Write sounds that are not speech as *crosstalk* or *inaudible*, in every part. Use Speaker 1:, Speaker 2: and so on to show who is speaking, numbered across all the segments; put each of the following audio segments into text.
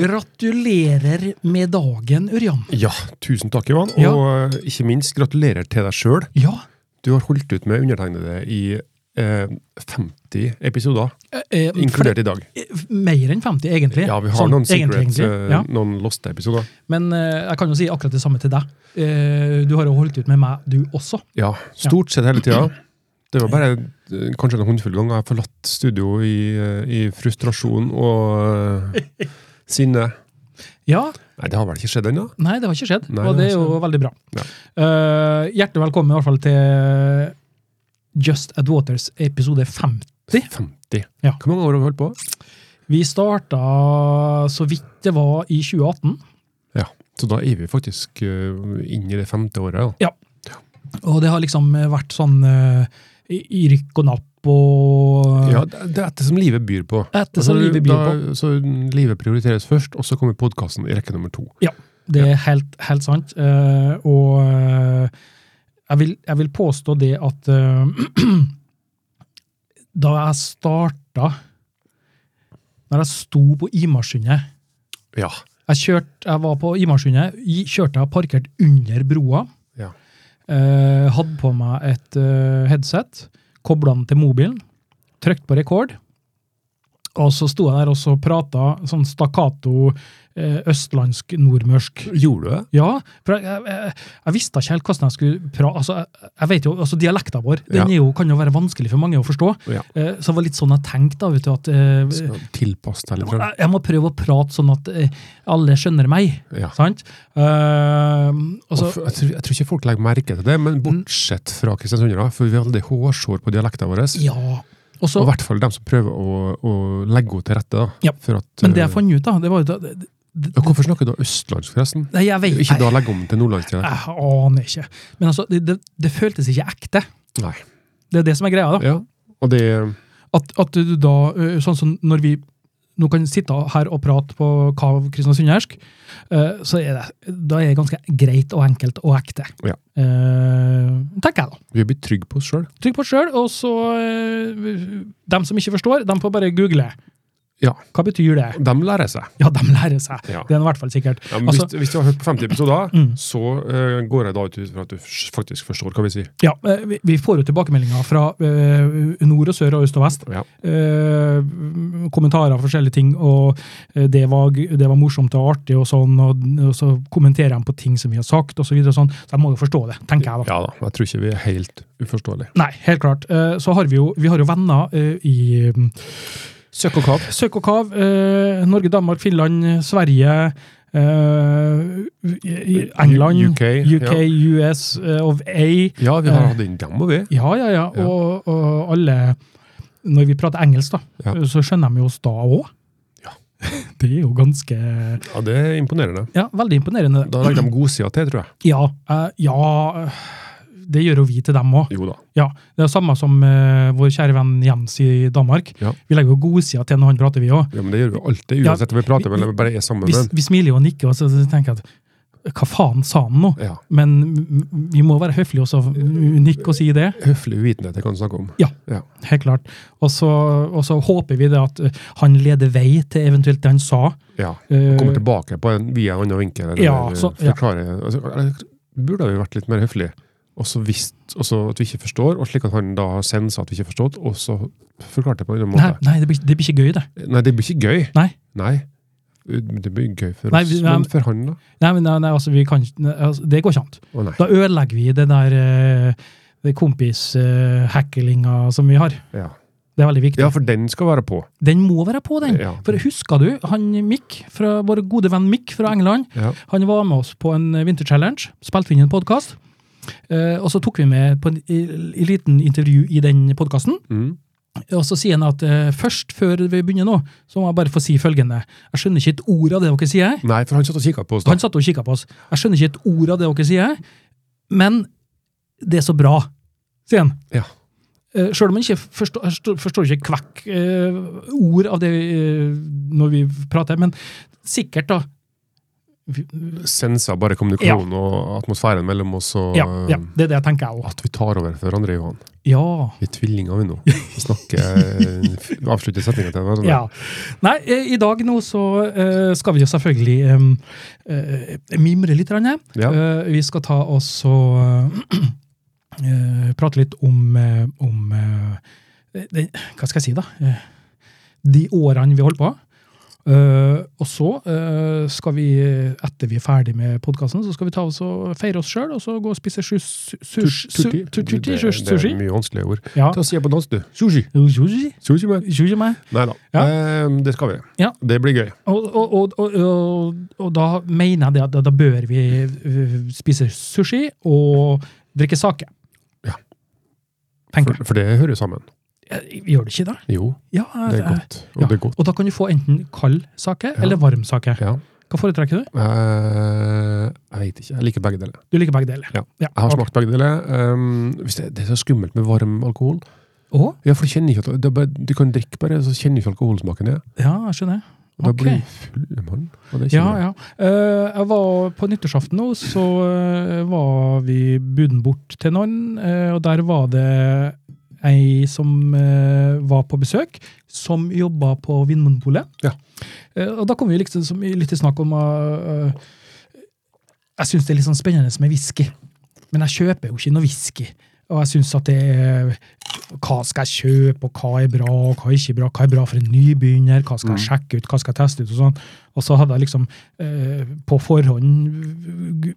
Speaker 1: Gratulerer med dagen, Ørjan.
Speaker 2: Ja, tusen takk, Ivan. Og
Speaker 1: Ja.
Speaker 2: eh, ikke minst gratulerer til deg sjøl.
Speaker 1: Ja.
Speaker 2: Du har holdt ut med undertegnede i eh, 50 episoder,
Speaker 1: Eh,
Speaker 2: inkludert i dag.
Speaker 1: for- eh, Mer enn 50, egentlig. Sånn,
Speaker 2: Ja, vi har noen
Speaker 1: egentlig,
Speaker 2: secrets,
Speaker 1: egentlig.
Speaker 2: eh,
Speaker 1: Ja.
Speaker 2: noen loste episoder.
Speaker 1: Men eh, jeg kan jo si akkurat det samme til deg. Eh, du har jo holdt ut med meg, du også.
Speaker 2: Ja, stort sett hele tida. Det var bare eh, kanskje en håndfull ganger jeg har forlatt studio i, eh, i frustrasjon og eh, sinne.
Speaker 1: Ja,
Speaker 2: Nei, det har vel ikke skjedd ennå?
Speaker 1: Nei, det har ikke skjedd,
Speaker 2: Nei,
Speaker 1: og det
Speaker 2: det
Speaker 1: er
Speaker 2: har
Speaker 1: jo veldig bra.
Speaker 2: Ja.
Speaker 1: Eh, hjertelig velkommen i hvert fall til Just At Waters episode 50.
Speaker 2: 50.
Speaker 1: Ja.
Speaker 2: Hvor mange år har vi holdt på?
Speaker 1: Vi starta så vidt det var i 2018,
Speaker 2: Ja. Så da er vi faktisk eh, inn i det femte året. Ja.
Speaker 1: og det har liksom vært sånn eh, i i rykk og napp og
Speaker 2: Ja, det det er dette som livet byr på. Altså,
Speaker 1: Dette som livet byr
Speaker 2: Da, så livet prioriteres først, og så kommer podkasten i rekke nummer to.
Speaker 1: Det er helt, helt sant. eh, og eh, jeg, vil, jeg vil påstå det at eh, *clears throat* da jeg starta Når jeg sto på Imarsundet
Speaker 2: Ja.
Speaker 1: jeg, kjørte- jeg var på Imarsundet, i- kjørte jeg parkert under broa.
Speaker 2: Ja.
Speaker 1: Eh, hadde på meg et eh, headset, kobla den til mobilen, trykte på rekord. Og så sto jeg der og så prata sånn stakkato eh, østlandsk nordmørsk.
Speaker 2: Gjorde du det?
Speaker 1: Ja, for jeg, jeg, jeg, jeg visste ikke helt hvordan jeg skulle prate. Altså, jeg, jeg vet jo, altså Dialekten vår den
Speaker 2: Ja.
Speaker 1: er jo, kan jo være vanskelig for mange å forstå.
Speaker 2: Ja.
Speaker 1: Eh, så det var litt sånn jeg tenkte. da, vet du, at eh,
Speaker 2: Skal Tilpass deg litt.
Speaker 1: jeg, jeg må prøve å prate sånn at eh, alle skjønner meg.
Speaker 2: Ja.
Speaker 1: Sant? Eh, og så-
Speaker 2: Og f- jeg, tror, jeg tror ikke folk legger merke til det,
Speaker 1: Mm.
Speaker 2: men bortsett fra kristiansundere, for vi har veldig hårsår på dialekten vår.
Speaker 1: ja. Og så,
Speaker 2: Og i hvert fall dem som prøver å, å legge henne til rette. Da,
Speaker 1: Ja.
Speaker 2: for at,
Speaker 1: men det jeg
Speaker 2: eh,
Speaker 1: fant ut, da, det var jo at det- det-
Speaker 2: ja, Hvorfor snakker du østlandsk, forresten?
Speaker 1: Nei, jeg vet
Speaker 2: Ikke
Speaker 1: jeg,
Speaker 2: da legge om til nordlandsdialekt?
Speaker 1: jeg aner ikke. Men altså, det, det, det føltes ikke ekte.
Speaker 2: Nei.
Speaker 1: Det er det som er greia. da.
Speaker 2: Ja. Og det
Speaker 1: At, at du da, eh, sånn som når vi nå kan sitte her og prate på Kav kristiansundersk, eh, så er det, da er det ganske greit og enkelt og ekte.
Speaker 2: Ja.
Speaker 1: Eh, tenker jeg da.
Speaker 2: Vi blir trygge på oss sjøl.
Speaker 1: Trykk på sjøl, og så eh, dem som ikke forstår, dem får bare google.
Speaker 2: Ja.
Speaker 1: Hva betyr det?
Speaker 2: De lærer seg.
Speaker 1: Ja, dem lærer seg.
Speaker 2: Ja.
Speaker 1: Det er i hvert fall sikkert.
Speaker 2: Ja, men
Speaker 1: Altså-
Speaker 2: hvis, hvis du har hørt på 50 episoder,
Speaker 1: Mm.
Speaker 2: så eh, går jeg da ut fra at du f- faktisk forstår hva vi sier.
Speaker 1: Ja, eh, vi- Vi får jo tilbakemeldinger fra eh, nord og sør og øst og vest.
Speaker 2: Ja.
Speaker 1: eh, kommentarer og forskjellige ting, og eh, det var, g- det var morsomt og artig, og sånn, og, og så kommenterer de på ting som vi har sagt, og så videre og sånn. Så jeg må jo forstå det, tenker jeg da.
Speaker 2: Ja da, jeg tror ikke vi er helt uforståelige.
Speaker 1: Nei, helt klart. Eh, Så har vi jo, vi har jo venner eh, i mm,
Speaker 2: Søkk og kav.
Speaker 1: Søk og Kav, eh, Norge, Danmark, Finland, Sverige, eh, i- i England,
Speaker 2: UK,
Speaker 1: UK, US eh, of A.
Speaker 2: Ja, vi
Speaker 1: Eh.
Speaker 2: har hatt inn dem, og vi.
Speaker 1: Ja, ja, ja.
Speaker 2: Ja.
Speaker 1: Og, og alle Når vi prater engelsk, da,
Speaker 2: Ja.
Speaker 1: så skjønner de jo oss da òg.
Speaker 2: Ja.
Speaker 1: *laughs* Det er jo ganske
Speaker 2: Ja, Det er imponerende.
Speaker 1: Ja, veldig imponerende.
Speaker 2: Da legger de godsida til, tror jeg.
Speaker 1: Ja, eh, ja eh, Det gjør jo vi til dem òg.
Speaker 2: Jo da.
Speaker 1: Ja, det er det samme som eh, vår kjære venn Jens i Danmark.
Speaker 2: Ja.
Speaker 1: Vi legger jo godsida til når han prater, vi òg.
Speaker 2: Ja, men Det gjør vi alltid,
Speaker 1: Ja,
Speaker 2: uansett om vi prater
Speaker 1: vi-
Speaker 2: eller bare er sammen
Speaker 1: Vi,
Speaker 2: med dem.
Speaker 1: vi smiler jo og nikker og så så tenker jeg at hva faen sa han nå?
Speaker 2: Ja.
Speaker 1: Men m- m- vi må være høflige også, nikke og si det.
Speaker 2: Høflig uvitenhet jeg kan snakke om.
Speaker 1: Ja.
Speaker 2: Ja.
Speaker 1: Helt klart. Og så, og så håper vi det at eh, han leder vei til eventuelt det han sa.
Speaker 2: ja.
Speaker 1: Eh,
Speaker 2: Kommer tilbake på en, via en annen vinkel. Eller,
Speaker 1: Ja, så- ja.
Speaker 2: forklare. Altså, eller, burde vi vært litt mer høflige? Og så visst også at vi ikke forstår, og slik at han da har sensa at vi ikke har forstått, og så forklarte det på en annen
Speaker 1: nei,
Speaker 2: måte.
Speaker 1: nei det, blir, det blir ikke gøy, det.
Speaker 2: Nei, det blir ikke gøy.
Speaker 1: Nei.
Speaker 2: Nei. Det blir gøy for
Speaker 1: Nei,
Speaker 2: oss,
Speaker 1: vi- nei,
Speaker 2: men for han, da?
Speaker 1: Nei, men nei, nei, altså, vi kan, ikke- nei, altså, det går ikke an.
Speaker 2: Å nei.
Speaker 1: Da ødelegger vi det der eh, det kompis-hacklinga som vi har.
Speaker 2: Ja.
Speaker 1: Det er veldig viktig.
Speaker 2: ja, for den skal være på.
Speaker 1: Den må være på, den.
Speaker 2: Ja.
Speaker 1: For husker du han Mick, fra, vår gode venn Mick fra England?
Speaker 2: Ja.
Speaker 1: Han var med oss på en eh, vinterchallenge, spilte vi inn en podkast. og så tok vi med på en i, i liten intervju i den podkasten.
Speaker 2: Mm.
Speaker 1: Og så sier han at eh, først, før vi begynner nå, så må jeg bare få si følgende. Jeg skjønner ikke et ord av det dere sier.
Speaker 2: Nei, for han satt og kikka på oss. da.
Speaker 1: Han satt og kikka på oss. Jeg skjønner ikke et ord av det dere sier, men det er så bra, sier han.
Speaker 2: Ja.
Speaker 1: Eh, Sjøl om han ikke forstår, forstår- forstår ikke kvekk eh, ord av det eh, når vi prater, men sikkert, da. vi-
Speaker 2: Sensa bare kommunikasjonen og atmosfæren mellom oss, og
Speaker 1: Ja, ja,
Speaker 2: eh,
Speaker 1: det er det jeg tenker, jeg òg.
Speaker 2: at vi tar over for hverandre, Johan.
Speaker 1: Ja.
Speaker 2: Vi er tvillinger, vi nå. Vi snakker Avslutter setninga til hverandre.
Speaker 1: Ja. Nei, eh, i dag nå så eh, skal vi jo selvfølgelig eh, eh, mimre litt. Ranne.
Speaker 2: Ja.
Speaker 1: Eh, vi skal ta oss og eh, prate litt om, eh, om eh, det, Hva skal jeg si, da? Eh, de årene vi holdt på. Eh, og så eh, skal vi, eh, etter vi er ferdig med podkasten, så skal vi ta oss og feire oss sjøl, og så gå og spise sjus- sus- su-
Speaker 2: Sushi.
Speaker 1: tu- tutti,
Speaker 2: Det-
Speaker 1: sjus-
Speaker 2: Det er
Speaker 1: sushi.
Speaker 2: mye vanskelige ord.
Speaker 1: Ja.
Speaker 2: Hva sier jeg på dansk, du? Sushi.
Speaker 1: Sushi?
Speaker 2: Sushi man.
Speaker 1: Sushi, meg.
Speaker 2: Nei da.
Speaker 1: Ja.
Speaker 2: Ehm, det skal vi.
Speaker 1: Ja.
Speaker 2: Det blir gøy.
Speaker 1: Og, og, og, og, og, og da mener jeg det at da, da bør vi øh, spise sushi og drikke sake.
Speaker 2: Ja.
Speaker 1: Tenker
Speaker 2: For, for det hører jo sammen.
Speaker 1: jeg. Gjør det ikke det?
Speaker 2: Jo,
Speaker 1: Ja,
Speaker 2: det er
Speaker 1: jeg-
Speaker 2: godt. Og det er godt.
Speaker 1: Og da kan du få enten kald sake
Speaker 2: Ja.
Speaker 1: eller varm sake.
Speaker 2: Ja.
Speaker 1: Hva foretrekker du?
Speaker 2: Eh, jeg vet ikke. Jeg liker begge deler.
Speaker 1: Du liker begge deler.
Speaker 2: Ja.
Speaker 1: Ja,
Speaker 2: Jeg har
Speaker 1: ok.
Speaker 2: smakt begge deler. Ehm, hvis det, det er så skummelt med varm alkohol.
Speaker 1: Å?
Speaker 2: Ja, for du kjenner ikke at det er bare, Du kan drikke bare, så kjenner du ikke alkoholsmaken. Ja.
Speaker 1: Ja, jeg skjønner.
Speaker 2: Og da
Speaker 1: Ok.
Speaker 2: blir du full, mann. Og det
Speaker 1: Ja,
Speaker 2: kjenner jeg.
Speaker 1: ja. Eh, jeg var på nyttårsaften nå, så eh, var vi buden bort til noen, eh, og der var det ei som eh, var på besøk, som jobba på Vinmonopolet.
Speaker 2: Ja.
Speaker 1: Eh, og da kom vi liksom som, i- litt i snakk om eh, Jeg syns det er litt sånn spennende med whisky, men jeg kjøper jo ikke noe whisky. Og jeg syns at det er Hva skal jeg kjøpe, og hva er bra, og hva er ikke bra? Hva er bra for en nybegynner? Hva skal jeg sjekke ut, hva skal jeg teste ut? og sånn. Og så hadde jeg liksom eh, på forhånd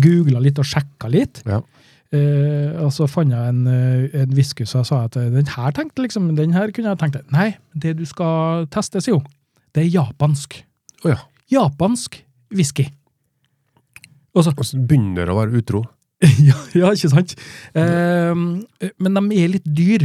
Speaker 1: googla litt og sjekka litt.
Speaker 2: Ja.
Speaker 1: Eh, og så fant jeg en, eh, en whisky, så jeg sa at eh, den her tenkte liksom, den her kunne jeg tenkt det. Nei, det du skal teste, sier hun, det er japansk.
Speaker 2: Å ja.
Speaker 1: Japansk whisky. Og så,
Speaker 2: Og så begynner det å være utro.
Speaker 1: *laughs* ja, ja, ikke sant? Eh, men de er litt dyr.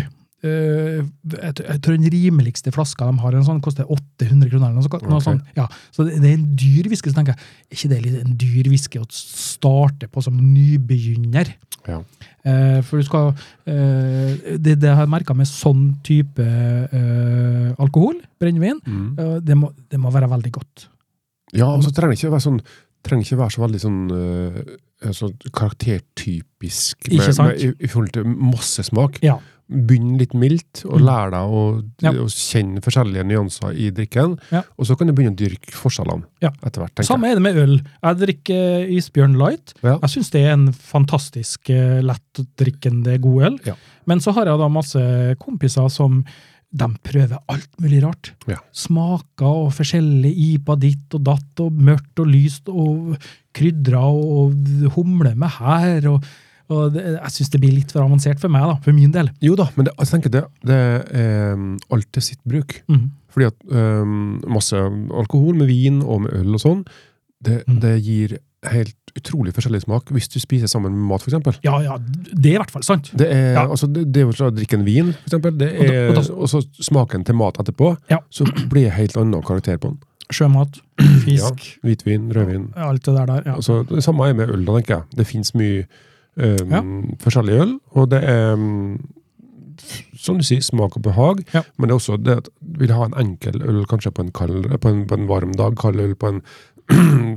Speaker 1: Eh, jeg, tr- jeg tror den rimeligste flaska de har, en sånn, koster 800 kroner. eller noe, sånt- noe
Speaker 2: Ok.
Speaker 1: sånt. Ja, så det, det er en dyr whisky. Så tenker jeg, er ikke det litt en dyr whisky å starte på som nybegynner?
Speaker 2: Ja.
Speaker 1: Eh, for du skal eh, Det, det jeg har merka med sånn type eh, alkohol, brennevin,
Speaker 2: Mm.
Speaker 1: eh, det, må, det må være veldig godt.
Speaker 2: Ja, og så trenger det ikke være sånn trenger ikke være så veldig sånn, øh, sånn karaktertypisk med,
Speaker 1: Ikke sant?
Speaker 2: Med, i, i forhold til massesmak.
Speaker 1: Ja.
Speaker 2: Begynn litt mildt, og
Speaker 1: Mm.
Speaker 2: lær deg å,
Speaker 1: Ja.
Speaker 2: å kjenne forskjellige nyanser i drikken.
Speaker 1: Ja.
Speaker 2: Og så kan du begynne å dyrke forskjellene
Speaker 1: Ja.
Speaker 2: etter hvert. tenker
Speaker 1: Samme er det med øl. Jeg drikker Isbjørn Light.
Speaker 2: jeg. Ja.
Speaker 1: Jeg syns det er en fantastisk eh, lettdrikkende god øl.
Speaker 2: Ja.
Speaker 1: Men så har jeg da masse kompiser som de prøver alt mulig rart.
Speaker 2: Ja.
Speaker 1: Smaker og forskjellig IPA ditt og datt og mørkt og lyst og krydra og humle med her. og, og det, Jeg syns det blir litt for avansert for meg, da, for min del.
Speaker 2: Jo da, men det, jeg tenker det, det er um, alt til sitt bruk.
Speaker 1: Mm.
Speaker 2: Fordi at um, masse alkohol med vin og med øl og sånn, det,
Speaker 1: Mm.
Speaker 2: det gir helt utrolig forskjellig smak hvis du spiser sammen med mat, for eksempel.
Speaker 1: Ja, ja, det er i hvert fall sant.
Speaker 2: Det er,
Speaker 1: Ja.
Speaker 2: altså, det, det er jo sånn å drikke en vin, for eksempel. Det
Speaker 1: Og da-
Speaker 2: er,
Speaker 1: og
Speaker 2: og,
Speaker 1: da-
Speaker 2: så smaken til mat etterpå,
Speaker 1: Ja.
Speaker 2: så blir det helt annen karakter på den.
Speaker 1: Sjømat, fisk, *clears throat*
Speaker 2: Hvitvin, rødvin.
Speaker 1: alt det der der. Ja.
Speaker 2: Altså, det samme er med øl, da, tenker jeg. Det finnes mye um,
Speaker 1: Ja.
Speaker 2: forskjellig øl, og det er um, som du sier, smak og behag,
Speaker 1: Ja.
Speaker 2: men det er også det at du vil ha en enkel øl kanskje på en, kald, på en, på en varm dag, kald øl på en, *clears throat*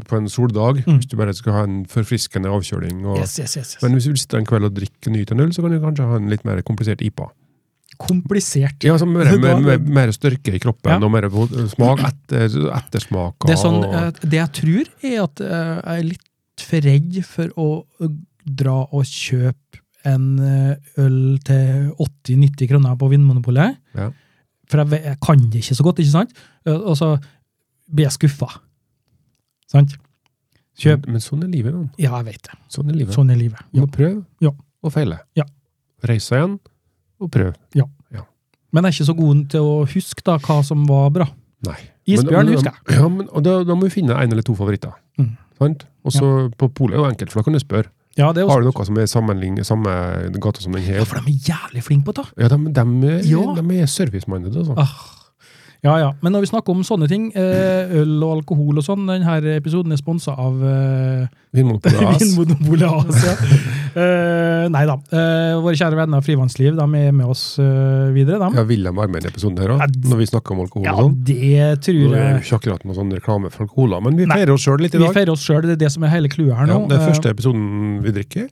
Speaker 2: på en soldag,
Speaker 1: Mm.
Speaker 2: hvis du bare skal ha en forfriskende avkjøling. Og,
Speaker 1: Yes, yes, yes, yes.
Speaker 2: Men hvis du vil sitte en kveld og drikke nyte en øl, så kan du kanskje ha en litt mer komplisert IPA.
Speaker 1: Komplisert.
Speaker 2: Ja, så mer,
Speaker 1: Så da-
Speaker 2: mer, mer, mer styrke i kroppen
Speaker 1: Ja.
Speaker 2: og mer vo- smak etter, ettersmaker.
Speaker 1: Det, er sånn,
Speaker 2: og-
Speaker 1: eh, det jeg tror, er at eh, jeg er litt for redd for å å dra og kjøpe en eh, øl til 80-90 kroner på Vinmonopolet.
Speaker 2: Ja.
Speaker 1: For jeg, ve- jeg kan det ikke så godt, ikke sant? Eh, Og så blir jeg skuffa. Sant? Kjøp.
Speaker 2: Men sånn er livet. Man.
Speaker 1: Ja, jeg vet det.
Speaker 2: Sånn er livet.
Speaker 1: Sånn er livet.
Speaker 2: Du
Speaker 1: Ja.
Speaker 2: må prøve
Speaker 1: Ja.
Speaker 2: og feile.
Speaker 1: Ja.
Speaker 2: Reise deg igjen og prøve.
Speaker 1: Men jeg er ikke så god til å huske da hva som var bra.
Speaker 2: Nei.
Speaker 1: Isbjørn
Speaker 2: men,
Speaker 1: husker jeg.
Speaker 2: jeg. Ja, men, og da, da må vi finne en eller to favoritter.
Speaker 1: Mm.
Speaker 2: Sant? Og så På polet er jo enkelt, for da kan du spørre.
Speaker 1: Ja, det er også,
Speaker 2: Har du noe som er sammenlign- samme gata som den
Speaker 1: ja,
Speaker 2: her?
Speaker 1: for de er jævlig flinke på det.
Speaker 2: Ja, de, de, er-
Speaker 1: Ja.
Speaker 2: de er service-minded, altså.
Speaker 1: Ah. Ja, ja. Men når vi snakker om sånne ting, eh, øl og alkohol og sånn, denne episoden er sponsa av eh, *laughs*
Speaker 2: Vinmonopolet AS.
Speaker 1: Vinmonopolet Asia. Eh, nei da. Eh, våre kjære venner Frivannsliv de er med oss eh, videre, dem.
Speaker 2: Ja, Wilhelm Armen-episoden her
Speaker 1: Ja,
Speaker 2: òg,
Speaker 1: d-
Speaker 2: når vi snakker om alkohol
Speaker 1: Ja,
Speaker 2: og sånn.
Speaker 1: det
Speaker 2: Nå
Speaker 1: tror
Speaker 2: er det jo
Speaker 1: jeg.
Speaker 2: ikke akkurat noe sånn reklame for cola, men vi
Speaker 1: Nei.
Speaker 2: feirer oss sjøl litt i
Speaker 1: Vi
Speaker 2: dag.
Speaker 1: feirer oss sjøl, det er det som er hele clouet her
Speaker 2: Ja,
Speaker 1: nå.
Speaker 2: det er
Speaker 1: Eh,
Speaker 2: første episoden vi drikker,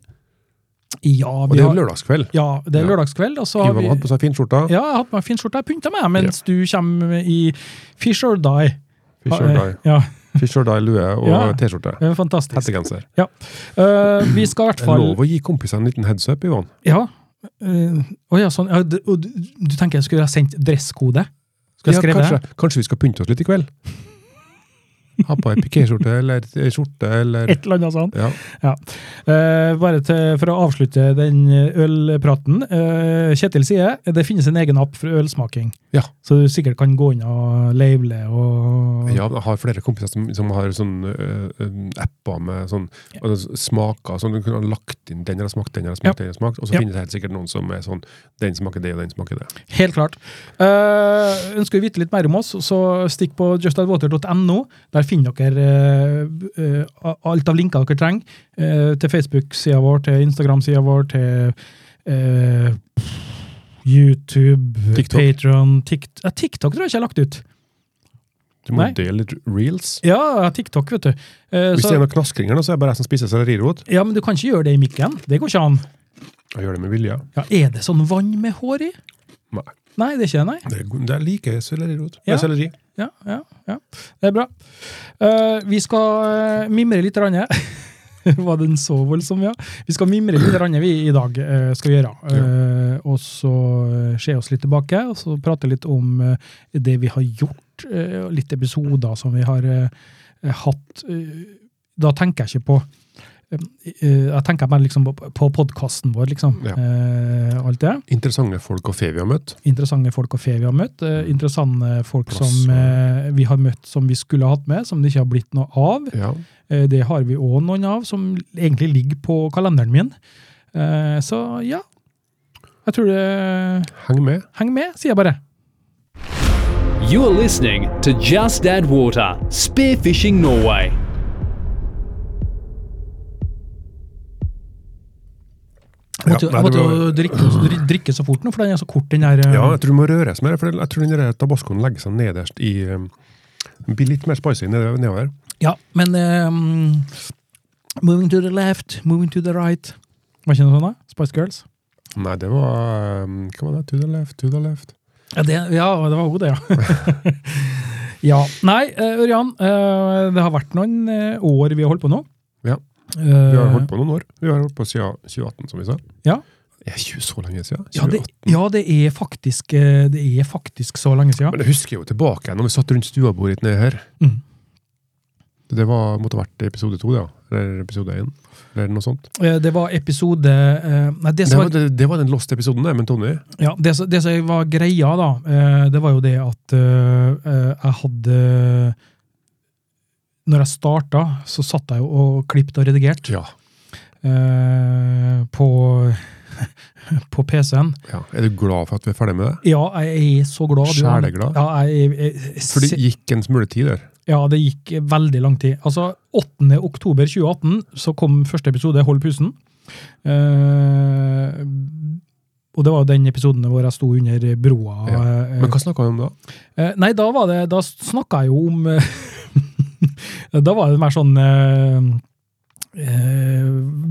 Speaker 1: ja,
Speaker 2: og
Speaker 1: vi
Speaker 2: det er
Speaker 1: har,
Speaker 2: lørdagskveld.
Speaker 1: ja, det er
Speaker 2: Ja.
Speaker 1: lørdagskveld. Og så har
Speaker 2: Ivan
Speaker 1: vi,
Speaker 2: hadde på seg finskjorta.
Speaker 1: ja, jeg har hatt på meg fin skjorte. Jeg pynta meg mens du kommer i Fish or Die.
Speaker 2: Fish or die.
Speaker 1: Ja,
Speaker 2: Fish or die lue og
Speaker 1: Ja.
Speaker 2: T-skjorte.
Speaker 1: det er fantastisk.
Speaker 2: Hettegenser.
Speaker 1: Eh, vi skal i hvert
Speaker 2: Det er
Speaker 1: fall
Speaker 2: lov å gi kompisene en liten heads up, Ivan.
Speaker 1: Ja. Eh, å ja, sånn. Ja, du, og du, du tenker jeg skulle ha sendt dresskode? Skal jeg
Speaker 2: Ja,
Speaker 1: skrive
Speaker 2: kanskje, kanskje vi skal pynte oss litt i kveld? Ha på ei pikéskjorte eller ei skjorte
Speaker 1: det?
Speaker 2: eller
Speaker 1: Et eller annet sånt.
Speaker 2: ja.
Speaker 1: Eh, bare til, for å avslutte den ølpraten. Eh, Kjetil sier det finnes en egen app for ølsmaking.
Speaker 2: Ja.
Speaker 1: Så du sikkert kan gå inn og labele og
Speaker 2: Ja, jeg har flere kompiser som, som har sånne øh, øh, apper med sånn, altså, smaker. sånn, Du kunne ha lagt inn den eller smakt den eller smakt den. eller smakt, Og så
Speaker 1: Ja.
Speaker 2: finnes det helt sikkert noen som er sånn Den smaker det, og den smaker det.
Speaker 1: Helt klart. Eh, ønsker du å vite litt mer om oss, så stikk på justadwater.no. Der finner dere eh, eh, alt av linker dere trenger. eh, til Facebook-sida vår, til Instagram-sida vår, til eh, YouTube,
Speaker 2: TikTok.
Speaker 1: Patron TikTok. Ja, TikTok tror jeg ikke jeg har lagt ut.
Speaker 2: Du må
Speaker 1: Nei.
Speaker 2: dele litt reels.
Speaker 1: Ja, jeg har TikTok, vet du. Eh,
Speaker 2: Hvis
Speaker 1: så-
Speaker 2: det er noe knaskring her, nå, så er det bare jeg som spiser sellerirot.
Speaker 1: ja, men du kan ikke gjøre det i mikken. Det går ikke an.
Speaker 2: Jeg gjør det med vilje.
Speaker 1: Ja, er det sånn vann med hår i?
Speaker 2: Nei.
Speaker 1: Nei, det er ikke det, nei.
Speaker 2: Det er, god- det er like sellerirot.
Speaker 1: Ja.
Speaker 2: Nei, selleri.
Speaker 1: Ja, ja, ja. Det er bra. Eh, vi skal eh, mimre litt. Rann, *laughs* Var den så voldsom, ja? Vi skal mimre litt rann, vi i dag. eh, skal vi gjøre. Eh, og så eh, se oss litt tilbake, og så prate litt om eh, det vi har gjort. eh, og litt episoder som vi har eh, hatt. eh, da tenker jeg ikke på eh, Jeg tenker bare liksom på, på podkasten vår, liksom.
Speaker 2: Ja.
Speaker 1: Eh, alt det
Speaker 2: Interessante folk og fe vi har møtt.
Speaker 1: interessante folk og fe vi har møtt. eh, interessante folk
Speaker 2: Mm. Plass,
Speaker 1: som
Speaker 2: og-
Speaker 1: eh, vi har møtt som vi skulle ha hatt med, som det ikke har blitt noe av.
Speaker 2: Ja.
Speaker 1: Eh, det har vi òg noen av, som egentlig ligger på kalenderen min. Eh, så ja. Jeg tror det
Speaker 2: Heng med.
Speaker 1: Heng med, sier jeg bare.
Speaker 3: You're listening to Just Add Water, Spearfishing Norway.
Speaker 1: Jeg måtte, jo-
Speaker 2: Ja,
Speaker 1: jeg
Speaker 2: nei,
Speaker 1: måtte
Speaker 2: det
Speaker 1: jo
Speaker 2: var-
Speaker 1: drikke, dri- drikke så fort nå, for den er så kort, den her. eh,
Speaker 2: Ja, jeg tror du må røres mer, for jeg tror den der tabascoen legger seg nederst i um, Blir litt mer spicy nede- nedover.
Speaker 1: ja men eh, Moving to the left, moving to the right. Var ikke noe sånt, da? Spice Girls?
Speaker 2: Nei, det var um, Hva var det? To the left, to the left.
Speaker 1: Ja, det, ja, det var jo det, ja. *laughs* ja. Nei, eh, Ørjan, eh, det har vært noen eh, år vi har holdt på nå. Eh,
Speaker 2: Ja. Vi har holdt på noen år. Vi har holdt på siden 2018, som vi sa.
Speaker 1: Ja.
Speaker 2: Det er ikke så lenge siden.
Speaker 1: Ja det,
Speaker 2: 2018.
Speaker 1: ja, det er faktisk eh, Det er faktisk så lenge siden.
Speaker 2: Men jeg husker jo tilbake når vi satt rundt stuebordet nede her.
Speaker 1: Mm.
Speaker 2: Det var, måtte ha vært episode to, ja. Eller episode én. Eller noe sånt.
Speaker 1: Eh, Det var episode eh, Nei, det
Speaker 2: Det
Speaker 1: som var,
Speaker 2: var, det, det var den lost episoden der, men Tony
Speaker 1: ja, det, som- det som var greia, da, eh, det var jo det at eh, eh, jeg hadde Når jeg starta, så satt jeg jo og klippet og redigerte
Speaker 2: ja.
Speaker 1: eh, på, *laughs* på PC-en.
Speaker 2: ja. Er du glad for at vi er ferdig med det?
Speaker 1: Ja, jeg er så glad. du.
Speaker 2: Sjeleglad?
Speaker 1: Ja, jeg, jeg, jeg,
Speaker 2: For det gikk en smule tid der.
Speaker 1: ja, det gikk veldig lang tid. Altså, 8. oktober 2018 så kom første episode, Hold pusten. Eh, og det var jo den episoden hvor jeg sto under broa.
Speaker 2: Ja,
Speaker 1: eh,
Speaker 2: Men hva snakka vi om da?
Speaker 1: eh, nei, da var det, da snakka jeg jo om eh, *laughs* Da var det mer sånn eh, eh,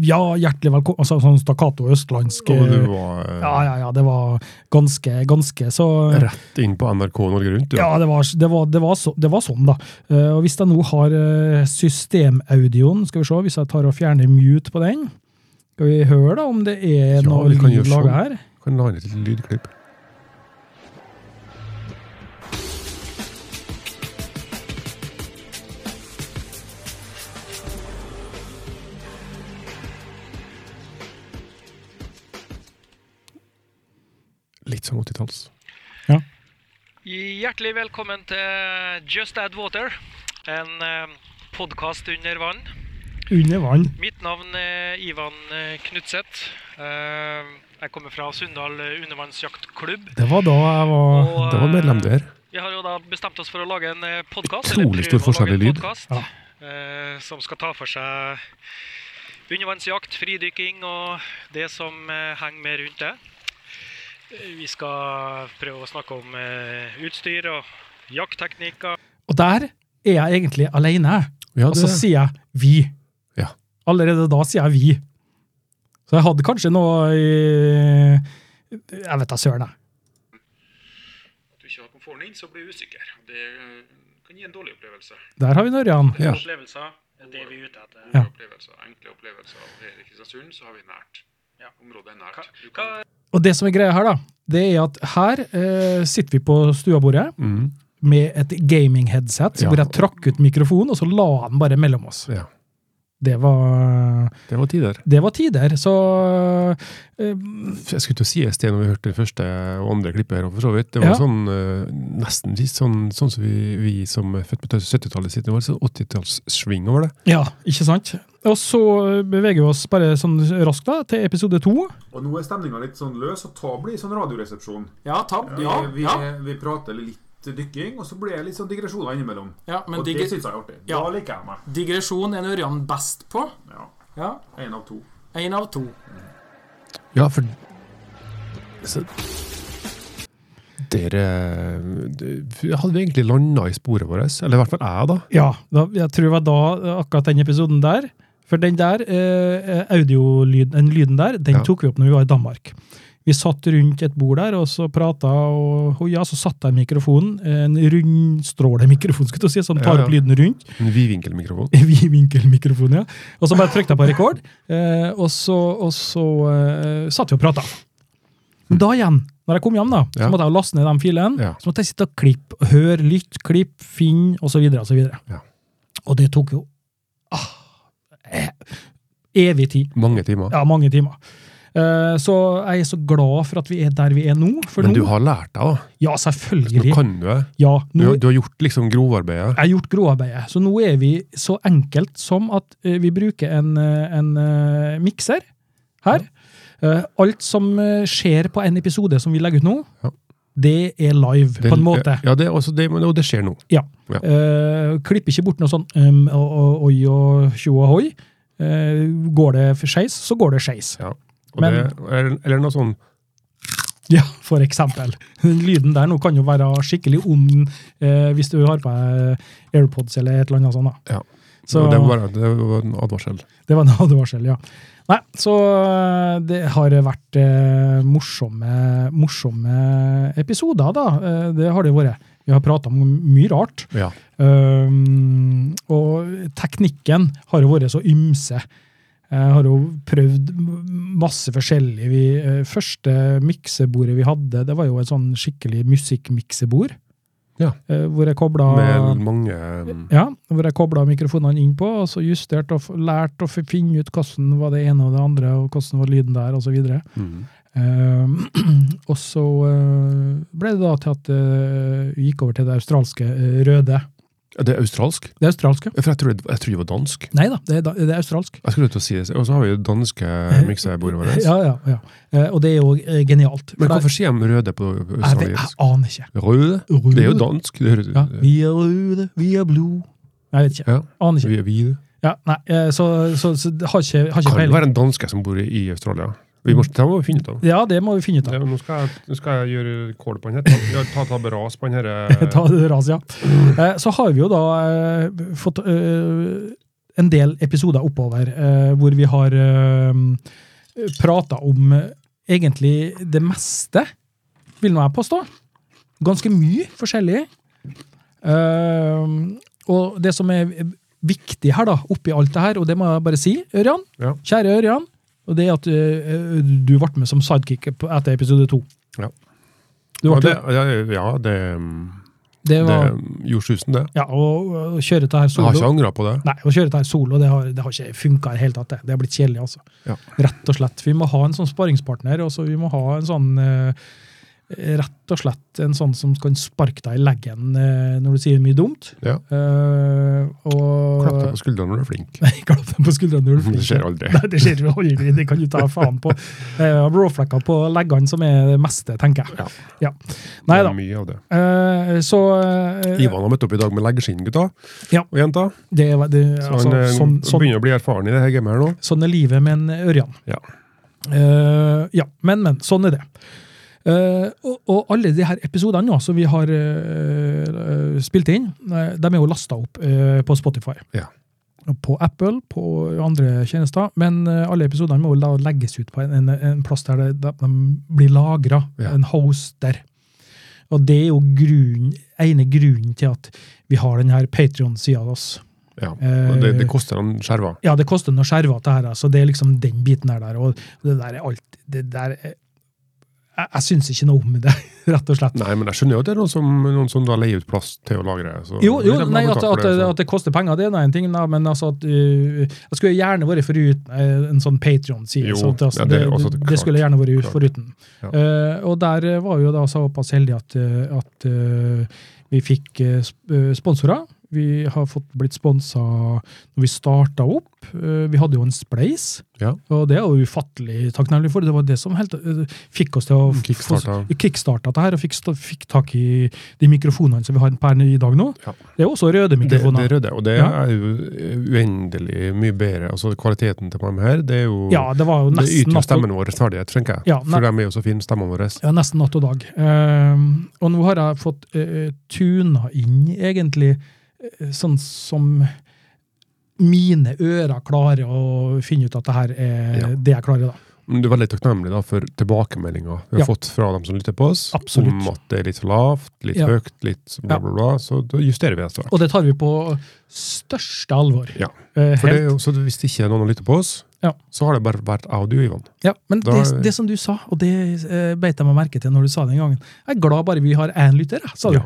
Speaker 1: Ja, hjertelig velkommen altså, Sånn stakkato østlandsk.
Speaker 2: Og du
Speaker 1: eh,
Speaker 2: var eh,
Speaker 1: ja, ja, ja. Det var ganske, ganske så
Speaker 2: rett inn på NRK Norge Rundt, du.
Speaker 1: Ja, det var, det var, det var, så, det var sånn, da. Eh, og hvis jeg nå har eh, systemaudioen, skal vi se, hvis jeg tar og fjerner mute på den Skal vi høre, da, om det er
Speaker 2: Ja,
Speaker 1: noe
Speaker 2: vi kan gjøre
Speaker 1: lyd laga
Speaker 2: sånn.
Speaker 1: her?
Speaker 2: Kan lage et lite lydklipp. Litt sånn 80-talls.
Speaker 4: Hjertelig velkommen til Just Add Water, en podkast under vann.
Speaker 1: Under vann.
Speaker 4: Mitt navn er Ivan eh, Knutseth. Eh, Jeg kommer fra Sunndal undervannsjaktklubb.
Speaker 1: Det var da jeg var
Speaker 4: Og,
Speaker 2: Det var medlem der.
Speaker 4: eh, Vi har jo da bestemt oss for å lage en eh, podkast.
Speaker 2: Utrolig stor forskjell i lyd.
Speaker 1: Ja.
Speaker 4: Eh, som skal ta for seg undervannsjakt, fridykking og det som eh, henger med rundt det. Eh, Vi skal prøve å snakke om eh, utstyr og jaktteknikker.
Speaker 1: Og der er jeg egentlig alene.
Speaker 2: Ja,
Speaker 1: Og så sier jeg vi.
Speaker 2: Ja.
Speaker 1: Allerede da sier jeg vi. Så jeg hadde kanskje noe eh, Jeg vet da søren, jeg.
Speaker 5: At du ikke har komforten inn, så blir du usikker. Det eh, kan gi en dårlig opplevelse.
Speaker 1: Der har vi Nørjan.
Speaker 2: Ja.
Speaker 4: Opplevelser er det vi er ute etter.
Speaker 1: Ja.
Speaker 5: Gode opplevelser, Enkle opplevelser. Og Her i Kristiansund så har vi nært.
Speaker 4: Ja.
Speaker 5: Området er
Speaker 4: Hva-
Speaker 5: nært. Du
Speaker 4: Hva,
Speaker 5: kan
Speaker 1: Og det som er greia her, da, det er at her eh, sitter vi på stuabordet
Speaker 2: Mm,
Speaker 1: med et gaming-headset
Speaker 2: Ja.
Speaker 1: hvor jeg trakk ut mikrofonen, og så la han bare mellom oss.
Speaker 2: ja.
Speaker 1: Det var,
Speaker 2: Det var tider.
Speaker 1: det var tider. Så eh,
Speaker 2: Jeg skulle til å si et sted når vi hørte det første og andre klippet her, for så vidt. Det var
Speaker 1: Ja.
Speaker 2: sånn, eh, nesten litt sånn, sånn som vi, vi som er født på 70-tallet sitter nå, sånn 80-tallssving over det.
Speaker 1: Ja, ikke sant? Og så beveger vi oss bare sånn raskt da, til episode to.
Speaker 6: Og nå er stemninga litt sånn løs, og ta blir sånn radioresepsjon.
Speaker 7: Ja, tab.
Speaker 6: Vi,
Speaker 7: Ja,
Speaker 6: vi,
Speaker 7: ja.
Speaker 6: vi prater litt dykking, og så blir det litt sånn digresjoner innimellom.
Speaker 7: ja men
Speaker 6: og det
Speaker 7: digre,
Speaker 6: syns jeg er artig.
Speaker 7: Ja.
Speaker 6: Da liker jeg meg.
Speaker 7: digresjon er Ørjan best på.
Speaker 6: Ja.
Speaker 7: Ja,
Speaker 6: Én av to.
Speaker 7: Én av to.
Speaker 2: Ja, for så, Dere det- Hadde vi egentlig landa i sporet vårt? Eller i hvert fall jeg, da.
Speaker 1: Ja, da, jeg tror det var da eh, akkurat den episoden der. For den der, eh, audiolyd, den lyden der, den
Speaker 2: Ja.
Speaker 1: tok vi opp når vi var i Danmark. Vi satt rundt et bord der, og så prata, og og ja, så satte jeg mikrofonen, en rundstråle mikrofon, skulle du si, som tar
Speaker 2: Ja, ja.
Speaker 1: opp lyden rundt, *laughs*
Speaker 2: En vidvinkelmikrofon.
Speaker 1: vid vinkelmikrofon, ja. Og så bare trykte jeg på rekord, eh, og så, og så eh, satt vi og prata. Da igjen, når jeg kom hjem, da, så
Speaker 2: Ja.
Speaker 1: måtte jeg jo laste ned den filen.
Speaker 2: Ja.
Speaker 1: Så måtte jeg sitte og klippe, høre, lytte, klippe, finne, osv. osv.
Speaker 2: Ja.
Speaker 1: Og det tok jo ah, eh, evig tid.
Speaker 2: Mange timer.
Speaker 1: Ja, mange timer. Eh, så jeg er så glad for at vi er der vi er nå. For
Speaker 2: Men du
Speaker 1: nå
Speaker 2: har lært deg, da.
Speaker 1: Ja,
Speaker 2: Så
Speaker 1: selvfølgelig.
Speaker 2: nå kan du det.
Speaker 1: ja,
Speaker 2: Du,
Speaker 1: nå,
Speaker 2: har- du har gjort liksom grovarbeidet.
Speaker 1: jeg har gjort grovarbeidet. Så nå er vi så enkelt som at eh, vi bruker en, eh, en eh, mikser her. Eh, alt som eh, skjer på en episode som vi legger ut nå,
Speaker 2: Ja.
Speaker 1: det er live,
Speaker 2: Det-
Speaker 1: på en måte.
Speaker 2: Ja, det, er også det, men- og det skjer nå.
Speaker 1: Ja.
Speaker 2: Ja.
Speaker 1: Eh, klipper ikke bort noe sånn um, og, og, oi og tjo og hoi. Eh, går det for skeis, så går det skeis.
Speaker 2: Ja. Og
Speaker 1: Men-
Speaker 2: det, eller, eller noe sånn
Speaker 1: Ja, for eksempel. Den lyden der nå kan jo være skikkelig ond eh, hvis du har på deg AirPods eller et eller annet sånt. da.
Speaker 2: Ja.
Speaker 1: Så
Speaker 2: Det var bare det var en advarsel.
Speaker 1: det var *laughs* en advarsel, ja. Nei, så eh, det har vært eh, morsomme, morsomme episoder, da. Eh, det har det vært. Vi har prata om mye rart.
Speaker 2: Ja.
Speaker 1: Um, og teknikken har jo vært så ymse. Jeg har jo prøvd m- masse forskjellig. Vi, eh, første miksebordet vi hadde, det var jo et sånn skikkelig musikkmiksebord.
Speaker 2: Ja.
Speaker 1: Eh, hvor jeg
Speaker 2: Med
Speaker 1: kobla
Speaker 2: mange um,
Speaker 1: ja, hvor jeg koblet mikrofonene inn på, og så justert og f- lært å f- finne ut hvordan var det ene og det andre, og hvordan var lyden der, osv.
Speaker 2: mm.
Speaker 1: Um, *clears throat* og så eh, ble det da til at eh, vi gikk over til det australske eh, røde.
Speaker 2: Ja, Det er australsk.
Speaker 1: Det australske.
Speaker 2: For jeg trodde, jeg trodde det var dansk.
Speaker 1: Nei da, det er, da- det er australsk.
Speaker 2: Jeg skulle til å si det. Og så har vi jo det danske miksebordet vårt.
Speaker 1: Eh, Ja, ja, ja. Eh, Og det er jo eh, genialt.
Speaker 2: Men
Speaker 1: For
Speaker 2: hvorfor sier de røde på på
Speaker 1: Jeg, vet- jeg
Speaker 2: australsk?
Speaker 1: aner ikke.
Speaker 2: Røde? Det er jo dansk. Det høres
Speaker 1: Ja, vi er røde, vi er blå. Jeg vet ikke.
Speaker 2: Ja.
Speaker 1: Aner ikke.
Speaker 2: Vi er hvite.
Speaker 1: Ja, nei, eh, så, så, så det har ikke, har ikke
Speaker 2: Kan det
Speaker 1: peiling.
Speaker 2: være en danske som bor i i Australia? Vi må, det må vi finne ut av.
Speaker 1: Ja, det må vi finne ut av.
Speaker 2: Ja, nå, skal jeg, nå skal jeg gjøre kål på den her. Ta, ta tabberas på den her.
Speaker 1: Eh, *laughs* Ta det ras, ja. Eh, Så har vi jo da eh, fått eh, en del episoder oppover eh, hvor vi har prata om eh, egentlig det meste, vil nå jeg påstå. Ganske mye forskjellig. Eh, Og det som er viktig her, da, oppi alt det her, og det må jeg bare si, Ørjan,
Speaker 2: Ja.
Speaker 1: kjære Ørjan, og det er at eh, du ble med som sidekick på- etter episode to.
Speaker 2: Ja.
Speaker 1: Du
Speaker 2: Ja,
Speaker 1: ble,
Speaker 2: det, ja, ja, det,
Speaker 1: det
Speaker 2: det
Speaker 1: var,
Speaker 2: gjorde susen, det.
Speaker 1: ja, og, og kjøre dette her
Speaker 2: Jeg
Speaker 1: solo
Speaker 2: har ikke angra på det.
Speaker 1: Nei, å kjøre dette her solo, det har, det har ikke funka i det hele tatt. Det. det har blitt kjedelig, altså.
Speaker 2: Ja.
Speaker 1: Rett og slett. Vi må ha en sånn sparringspartner, og så vi må ha en sånn eh, rett og slett en sånn som kan sparke deg i leggen eh, når du sier mye dumt.
Speaker 2: Ja.
Speaker 1: Eh, og
Speaker 2: Klapp
Speaker 1: *laughs*
Speaker 2: deg på skuldrene når du er flink.
Speaker 1: Klapp deg på skuldrene når du
Speaker 2: Det skjer aldri.
Speaker 1: Nei, det skjer jo aldri, det kan du ta faen på. Eh, Råflekker på leggene som er det meste, tenker jeg. Ja. Nei
Speaker 2: Det
Speaker 1: da.
Speaker 2: er mye av det.
Speaker 1: Eh, så eh,
Speaker 2: Ivan har møtt opp i dag med leggeskinn, gutta
Speaker 1: Ja.
Speaker 2: og jenta.
Speaker 1: det, er- det,
Speaker 2: Så
Speaker 1: altså,
Speaker 2: han eh,
Speaker 1: sånn, sånn,
Speaker 2: begynner å bli erfaren i det her gamet her nå.
Speaker 1: sånn er livet med en ørjan.
Speaker 2: Ja.
Speaker 1: Eh, ja, men, men. Sånn er det. Eh, og, og alle de her episodene nå som vi har eh, eh, spilt inn, eh, de er jo lasta opp eh, på Spotify.
Speaker 2: Ja.
Speaker 1: Og På Apple, på andre tjenester. Men eh, alle episodene må jo da legges ut på en, en, en plass der det- der de blir lagra.
Speaker 2: Ja.
Speaker 1: En hoster. Og det er jo grunnen, ene grunnen til at vi har den her Patrion-sida av oss.
Speaker 2: Ja.
Speaker 1: Eh.
Speaker 2: og Det, det koster han skjerva.
Speaker 1: Ja, det koster noe skjervete her, altså. Det er liksom den biten her der. Og det der er alt Det der er Jeg, jeg syns ikke noe om det, *laughs* rett og slett.
Speaker 2: Nei, men jeg skjønner jo at det er noen som, noen som da leier ut plass til å lagre. Så
Speaker 1: Jo, jo
Speaker 2: de har
Speaker 1: nei, at,
Speaker 2: betalt for
Speaker 1: at,
Speaker 2: det, altså. så-
Speaker 1: at det koster penger, det er nå en ting, da, men altså at uh, Jeg skulle gjerne vært foruten eh, en sånn Patrion-side.
Speaker 2: Jo,
Speaker 1: så at, altså,
Speaker 2: ja, det
Speaker 1: det,
Speaker 2: er også
Speaker 1: det,
Speaker 2: klart,
Speaker 1: skulle jeg gjerne vært
Speaker 2: klart.
Speaker 1: foruten.
Speaker 2: Ja.
Speaker 1: Eh, og der eh, var jo da såpass heldig at, eh, at eh, vi fikk eh, sp- eh, sponsorer. Vi har fått blitt sponsa når vi starta opp. Eh, vi hadde jo en spleis,
Speaker 2: Ja.
Speaker 1: og det er jo ufattelig takknemlig for. Det var det som helt, eh, fikk oss til å f-
Speaker 2: Kickstarta.
Speaker 1: få- kickstarta det her, og fikk, sta- fikk tak i de mikrofonene som vi har per i dag nå.
Speaker 2: Ja.
Speaker 1: Det er også røde
Speaker 2: Det, det
Speaker 1: mikrofoner.
Speaker 2: er røde, og det
Speaker 1: Ja.
Speaker 2: er jo eh, uendelig mye bedre. Altså Kvaliteten til dem her, det er jo
Speaker 1: ja, det var jo
Speaker 2: Det
Speaker 1: nesten
Speaker 2: yter jo
Speaker 1: natt og,
Speaker 2: stemmen vår ferdighet, tenker jeg.
Speaker 1: Ja, nei.
Speaker 2: For de er jo så fine, stemmene våre.
Speaker 1: ja, nesten natt og dag. Ehm, og nå har jeg fått uh, tuna inn, egentlig, eh, sånn som mine ører klarer å finne ut at det her er
Speaker 2: Ja.
Speaker 1: det jeg klarer, da.
Speaker 2: Men Du er veldig takknemlig da for tilbakemeldinger vi har
Speaker 1: Ja.
Speaker 2: fått fra dem som lytter på oss.
Speaker 1: Absolutt.
Speaker 2: Om at det er litt for lavt, litt
Speaker 1: Ja.
Speaker 2: høyt, litt bla,
Speaker 1: Ja.
Speaker 2: bla, bla. Så da justerer vi det straks.
Speaker 1: Og det tar vi på største alvor.
Speaker 2: Ja,
Speaker 1: Eh,
Speaker 2: For det, er
Speaker 1: helt.
Speaker 2: jo- så hvis det ikke er noen som lytter på oss,
Speaker 1: Ja.
Speaker 2: så har det bare vært jeg og du, Ivan.
Speaker 1: ja, men
Speaker 2: da-
Speaker 1: det, det som du sa, og det eh, beit jeg meg merke til når du sa det den gangen, jeg er glad bare vi har én lytter, jeg, sa du.
Speaker 2: Ja.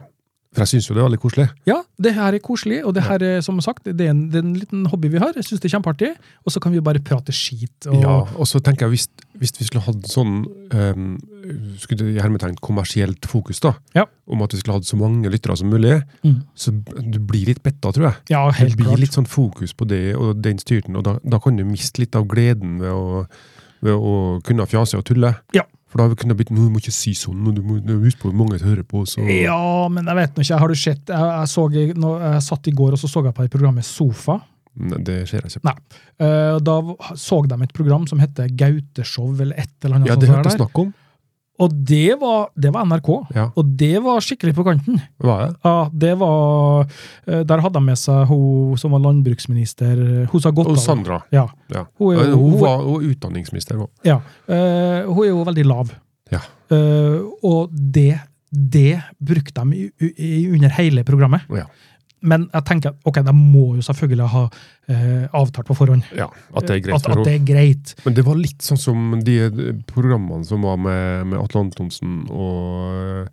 Speaker 2: For jeg syns jo det er veldig koselig.
Speaker 1: Ja, det her er koselig, og det her er som sagt, det er en, det er en liten hobby vi har. Jeg syns det er kjempeartig. Og så kan vi bare prate skit. Og,
Speaker 2: Ja, og så tenker jeg, hvis, hvis vi skulle hatt sånn ehm, skulle det i hermetegn kommersielt fokus, da,
Speaker 1: Ja.
Speaker 2: om at vi skulle hatt så mange lyttere som mulig,
Speaker 1: Mm.
Speaker 2: så du blir litt betta, tror jeg.
Speaker 1: Ja,
Speaker 2: Det
Speaker 1: helt
Speaker 2: blir
Speaker 1: klart.
Speaker 2: litt sånn fokus på det og den styrten, og da, da kan du miste litt av gleden ved å, ved å kunne fjase og tulle.
Speaker 1: Ja.
Speaker 2: For da har vi kunnet blitt, nå må du ikke si sånn, nå du må du må huske på hvor mange som hører på. Så.
Speaker 1: Ja, men jeg vet nå ikke. Har du sett Jeg, jeg, så, i- nå, jeg satt i går og så så jeg på et program med Sofa.
Speaker 2: Nei, det altså. ser jeg ikke.
Speaker 1: Nei. Eh, og da v- så de et program som heter Gauteshow, eller et eller annet.
Speaker 2: Ja,
Speaker 1: sånt
Speaker 2: det
Speaker 1: sånn som
Speaker 2: hørte jeg
Speaker 1: der.
Speaker 2: snakk om.
Speaker 1: Og det var, det var NRK.
Speaker 2: Ja,
Speaker 1: Og det var skikkelig på kanten.
Speaker 2: hva er det?
Speaker 1: Ja, det var eh, Der hadde de med seg hun som var landbruksminister. eh, Hun sa godt av.
Speaker 2: Og Sandra.
Speaker 1: Ja.
Speaker 2: Ja.
Speaker 1: Hun, er
Speaker 2: Hun,
Speaker 1: jo, hun,
Speaker 2: var hun var utdanningsminister. nå.
Speaker 1: ja. Eh, hun er jo veldig lav.
Speaker 2: Ja.
Speaker 1: Eh, og det, det brukte de i, i, under hele programmet.
Speaker 2: Ja.
Speaker 1: Men jeg tenker at ok, de må jo selvfølgelig ha eh, avtalt på forhånd
Speaker 2: Ja, at det er greit
Speaker 1: at,
Speaker 2: for
Speaker 1: at det
Speaker 2: henne.
Speaker 1: er greit.
Speaker 2: Men det var litt sånn som de programmene som var med, med Atle Antonsen og eh,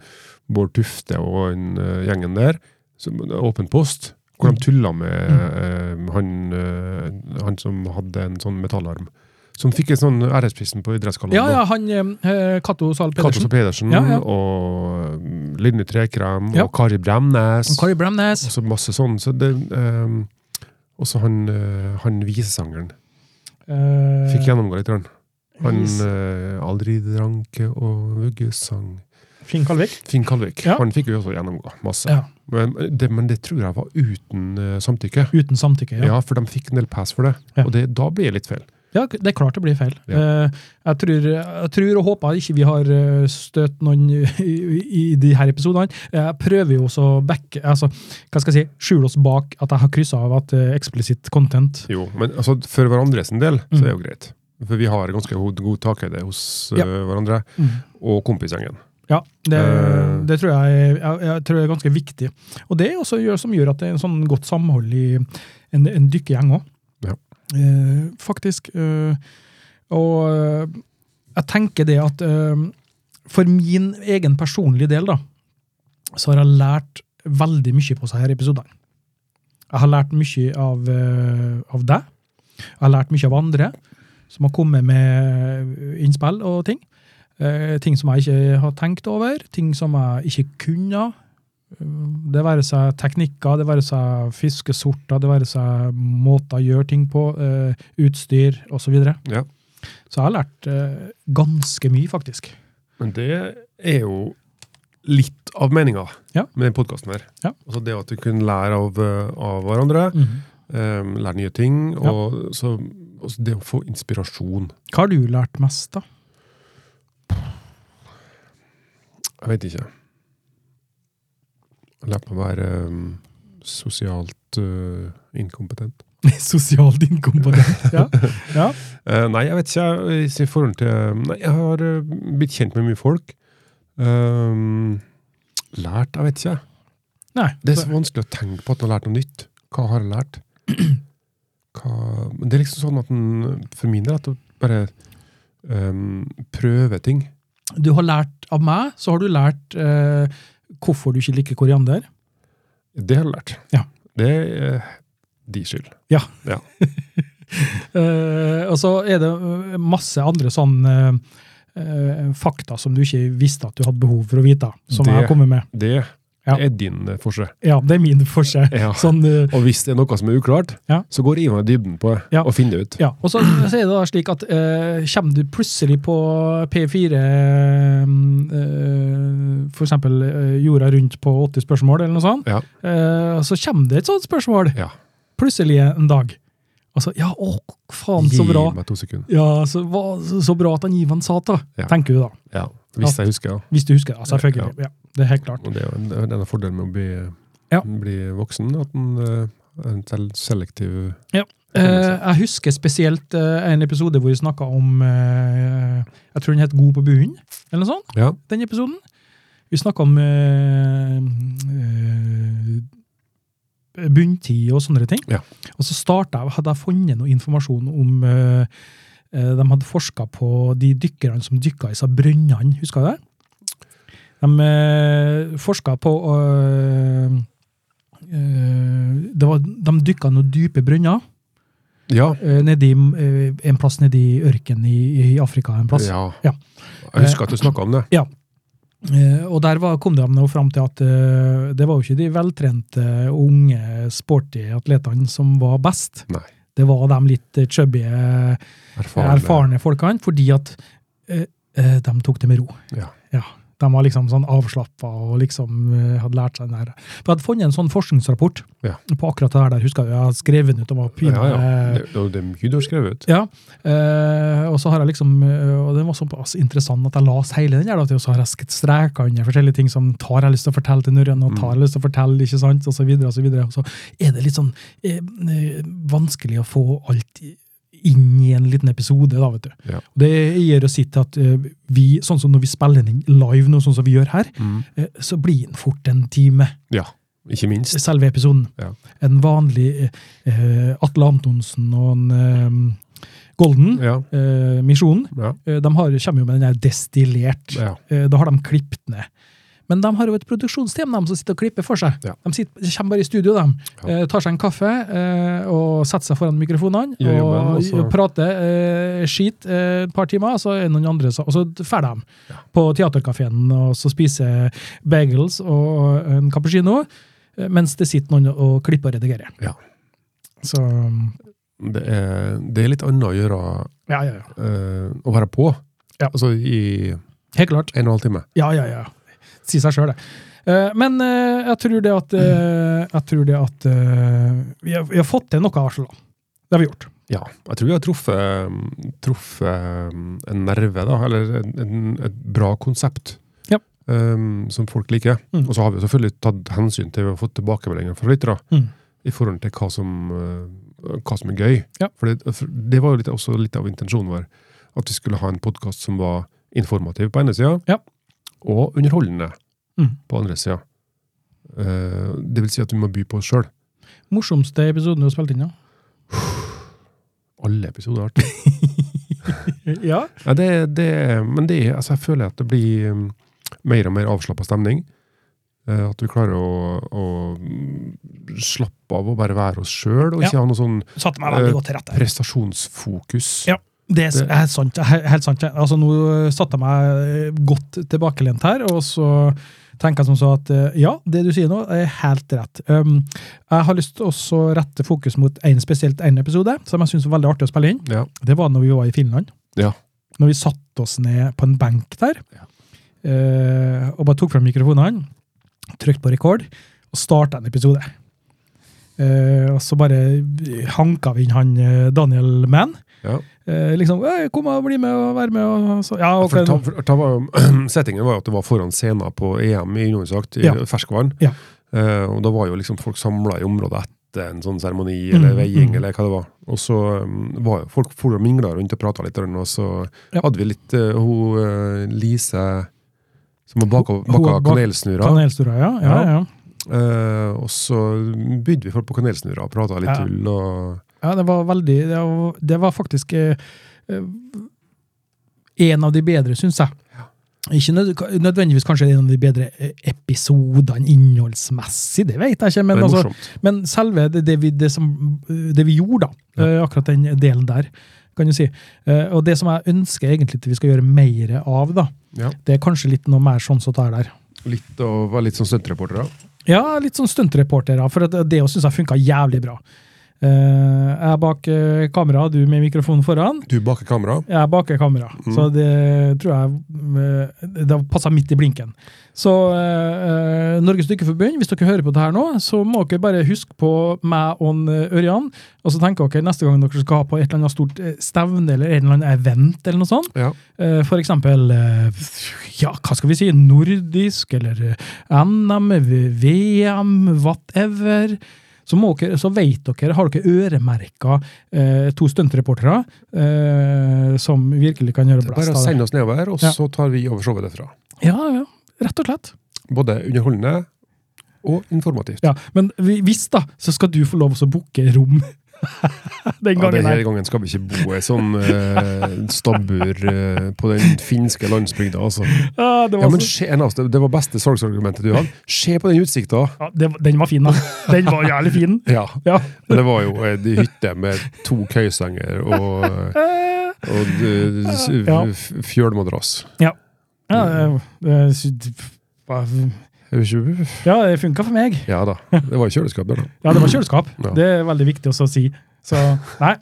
Speaker 2: Bård Tufte og den eh, gjengen der. Som, eh, åpen post. Hvor
Speaker 1: Mm.
Speaker 2: de tulla med eh, han, eh, han som hadde en sånn metallarm. Som fikk en sånn æresprisen på idrettsgallaen.
Speaker 1: Ja, ja, han eh, Cato Zahl
Speaker 2: Kato
Speaker 1: Pedersen.
Speaker 2: Pedersen
Speaker 1: Ja, ja.
Speaker 2: og mm, Linni Trekrem
Speaker 1: Ja.
Speaker 2: og Kari Bremnes.
Speaker 1: Kari Bremnes.
Speaker 2: Og så masse sånn. Så det, eh, også han, eh, han visesangeren.
Speaker 1: eh,
Speaker 2: Fikk gjennomgå litt. grann. Han
Speaker 1: Vis-
Speaker 2: eh, Aldri dranke og vuggesang
Speaker 1: Finn Kalvik.
Speaker 2: Finn Kalvik.
Speaker 1: Ja.
Speaker 2: Han fikk jo også gjennomgå masse.
Speaker 1: Ja.
Speaker 2: Men, eh, det, men det tror jeg var uten eh, samtykke.
Speaker 1: Uten samtykke,
Speaker 2: Ja.
Speaker 1: ja.
Speaker 2: for de fikk en del pass for det.
Speaker 1: Ja.
Speaker 2: Og det, da blir det litt feil.
Speaker 1: ja. Det er klart det blir feil. Eh,
Speaker 2: Ja.
Speaker 1: jeg, tror, jeg tror og håper ikke vi har eh, støtt noen *laughs* i, i, i de her episodene. Eh, Jeg prøver jo også å backe altså, Hva skal jeg si? Skjule oss bak at jeg har kryssa av at uh, eksplisitt content
Speaker 2: Jo, Men altså, for hverandre sin del så
Speaker 1: Mm.
Speaker 2: er det jo greit. For vi har ganske god, god takhøyde hos eh,
Speaker 1: Ja.
Speaker 2: hverandre.
Speaker 1: Mm.
Speaker 2: Og kompisgjengen.
Speaker 1: Ja, det,
Speaker 2: Eh.
Speaker 1: det tror jeg, jeg, jeg tror det er ganske viktig. Og det er også gjør, som gjør at det er en sånn godt samhold i en, en dykkegjeng òg.
Speaker 2: Ja.
Speaker 1: Eh, faktisk. Eh, og eh, jeg tenker det at eh, for min egen personlige del, da, så har jeg lært veldig mye på disse episodene. Jeg har lært mye av, eh, av deg. Jeg har lært mye av andre som har kommet med innspill og ting. Eh, ting som jeg ikke har tenkt over, ting som jeg ikke kunne. Eh, Det være seg teknikker, det være seg fiskesorter, det være seg måter å gjøre ting på, eh, utstyr osv. Så, videre.
Speaker 2: Ja.
Speaker 1: så jeg har lært eh, ganske mye, faktisk.
Speaker 2: Men det er jo litt av meninga
Speaker 1: Ja.
Speaker 2: med den podkasten her.
Speaker 1: Ja. Mhm.
Speaker 2: Altså det at vi kunne lære av, eh, av hverandre, eh, lære nye ting, og så og så det å få inspirasjon.
Speaker 1: Hva har du lært mest, da? *laughs*
Speaker 2: Jeg vet ikke. Lært meg å være eh, sosialt eh, inkompetent.
Speaker 1: Sosialt
Speaker 2: *laughs*
Speaker 1: inkompetent. Ja. ja.
Speaker 2: Eh, nei, jeg vet ikke. Jeg, i forhold til, nei, jeg har eh, blitt kjent med mye folk. Ehm, lært, jeg vet ikke.
Speaker 1: Nei.
Speaker 2: Det er så vanskelig å tenke på at man har lært noe nytt. Hva har jeg lært? *clears throat* Hva, men det er liksom sånn at en, for min del at jeg bare ehm, prøver ting.
Speaker 1: Du har lært av meg, så har du lært eh, hvorfor du ikke liker koriander.
Speaker 2: Det har jeg lært.
Speaker 1: Ja.
Speaker 2: Det er eh, de skyld.
Speaker 1: Eh, og så er det eh, masse andre sånn eh, eh, fakta som du ikke visste at du hadde behov for å vite, som
Speaker 2: Det-
Speaker 1: jeg har kommet med.
Speaker 2: Det
Speaker 1: Ja.
Speaker 2: er din eh, forskjell.
Speaker 1: Ja, det er min forskjell.
Speaker 2: Ja.
Speaker 1: *laughs* Sånn, eh,
Speaker 2: Og hvis det er noe som er uklart,
Speaker 1: Ja.
Speaker 2: så går Ivan i dybden på det
Speaker 1: Ja.
Speaker 2: og finner det ut.
Speaker 1: ja. Og så, så er det da slik at eh, kommer du plutselig på P4, eh, for eksempel eh, jorda rundt på 80 spørsmål eller noe sånt,
Speaker 2: Ja.
Speaker 1: eh, så kommer det et sånt spørsmål
Speaker 2: Ja.
Speaker 1: plutselig en dag. Og så, ja, å, faen så
Speaker 2: Gi
Speaker 1: bra.
Speaker 2: meg to sekunder.
Speaker 1: Ja, så, hva, så, så bra at han Ivan sa det, da,
Speaker 2: Ja.
Speaker 1: tenker du da.
Speaker 2: Ja. Hvis jeg husker, ja.
Speaker 1: Hvis du husker det, altså, selvfølgelig. Ja. det er helt klart.
Speaker 2: Og det er jo en, det er en av fordelene med å bli,
Speaker 1: Ja.
Speaker 2: bli voksen, at en eh, er en sel- selektiv
Speaker 1: Eh, jeg husker spesielt eh, en episode hvor vi snakka om eh, Jeg tror den het God på buen, eller noe sånt.
Speaker 2: Ja.
Speaker 1: Den episoden. Vi snakka om eh, eh, bunntid og sånne ting.
Speaker 2: Ja.
Speaker 1: Og så starta jeg, hadde jeg funnet noe informasjon om eh, eh, De hadde forska på de dykkerne som dykka i seg brønnene, husker du det? De eh, forska på eh, eh, det var, De dykka noen dype brønner
Speaker 2: Ja.
Speaker 1: eh, nedi, eh, en plass nedi ørkenen i, i Afrika. en plass.
Speaker 2: ja.
Speaker 1: Ja.
Speaker 2: Jeg husker at du snakka om det.
Speaker 1: Eh, og der var, kom de nå fram til at eh, det var jo ikke de veltrente, unge, sporty atletene som var best.
Speaker 2: Nei.
Speaker 1: Det var de litt eh, chubby, eh,
Speaker 2: Erfarne.
Speaker 1: erfarne folkene, fordi at eh, eh, de tok det med ro.
Speaker 2: Ja.
Speaker 1: De var liksom sånn avslappa og liksom eh, hadde lært seg den her. For jeg hadde funnet en sånn forskningsrapport
Speaker 2: Ja.
Speaker 1: på akkurat det her der, husker jeg, jeg hadde skrevet den ut. og var
Speaker 2: Ja,
Speaker 1: pinlig,
Speaker 2: ja.
Speaker 1: eh,
Speaker 2: Det, det, det er mye du har skrevet ut.
Speaker 1: Ja, eh, og så har jeg liksom, eh, og det var såpass interessant at jeg las hele den, her, da, og så har jeg sk- streka under forskjellige ting som tar jeg lyst til å fortelle til Nørjan, og tar jeg lyst til å fortelle, ikke sant, og så videre, og så videre. Og så er det litt sånn eh, eh, vanskelig å få alt i- inn i en liten episode, da, vet du.
Speaker 2: Ja.
Speaker 1: Og det gjør å si til at eh, vi, sånn som når vi spiller den inn live nå, sånn som vi gjør her, eh, så blir den fort en time
Speaker 2: Ja. Ikke minst.
Speaker 1: selve episoden.
Speaker 2: Ja.
Speaker 1: En vanlig eh, Atle Antonsen og en eh, Golden,
Speaker 2: Ja.
Speaker 1: eh, Misjonen,
Speaker 2: Ja.
Speaker 1: eh, de har, kommer jo med den der destillert.
Speaker 2: ja.
Speaker 1: Eh, da har de klippet ned. Men de har jo et produksjonsteam de som sitter og klipper for seg.
Speaker 2: Ja.
Speaker 1: De, sitter, de kommer bare i studio, de.
Speaker 2: Ja.
Speaker 1: Eh, tar seg en kaffe eh, og setter seg foran mikrofonene
Speaker 2: Gjør
Speaker 1: og,
Speaker 2: jobben, og så-
Speaker 1: prater eh, skit eh, et par timer, og så er det noen andre som Og så drar de på teaterkafeen og så spiser bagels og en cappuccino, eh, mens det sitter noen og klipper og redigerer.
Speaker 2: Ja.
Speaker 1: Så mm,
Speaker 2: Det, er, det er litt annet å gjøre
Speaker 1: Ja, ja, ja.
Speaker 2: eh, å være på.
Speaker 1: Ja.
Speaker 2: Altså i en
Speaker 1: Helt klart.
Speaker 2: og en halv time.
Speaker 1: Ja, ja, ja. Si seg sjøl, det. Eh, Men eh, jeg tror det at, eh, jeg tror det at eh, vi, har, vi har fått til noe, i hvert fall. da. Det har vi gjort.
Speaker 2: Ja. Jeg tror jeg har truffet, truffet eh, en nerve, da. Eller en, en, et bra konsept.
Speaker 1: Ja.
Speaker 2: eh, som folk liker.
Speaker 1: Mm.
Speaker 2: Og så har vi jo selvfølgelig tatt hensyn til å få tilbakemeldinger fra lyttere.
Speaker 1: Mm.
Speaker 2: i forhold til hva som, eh, hva som er gøy.
Speaker 1: Ja.
Speaker 2: For det, for det var jo litt, også litt av intensjonen vår. At vi skulle ha en podkast som var informativ på ene sida,
Speaker 1: Ja.
Speaker 2: og underholdende
Speaker 1: Mm.
Speaker 2: på andre sida. Eh, det vil si at vi må by på oss sjøl.
Speaker 1: Morsomste episoden du har spilt inn, ja?
Speaker 2: Alle episoder er artige.
Speaker 1: Ja.
Speaker 2: Ja, det, det, men det, er- altså, jeg føler at det blir mm, mer og mer avslappa stemning. Eh, At vi klarer å, å mm, slappe av og bare være oss sjøl, og
Speaker 1: Ja.
Speaker 2: ikke ha noe sånn
Speaker 1: Satte meg veldig
Speaker 2: Eh,
Speaker 1: godt til rette.
Speaker 2: prestasjonsfokus.
Speaker 1: Ja. Det er, s- er helt sant. he- Helt sant. ja. Altså, nå satte jeg meg eh, godt tilbakelent her, og så tenker jeg som så at eh, ja, det du sier nå, er helt rett. Um, jeg har lyst til også å rette fokus mot en spesielt en episode, som jeg syns var veldig artig å spille inn.
Speaker 2: Ja.
Speaker 1: Det var når vi var i Finland.
Speaker 2: Ja.
Speaker 1: Når vi satte oss ned på en benk der, eh, og bare tok fram mikrofonene, trykte på rekord, og starta en episode. Eh, og så bare hanka vi inn han eh, Daniel Mann.
Speaker 2: Ja.
Speaker 1: Eh, liksom, «Øy, kom og bli med og være med. Og så, ja, ok.
Speaker 2: For, ta, for, ta, var- settingen var jo *clears throat* at det var foran scenen på EM i undersagt, i
Speaker 1: Ja.
Speaker 2: ferskvann.
Speaker 1: Ja.
Speaker 2: Eh, og da var jo liksom folk samla i området etter en sånn seremoni
Speaker 1: Mm,
Speaker 2: eller veiing,
Speaker 1: mm.
Speaker 2: eller hva det var. Og så um, var jo folk for og mingla rundt og prata litt, og så
Speaker 1: Ja.
Speaker 2: hadde vi litt eh, hun eh, Lise som har baka,
Speaker 1: Hun- hun
Speaker 2: baka
Speaker 1: har bak-
Speaker 2: kanelsnurrer.
Speaker 1: Kanelstora, ja. ja, ja.
Speaker 2: Eh, og så bydde vi folk på kanelsnurrer og prata litt
Speaker 1: Ja.
Speaker 2: tull og
Speaker 1: ja det var veldig Det var, det var faktisk eh, eh, en av de bedre, syns jeg. Ikke nød, nødvendigvis kanskje en av de bedre eh, episodene innholdsmessig, det vet jeg ikke.
Speaker 2: Det
Speaker 1: Men,
Speaker 2: er
Speaker 1: altså,
Speaker 2: morsomt.
Speaker 1: men selve det, det, vi, det, som, det vi gjorde, da, eh, akkurat den delen der, kan du si. Eh, og det som jeg ønsker egentlig til vi skal gjøre mer av, da,
Speaker 2: Ja.
Speaker 1: det er kanskje litt noe mer sånn som det er der.
Speaker 2: Litt å være litt sånn stuntreportere.
Speaker 1: Ja, litt sånn stuntreporter, ja, for at det syns jeg funka jævlig bra. Eh, jeg er bak eh, kamera, du med mikrofonen foran.
Speaker 2: Du baker kamera.
Speaker 1: Jeg er bak kamera, så det tror jeg eh, Det passa midt i blinken. Så eh, eh, Norges Dykkerforbund, hvis dere hører på det her nå, så må dere bare huske på meg og en, eh, Ørjan. Og så tenker dere neste gang dere skal ha på et eller annet stort eh, stevne eller en eller annen event, eller noe sånt,
Speaker 2: Ja.
Speaker 1: Eh, For eksempel, eh, ja, hva skal vi si, nordisk, eller eh, NM, V- VM, whatever. Så, må dere, så vet dere, har dere øremerka eh, to stuntreportere eh, som virkelig kan gjøre
Speaker 2: Det er bare
Speaker 1: blest av
Speaker 2: å
Speaker 1: det.
Speaker 2: sende oss nedover, og
Speaker 1: Ja.
Speaker 2: så tar vi over showet derfra.
Speaker 1: Ja, ja, rett og slett.
Speaker 2: Både underholdende og informativt.
Speaker 1: Ja, men vi- hvis da, så skal du få lov å booke rom *laughs* den
Speaker 2: Ja,
Speaker 1: gangen.
Speaker 2: denne
Speaker 1: her.
Speaker 2: gangen skal vi ikke bo i sånn eh, stabbur eh, på den finske landsbygda, altså.
Speaker 1: Ja, det
Speaker 2: Ja,
Speaker 1: var
Speaker 2: men
Speaker 1: så-
Speaker 2: se, en av oss, det det var beste salgsargumentet du hadde. Se på den utsikta!
Speaker 1: ja, det, var- den var fin, da. Den var jævlig fin.
Speaker 2: Ja.
Speaker 1: Ja.
Speaker 2: Det var jo ei hytte med to køysenger og, og eh, s-
Speaker 1: Ja.
Speaker 2: f- fjølmadrass.
Speaker 1: Ja, eh, det, det,
Speaker 2: Er det ikke-
Speaker 1: ja, det funka for meg.
Speaker 2: Ja da. Det var i kjøleskapet, da.
Speaker 1: Ja, det var kjøleskap.
Speaker 2: Ja.
Speaker 1: Det er veldig viktig også å si. Så, nei.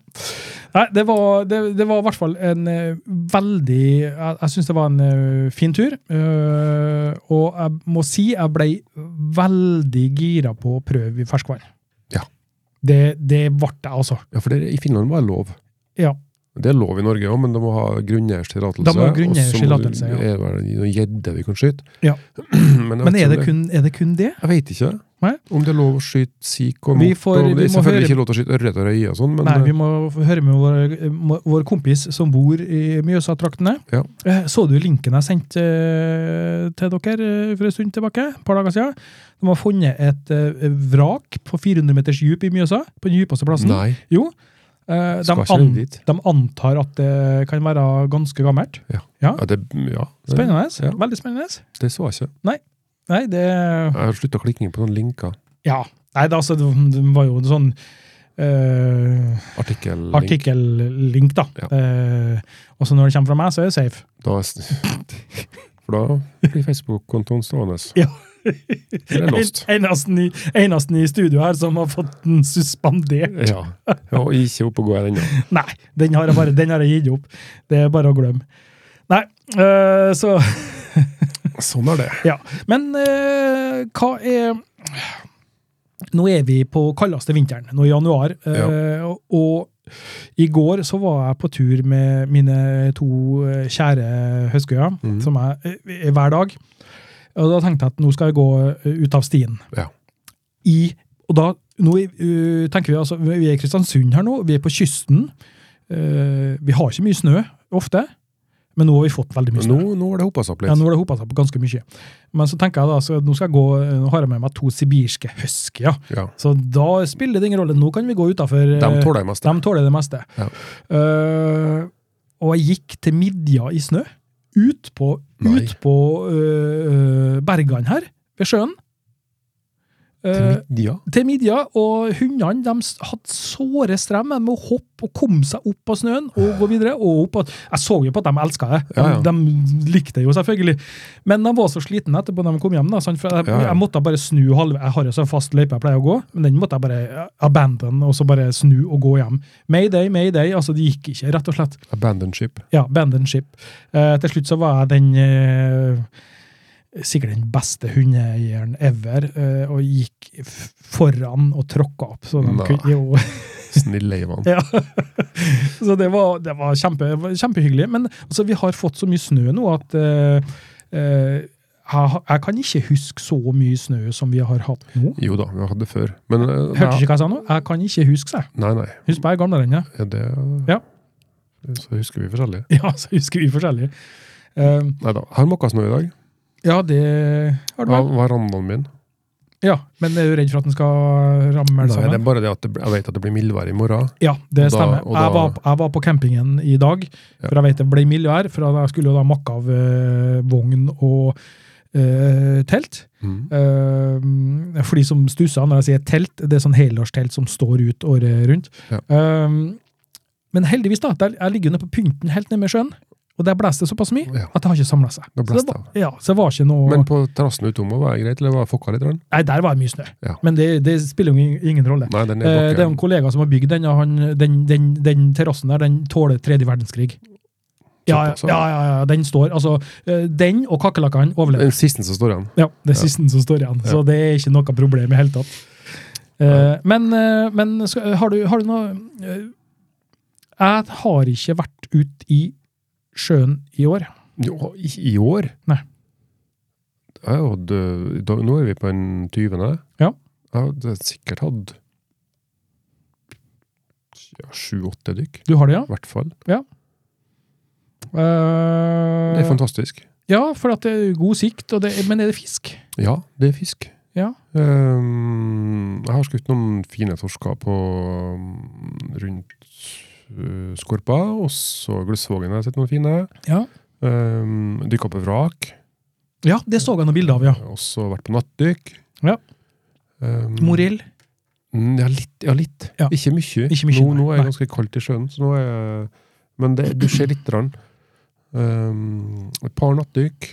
Speaker 1: nei det, var, det, det var i hvert fall en eh, veldig Jeg, jeg syns det var en eh, fin tur. Eh, og jeg må si jeg ble veldig gira på å prøve i ferskvann.
Speaker 2: Ja.
Speaker 1: Det, det ble jeg, altså.
Speaker 2: Ja, for det, i Finland var det lov.
Speaker 1: Ja.
Speaker 2: Det er lov i Norge òg, men de må ha grunneiers tillatelse.
Speaker 1: De må ha grunneiers tillatelse,
Speaker 2: ja.
Speaker 1: ja.
Speaker 2: Er det vel noen gjedde vi kan skyte?
Speaker 1: Ja.
Speaker 2: *clears throat* Men, jeg vet
Speaker 1: Men
Speaker 2: ikke
Speaker 1: er
Speaker 2: om
Speaker 1: det kun er det? Kun det?
Speaker 2: Jeg vet ikke
Speaker 1: Nei.
Speaker 2: om det er lov å skyte sik og
Speaker 1: Vi
Speaker 2: mot.
Speaker 1: får-
Speaker 2: og
Speaker 1: vi
Speaker 2: det er
Speaker 1: må
Speaker 2: selvfølgelig
Speaker 1: høre-
Speaker 2: ikke lov til å skyte ørret og røye og sånn, men
Speaker 1: Nei, vi må høre med vår, vår kompis som bor i Mjøsa-traktene.
Speaker 2: Ja.
Speaker 1: Eh, Så du linken jeg sendte eh, til dere eh, for en stund tilbake? Et par dager siden. De har funnet et eh, vrak på 400 meters dyp i Mjøsa, på den dypeste plassen.
Speaker 2: Nei,
Speaker 1: Jo. Eh, De,
Speaker 2: Skal ikke
Speaker 1: an,
Speaker 2: dit.
Speaker 1: de antar at det kan være ganske gammelt.
Speaker 2: Ja, det, ja, det,
Speaker 1: Spennende.
Speaker 2: Ja.
Speaker 1: Veldig spennende.
Speaker 2: det så jeg ikke.
Speaker 1: Nei, det
Speaker 2: Jeg har slutta klikking på noen linker.
Speaker 1: Ja. Nei, det, altså, det var jo en sånn eh,
Speaker 2: Artikkellink.
Speaker 1: artikkellink, da.
Speaker 2: Ja.
Speaker 1: Eh, og så når det kommer fra meg, så er det safe.
Speaker 2: Da, *laughs* for da blir Facebook-kontoen stående.
Speaker 1: Ja.
Speaker 2: Det er lost.
Speaker 1: En, *laughs* eneste, i, eneste i studio her som har fått den
Speaker 2: *laughs*
Speaker 1: suspendert.
Speaker 2: Ja. Og ikke opp og gå her ennå.
Speaker 1: Nei, den har jeg bare den har jeg gitt opp. Det er bare å glemme. Nei, øh, så
Speaker 2: Sånn er det.
Speaker 1: Ja. Men øh, hva er Nå er vi på kaldeste vinteren, nå i januar. øh, og, og i går så var jeg på tur med mine to øh, kjære høstgøyer,
Speaker 2: Mhm.
Speaker 1: som jeg øh, hver dag. Og da tenkte jeg at nå skal jeg gå øh, ut av stien.
Speaker 2: Ja.
Speaker 1: i Og da nå, uh, tenker vi altså Vi er i Kristiansund her nå, vi er på kysten. Eh, vi har ikke mye snø ofte, men nå har vi fått veldig mye
Speaker 2: Men
Speaker 1: snø.
Speaker 2: nå, nå har det hoppa seg opp litt.
Speaker 1: Ja, nå har det hopa seg på ganske mye. Men så tenker jeg da, så nå, skal jeg gå, eh, nå har jeg med meg to sibirske huskyer,
Speaker 2: Ja.
Speaker 1: så da spiller det ingen rolle. Nå kan vi gå utafor eh,
Speaker 2: De tåler det meste.
Speaker 1: de tåler det meste.
Speaker 2: Ja.
Speaker 1: Eh, og jeg gikk til midja i snø, ut på,
Speaker 2: Nei.
Speaker 1: ut på eh, eh, bergene her, ved sjøen. Eh,
Speaker 2: Midja.
Speaker 1: til midja, og hundene de s- hadde såre strem med å hoppe og komme seg opp av snøen og gå videre. og opp. av- Jeg så jo på at de elska det. De,
Speaker 2: Ja, ja.
Speaker 1: de likte det jo selvfølgelig. Men de var så slitne etterpå når de kom hjem. da, sant? for jeg,
Speaker 2: Ja, ja.
Speaker 1: jeg måtte bare snu halve, Jeg har jo sånn fast løype jeg pleier å gå, men den måtte jeg bare abandon og så bare snu og gå hjem. Mayday, mayday. altså Det gikk ikke, rett og slett.
Speaker 2: Abandoned ship.
Speaker 1: Ja, Bandon Ship. Eh, til slutt så var jeg den eh, Sikkert den beste hundeeieren ever, eh, og gikk f- foran og tråkka opp. Så, de
Speaker 2: Nei.
Speaker 1: kunne, jo, *laughs*
Speaker 2: Snille Ivan.
Speaker 1: ja. så det var, det var kjempe, det var kjempehyggelig. Men altså, vi har fått så mye snø nå at eh, eh, jeg, har- jeg kan ikke huske så mye snø som vi har hatt nå.
Speaker 2: Jo da, vi har hatt det før. Men eh,
Speaker 1: Hørte
Speaker 2: nei,
Speaker 1: ikke hva jeg sa nå? Jeg kan ikke huske, sa jeg.
Speaker 2: nei, nei.
Speaker 1: Husk på jeg er gamlere enn deg. *laughs*
Speaker 2: Er det
Speaker 1: Ja.
Speaker 2: Så husker vi forskjellig.
Speaker 1: Ja, så husker vi forskjellig. Eh,
Speaker 2: Nei da. Har måka snø i dag.
Speaker 1: ja, det har du vel.
Speaker 2: Av verandaen min.
Speaker 1: Ja, men er du redd for at den skal ramme
Speaker 2: Nei,
Speaker 1: eller
Speaker 2: det
Speaker 1: sammen?
Speaker 2: er bare det at det, jeg vet at det blir mildvær i morgen.
Speaker 1: ja, det
Speaker 2: og da-
Speaker 1: stemmer.
Speaker 2: og da-
Speaker 1: jeg, var, jeg var på campingen i dag, for jeg vet det ble mildvær, for jeg skulle jo da makke av eh, vogn og eh, telt.
Speaker 2: Mhm. Mm.
Speaker 1: Eh, for de som stusser når jeg sier telt, det er sånn helårstelt som står ut året rundt.
Speaker 2: Ja.
Speaker 1: Eh, men heldigvis, da, der, jeg ligger jo nede på pynten helt nede med sjøen, og der blåser det såpass mye
Speaker 2: Ja.
Speaker 1: at det har ikke samla seg.
Speaker 2: Da
Speaker 1: Så det,
Speaker 2: blåste
Speaker 1: var, ja, så det var ikke noe
Speaker 2: Men på terrassen utom var det greit, eller var det fokka litt? Rann?
Speaker 1: Nei, der var det mye snø.
Speaker 2: Ja.
Speaker 1: Men det, det spiller jo ingen, ingen rolle.
Speaker 2: Nei, den
Speaker 1: Eh, Det er
Speaker 2: er
Speaker 1: en
Speaker 2: bakken.
Speaker 1: kollega som har bygd den, og han, den, den, den terrassen der, den tåler tredje verdenskrig. Ja, ja,
Speaker 2: Såpass, ja.
Speaker 1: ja, ja, ja, den står. Altså, eh, den og kakerlakkene overlever.
Speaker 2: Den siste som står igjen.
Speaker 1: Ja, det er siste som står igjen, så det er ikke noe problem i det hele tatt. Eh, Men, eh, men skal, har, du, har du noe eh, Jeg har ikke vært ut i sjøen i år.
Speaker 2: Jo, i, I år?
Speaker 1: Nei.
Speaker 2: Jeg har hatt, øh, da, nå er vi på den 20.
Speaker 1: Ja.
Speaker 2: Jeg hadde sikkert hatt ja, sju-åtte dykk,
Speaker 1: Du har det, ja?
Speaker 2: i hvert fall.
Speaker 1: Eh,
Speaker 2: Det
Speaker 1: Mm.
Speaker 2: er fantastisk.
Speaker 1: ja, for at det er god sikt, og det, men er det fisk?
Speaker 2: Ja, det er fisk.
Speaker 1: Ja.
Speaker 2: Ehm, jeg har skutt noen fine torsker på mm, rundt øh, Skorpa, også Gløssvågen har jeg sett noen fine.
Speaker 1: Ja,
Speaker 2: Um, Dykka på vrak.
Speaker 1: ja det så jeg noen bilder av, ja.
Speaker 2: Også vært på nattdykk.
Speaker 1: Ja.
Speaker 2: Ehm,
Speaker 1: Morill.
Speaker 2: Mm, Ja, litt. Ja, litt.
Speaker 1: Ja.
Speaker 2: Ikke mye.
Speaker 1: Ikke mye,
Speaker 2: nå, nå er
Speaker 1: nei.
Speaker 2: det ganske kaldt i sjøen, så nå er jeg, men det, du ser litt. Rann. Um, et par nattdykk.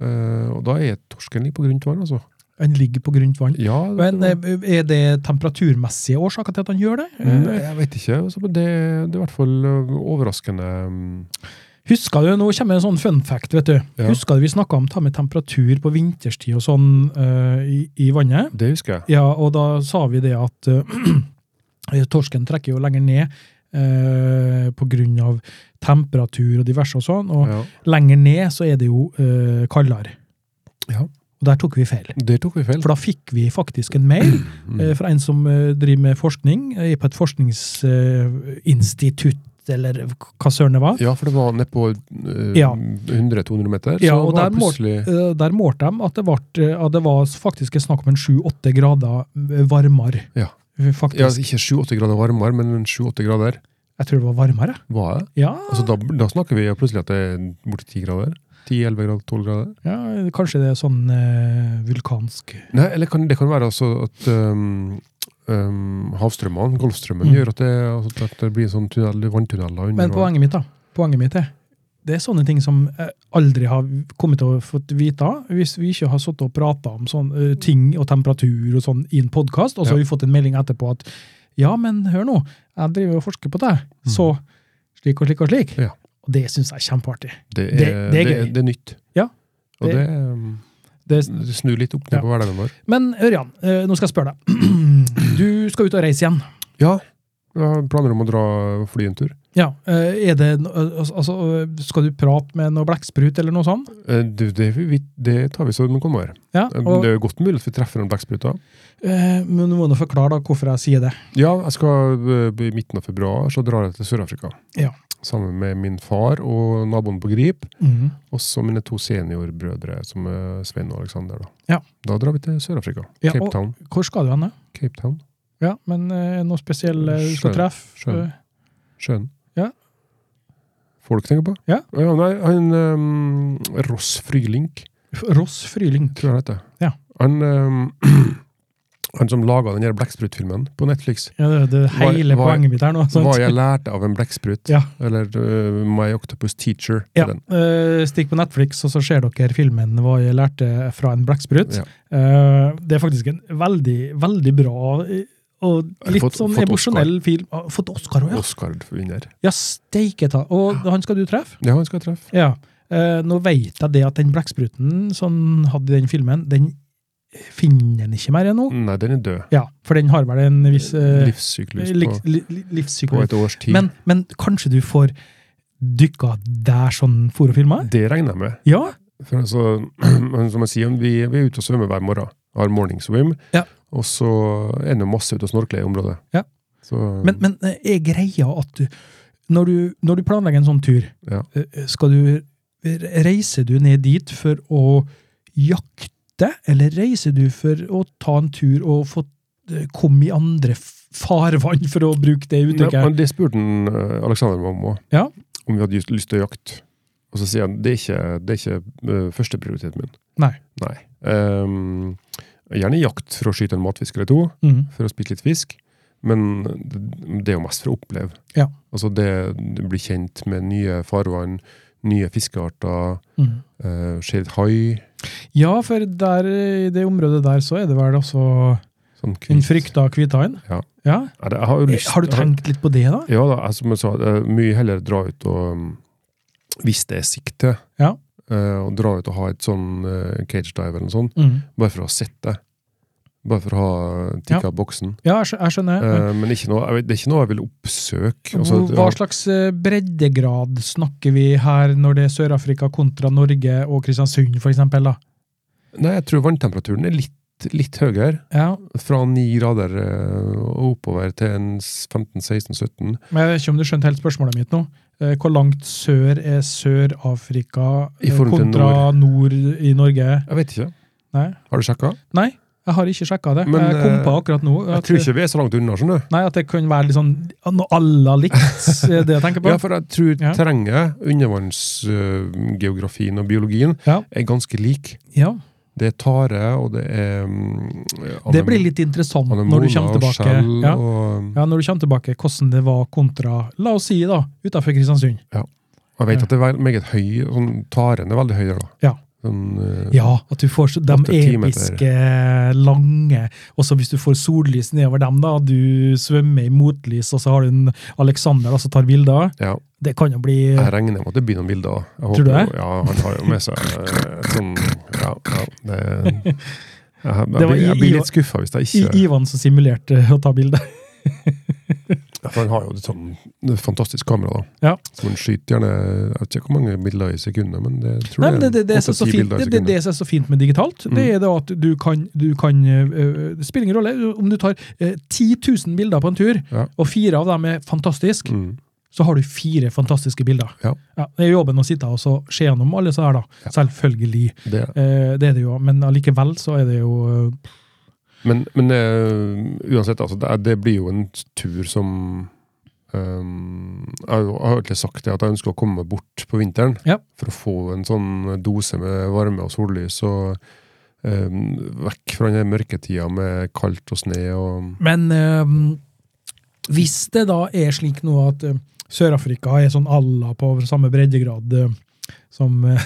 Speaker 2: Eh, og da er torsken litt på grunt vann, altså.
Speaker 1: Han ligger på grunt vann.
Speaker 2: Ja, det,
Speaker 1: Men eh, er det temperaturmessige årsaker til at han gjør det? Eh,
Speaker 2: Mm, jeg vet ikke. altså, men det, det er i hvert fall eh, overraskende mm,
Speaker 1: Husker du, Nå kommer en sånn fun fact. vet du.
Speaker 2: Ja.
Speaker 1: Husker du vi snakka om ta med temperatur på vinterstid og sånn eh, i, i vannet?
Speaker 2: Det husker jeg.
Speaker 1: Ja, og da sa vi det at eh, *clears throat* torsken trekker jo lenger ned eh, på grunn av temperatur og diverse og sånn, og
Speaker 2: Ja.
Speaker 1: lenger ned så er det jo eh, kaldere.
Speaker 2: Ja.
Speaker 1: Og der tok vi feil.
Speaker 2: Det tok vi feil.
Speaker 1: For da fikk vi faktisk en mail
Speaker 2: Mm.
Speaker 1: eh, fra en som eh, driver med forskning, eh, på et forskningsinstitutt, eller hva søren det var.
Speaker 2: Ja, for det var nede på eh,
Speaker 1: Ja.
Speaker 2: 100-200 meter.
Speaker 1: Ja,
Speaker 2: så
Speaker 1: og
Speaker 2: var
Speaker 1: der
Speaker 2: det
Speaker 1: målt-
Speaker 2: plutselig
Speaker 1: Eh, Der målte de at det, var, at det var faktisk snakk om en 7-8 grader varmere.
Speaker 2: Ja.
Speaker 1: Eh,
Speaker 2: ja, altså,
Speaker 1: Faktisk.
Speaker 2: Ikke 7-8 grader varmere, men 7-8 grader
Speaker 1: Jeg tror det var varmere.
Speaker 2: var det.
Speaker 1: Ja,
Speaker 2: Altså, da, da snakker vi plutselig at det er borti 10 grader. 10-11 grader, 12 grader.
Speaker 1: ja kanskje det er sånn eh, vulkansk
Speaker 2: Nei, eller kan, det kan være altså at um, um, havstrømmene, Golfstrømmen,
Speaker 1: Mm.
Speaker 2: gjør at det, altså, at det blir en sånn tunnel, vanntunneler under
Speaker 1: Men poenget mitt, da. Poenget mitt er det er sånne ting som jeg aldri har kommet til å få vite hvis vi ikke har sittet og prata om sånne eh, ting og temperatur og sånn i en podkast, og så har vi fått en melding etterpå at ja, men hør nå, jeg driver og forsker på det, så slik og slik og slik.
Speaker 2: Mm. Ja.
Speaker 1: Og det syns jeg er kjempeartig.
Speaker 2: Det er,
Speaker 1: det-
Speaker 2: det,
Speaker 1: det er
Speaker 2: er
Speaker 1: gøy.
Speaker 2: det er nytt.
Speaker 1: Ja,
Speaker 2: Og
Speaker 1: det-
Speaker 2: det, um,
Speaker 1: Det,
Speaker 2: det snur litt opp ned
Speaker 1: Ja.
Speaker 2: på hverdagen vår.
Speaker 1: men Ørjan, eh, nå skal jeg spørre deg. *clears throat* Du skal ut og reise igjen.
Speaker 2: Ja, jeg har planer om å dra og fly en tur.
Speaker 1: Ja, eh, er det, no- altså, eh, skal du prate med noe blekksprut eller noe sånt?
Speaker 2: Eh, Det, det, vi, det tar vi så den kommer.
Speaker 1: Ja,
Speaker 2: Eh,
Speaker 1: og,
Speaker 2: Det er jo godt mulig at vi treffer en blekksprut da.
Speaker 1: eh, men du må nå forklare da hvorfor jeg sier det.
Speaker 2: Ja, jeg skal eh, i midten av februar, så drar jeg til Sør-Afrika.
Speaker 1: Ja.
Speaker 2: Sammen med min far og naboen på Grip,
Speaker 1: Mhm.
Speaker 2: også mine to seniorbrødre, som er Svein og Aleksander. Da.
Speaker 1: Ja.
Speaker 2: da drar vi til Sør-Afrika.
Speaker 1: Ja,
Speaker 2: Cape
Speaker 1: og-
Speaker 2: Town.
Speaker 1: Hvor skal du hen? da?
Speaker 2: Cape Town.
Speaker 1: Ja, men eh, noe spesiell eh, du skal
Speaker 2: Sjøen.
Speaker 1: treffe?
Speaker 2: Sjøen.
Speaker 1: Eh,
Speaker 2: Sjøen.
Speaker 1: Ja.
Speaker 2: Folk tenker på.
Speaker 1: Ja.
Speaker 2: nei, han ehm, Ross Frylink,
Speaker 1: Ross Fryling.
Speaker 2: tror jeg han heter.
Speaker 1: Ja.
Speaker 2: Han ehm, *clears throat* Han som laga den her blekksprutfilmen på Netflix.
Speaker 1: Ja, det, det
Speaker 2: Hva-
Speaker 1: hele
Speaker 2: hva-
Speaker 1: poenget mitt her nå. sant?
Speaker 2: Hva jeg lærte av en blekksprut.
Speaker 1: *laughs* Ja.
Speaker 2: Eller øh, My Octopus Teacher.
Speaker 1: Ja,
Speaker 2: Den.
Speaker 1: eh, Stikk på Netflix, og så ser dere filmen 'Hva jeg lærte fra en blekksprut'.
Speaker 2: Ja.
Speaker 1: Eh, det er faktisk en veldig, veldig bra eh, og litt
Speaker 2: Fått-
Speaker 1: sånn
Speaker 2: fått
Speaker 1: emosjonell film. Ah, Fått Oscar òg, ja!
Speaker 2: Oscar-vinner.
Speaker 1: Ja, steike ta! Og han skal du treffe?
Speaker 2: Ja, han skal jeg treffe.
Speaker 1: Ja. Eh, nå vet jeg det at den blekkspruten som han hadde i den filmen, den finner han ikke mer ennå.
Speaker 2: Nei, den er død.
Speaker 1: Ja, for den har vel en viss eh,
Speaker 2: Livssyklus
Speaker 1: li-
Speaker 2: på,
Speaker 1: li- li- livssyklus.
Speaker 2: på et års tid.
Speaker 1: Men, men kanskje du får dykka der sånn for å filme?
Speaker 2: det regner jeg med.
Speaker 1: Ja.
Speaker 2: For altså, *clears throat* men som jeg sier, vi, vi er ute og svømmer hver morgen. Har morning swim.
Speaker 1: Ja.
Speaker 2: Og så er det jo masse ute og snorkler i området.
Speaker 1: Ja.
Speaker 2: Så,
Speaker 1: Men, men eh, er greia at du, når, du, når du planlegger en sånn tur,
Speaker 2: Ja.
Speaker 1: eh, skal du re- reiser du ned dit for å jakte, eller reiser du for å ta en tur og få eh, komme i andre f- farvann, for å bruke det
Speaker 2: Ja,
Speaker 1: uttrykket?
Speaker 2: men det spurte han, eh, Alexander meg om òg.
Speaker 1: Ja.
Speaker 2: Om vi hadde lyst- lyst til å jakte. Og så sier han det er ikke, det er ikke eh, førsteprioriteten min.
Speaker 1: Nei.
Speaker 2: Nei. Ehm, gjerne jakt for å skyte en matfisk eller to,
Speaker 1: Mm.
Speaker 2: for å spise litt fisk. Men det det er jo mest for å oppleve.
Speaker 1: Ja.
Speaker 2: Altså det, det blir kjent med nye farvann, nye fiskearter,
Speaker 1: Mm.
Speaker 2: uh, ser et hai.
Speaker 1: Ja, for der, eh, i det området der så er det vel også
Speaker 2: Sånn
Speaker 1: en
Speaker 2: kvist.
Speaker 1: frykta hvithaien?
Speaker 2: Ja.
Speaker 1: ja.
Speaker 2: Nei, det- jeg har, jo lyst,
Speaker 1: Har du tenkt litt på det, da?
Speaker 2: Ja da, altså, som jeg sa, eh, mye heller dra ut og um, Hvis det er sikt til,
Speaker 1: Ja.
Speaker 2: eh, og dra ut og ha et sånn eh, cage dive eller noe sånt,
Speaker 1: Mm.
Speaker 2: bare for å ha sett det. Bare for å ha tikka boksen.
Speaker 1: Ja, jeg skjø- jeg skjønner.
Speaker 2: Eh, men ikke noe, jeg vet, det er ikke noe jeg vil oppsøke. Altså,
Speaker 1: Hvor- Hva
Speaker 2: ja,
Speaker 1: slags eh, breddegrad snakker vi her når det er Sør-Afrika kontra Norge og Kristiansund for eksempel, da?
Speaker 2: nei, jeg tror vanntemperaturen er litt, litt høyere.
Speaker 1: Ja,
Speaker 2: Fra 9 grader eh, og oppover til en s- 15-16-17.
Speaker 1: men Jeg vet ikke om du skjønte helt spørsmålet mitt nå. Eh, Hvor langt sør er Sør-Afrika
Speaker 2: I
Speaker 1: eh,
Speaker 2: forhold til
Speaker 1: kontra nord. i Norge?
Speaker 2: Jeg vet ikke.
Speaker 1: Nei,
Speaker 2: Har du sjekka?
Speaker 1: Nei jeg har ikke sjekka det.
Speaker 2: Men,
Speaker 1: jeg kom på
Speaker 2: eh,
Speaker 1: akkurat nå.
Speaker 2: Jeg
Speaker 1: at-
Speaker 2: tror ikke vi er så langt unna, skjønner du.
Speaker 1: Nei, At det kan være litt sånn noe à la likt, er det jeg tenker på.
Speaker 2: *laughs* Ja, for jeg tror
Speaker 1: Ja.
Speaker 2: terrenget, undervannsgeografien og biologien,
Speaker 1: Ja.
Speaker 2: er ganske lik.
Speaker 1: Ja.
Speaker 2: Det er tare, og det er mm,
Speaker 1: Det
Speaker 2: anem-
Speaker 1: blir litt interessant når
Speaker 2: anemoner
Speaker 1: du kommer
Speaker 2: og skjell
Speaker 1: tilbake. Ja.
Speaker 2: og-
Speaker 1: Ja, når du kommer tilbake, hvordan det var kontra, la oss si da, utenfor Kristiansund.
Speaker 2: Jeg vet at det er vel- meget høy, sånn, taren er veldig høy der, da.
Speaker 1: Ja.
Speaker 2: Sånn, eh,
Speaker 1: Ja, at du får så- de
Speaker 2: Åtte timer
Speaker 1: episke, lange Og så hvis du får sollys nedover dem, da, du svømmer i motlys, og så har du en Alexander da, som tar bilder.
Speaker 2: ja.
Speaker 1: Det kan jo bli
Speaker 2: Jeg regner med at det blir noen bilder. også. Jeg
Speaker 1: Tror du
Speaker 2: håper
Speaker 1: det?
Speaker 2: jo- Ja, han har jo med seg eh, sånn Ja, ja det, jeg, jeg,
Speaker 1: Det var
Speaker 2: blir, jeg
Speaker 1: i-
Speaker 2: blir
Speaker 1: i-
Speaker 2: litt skuffa hvis jeg
Speaker 1: I,
Speaker 2: ikke
Speaker 1: Ivan som simulerte å ta bilde.
Speaker 2: For han har jo et sånn fantastisk kamera, da.
Speaker 1: *laughs* Ja.
Speaker 2: Så man skyter gjerne Jeg vet ikke hvor mange bilder i sekundet, men det tror
Speaker 1: Nei, men
Speaker 2: jeg
Speaker 1: det, det, det, er så- så
Speaker 2: åtte-ti
Speaker 1: fint,
Speaker 2: bilder i
Speaker 1: det,
Speaker 2: Mm.
Speaker 1: det, det som er så fint med digitalt, det er da at du kan, du kan øh, Det spiller ingen rolle om du tar øh, 10 000 bilder på en tur,
Speaker 2: Ja.
Speaker 1: og fire av dem er fantastiske.
Speaker 2: sekundet. Mm.
Speaker 1: så har du fire fantastiske bilder.
Speaker 2: Ja.
Speaker 1: det er jobben å sitte og så se gjennom alle så her, da. Selvfølgelig.
Speaker 2: Det,
Speaker 1: Eh, det er det jo, men allikevel så er det jo eh,
Speaker 2: men men eh, uansett, altså, det, er- det blir jo en tur som ehm, jeg, har jo- jeg har jo egentlig sagt det at jeg ønsker å komme meg bort på vinteren
Speaker 1: Ja.
Speaker 2: for å få en sånn dose med varme og sollys og ehm, vekk fra den mørketida med kaldt og snø og
Speaker 1: Men eh, hvis det da er slik nå at eh, Sør-Afrika er sånn alla på samme breddegrad eh, som eh,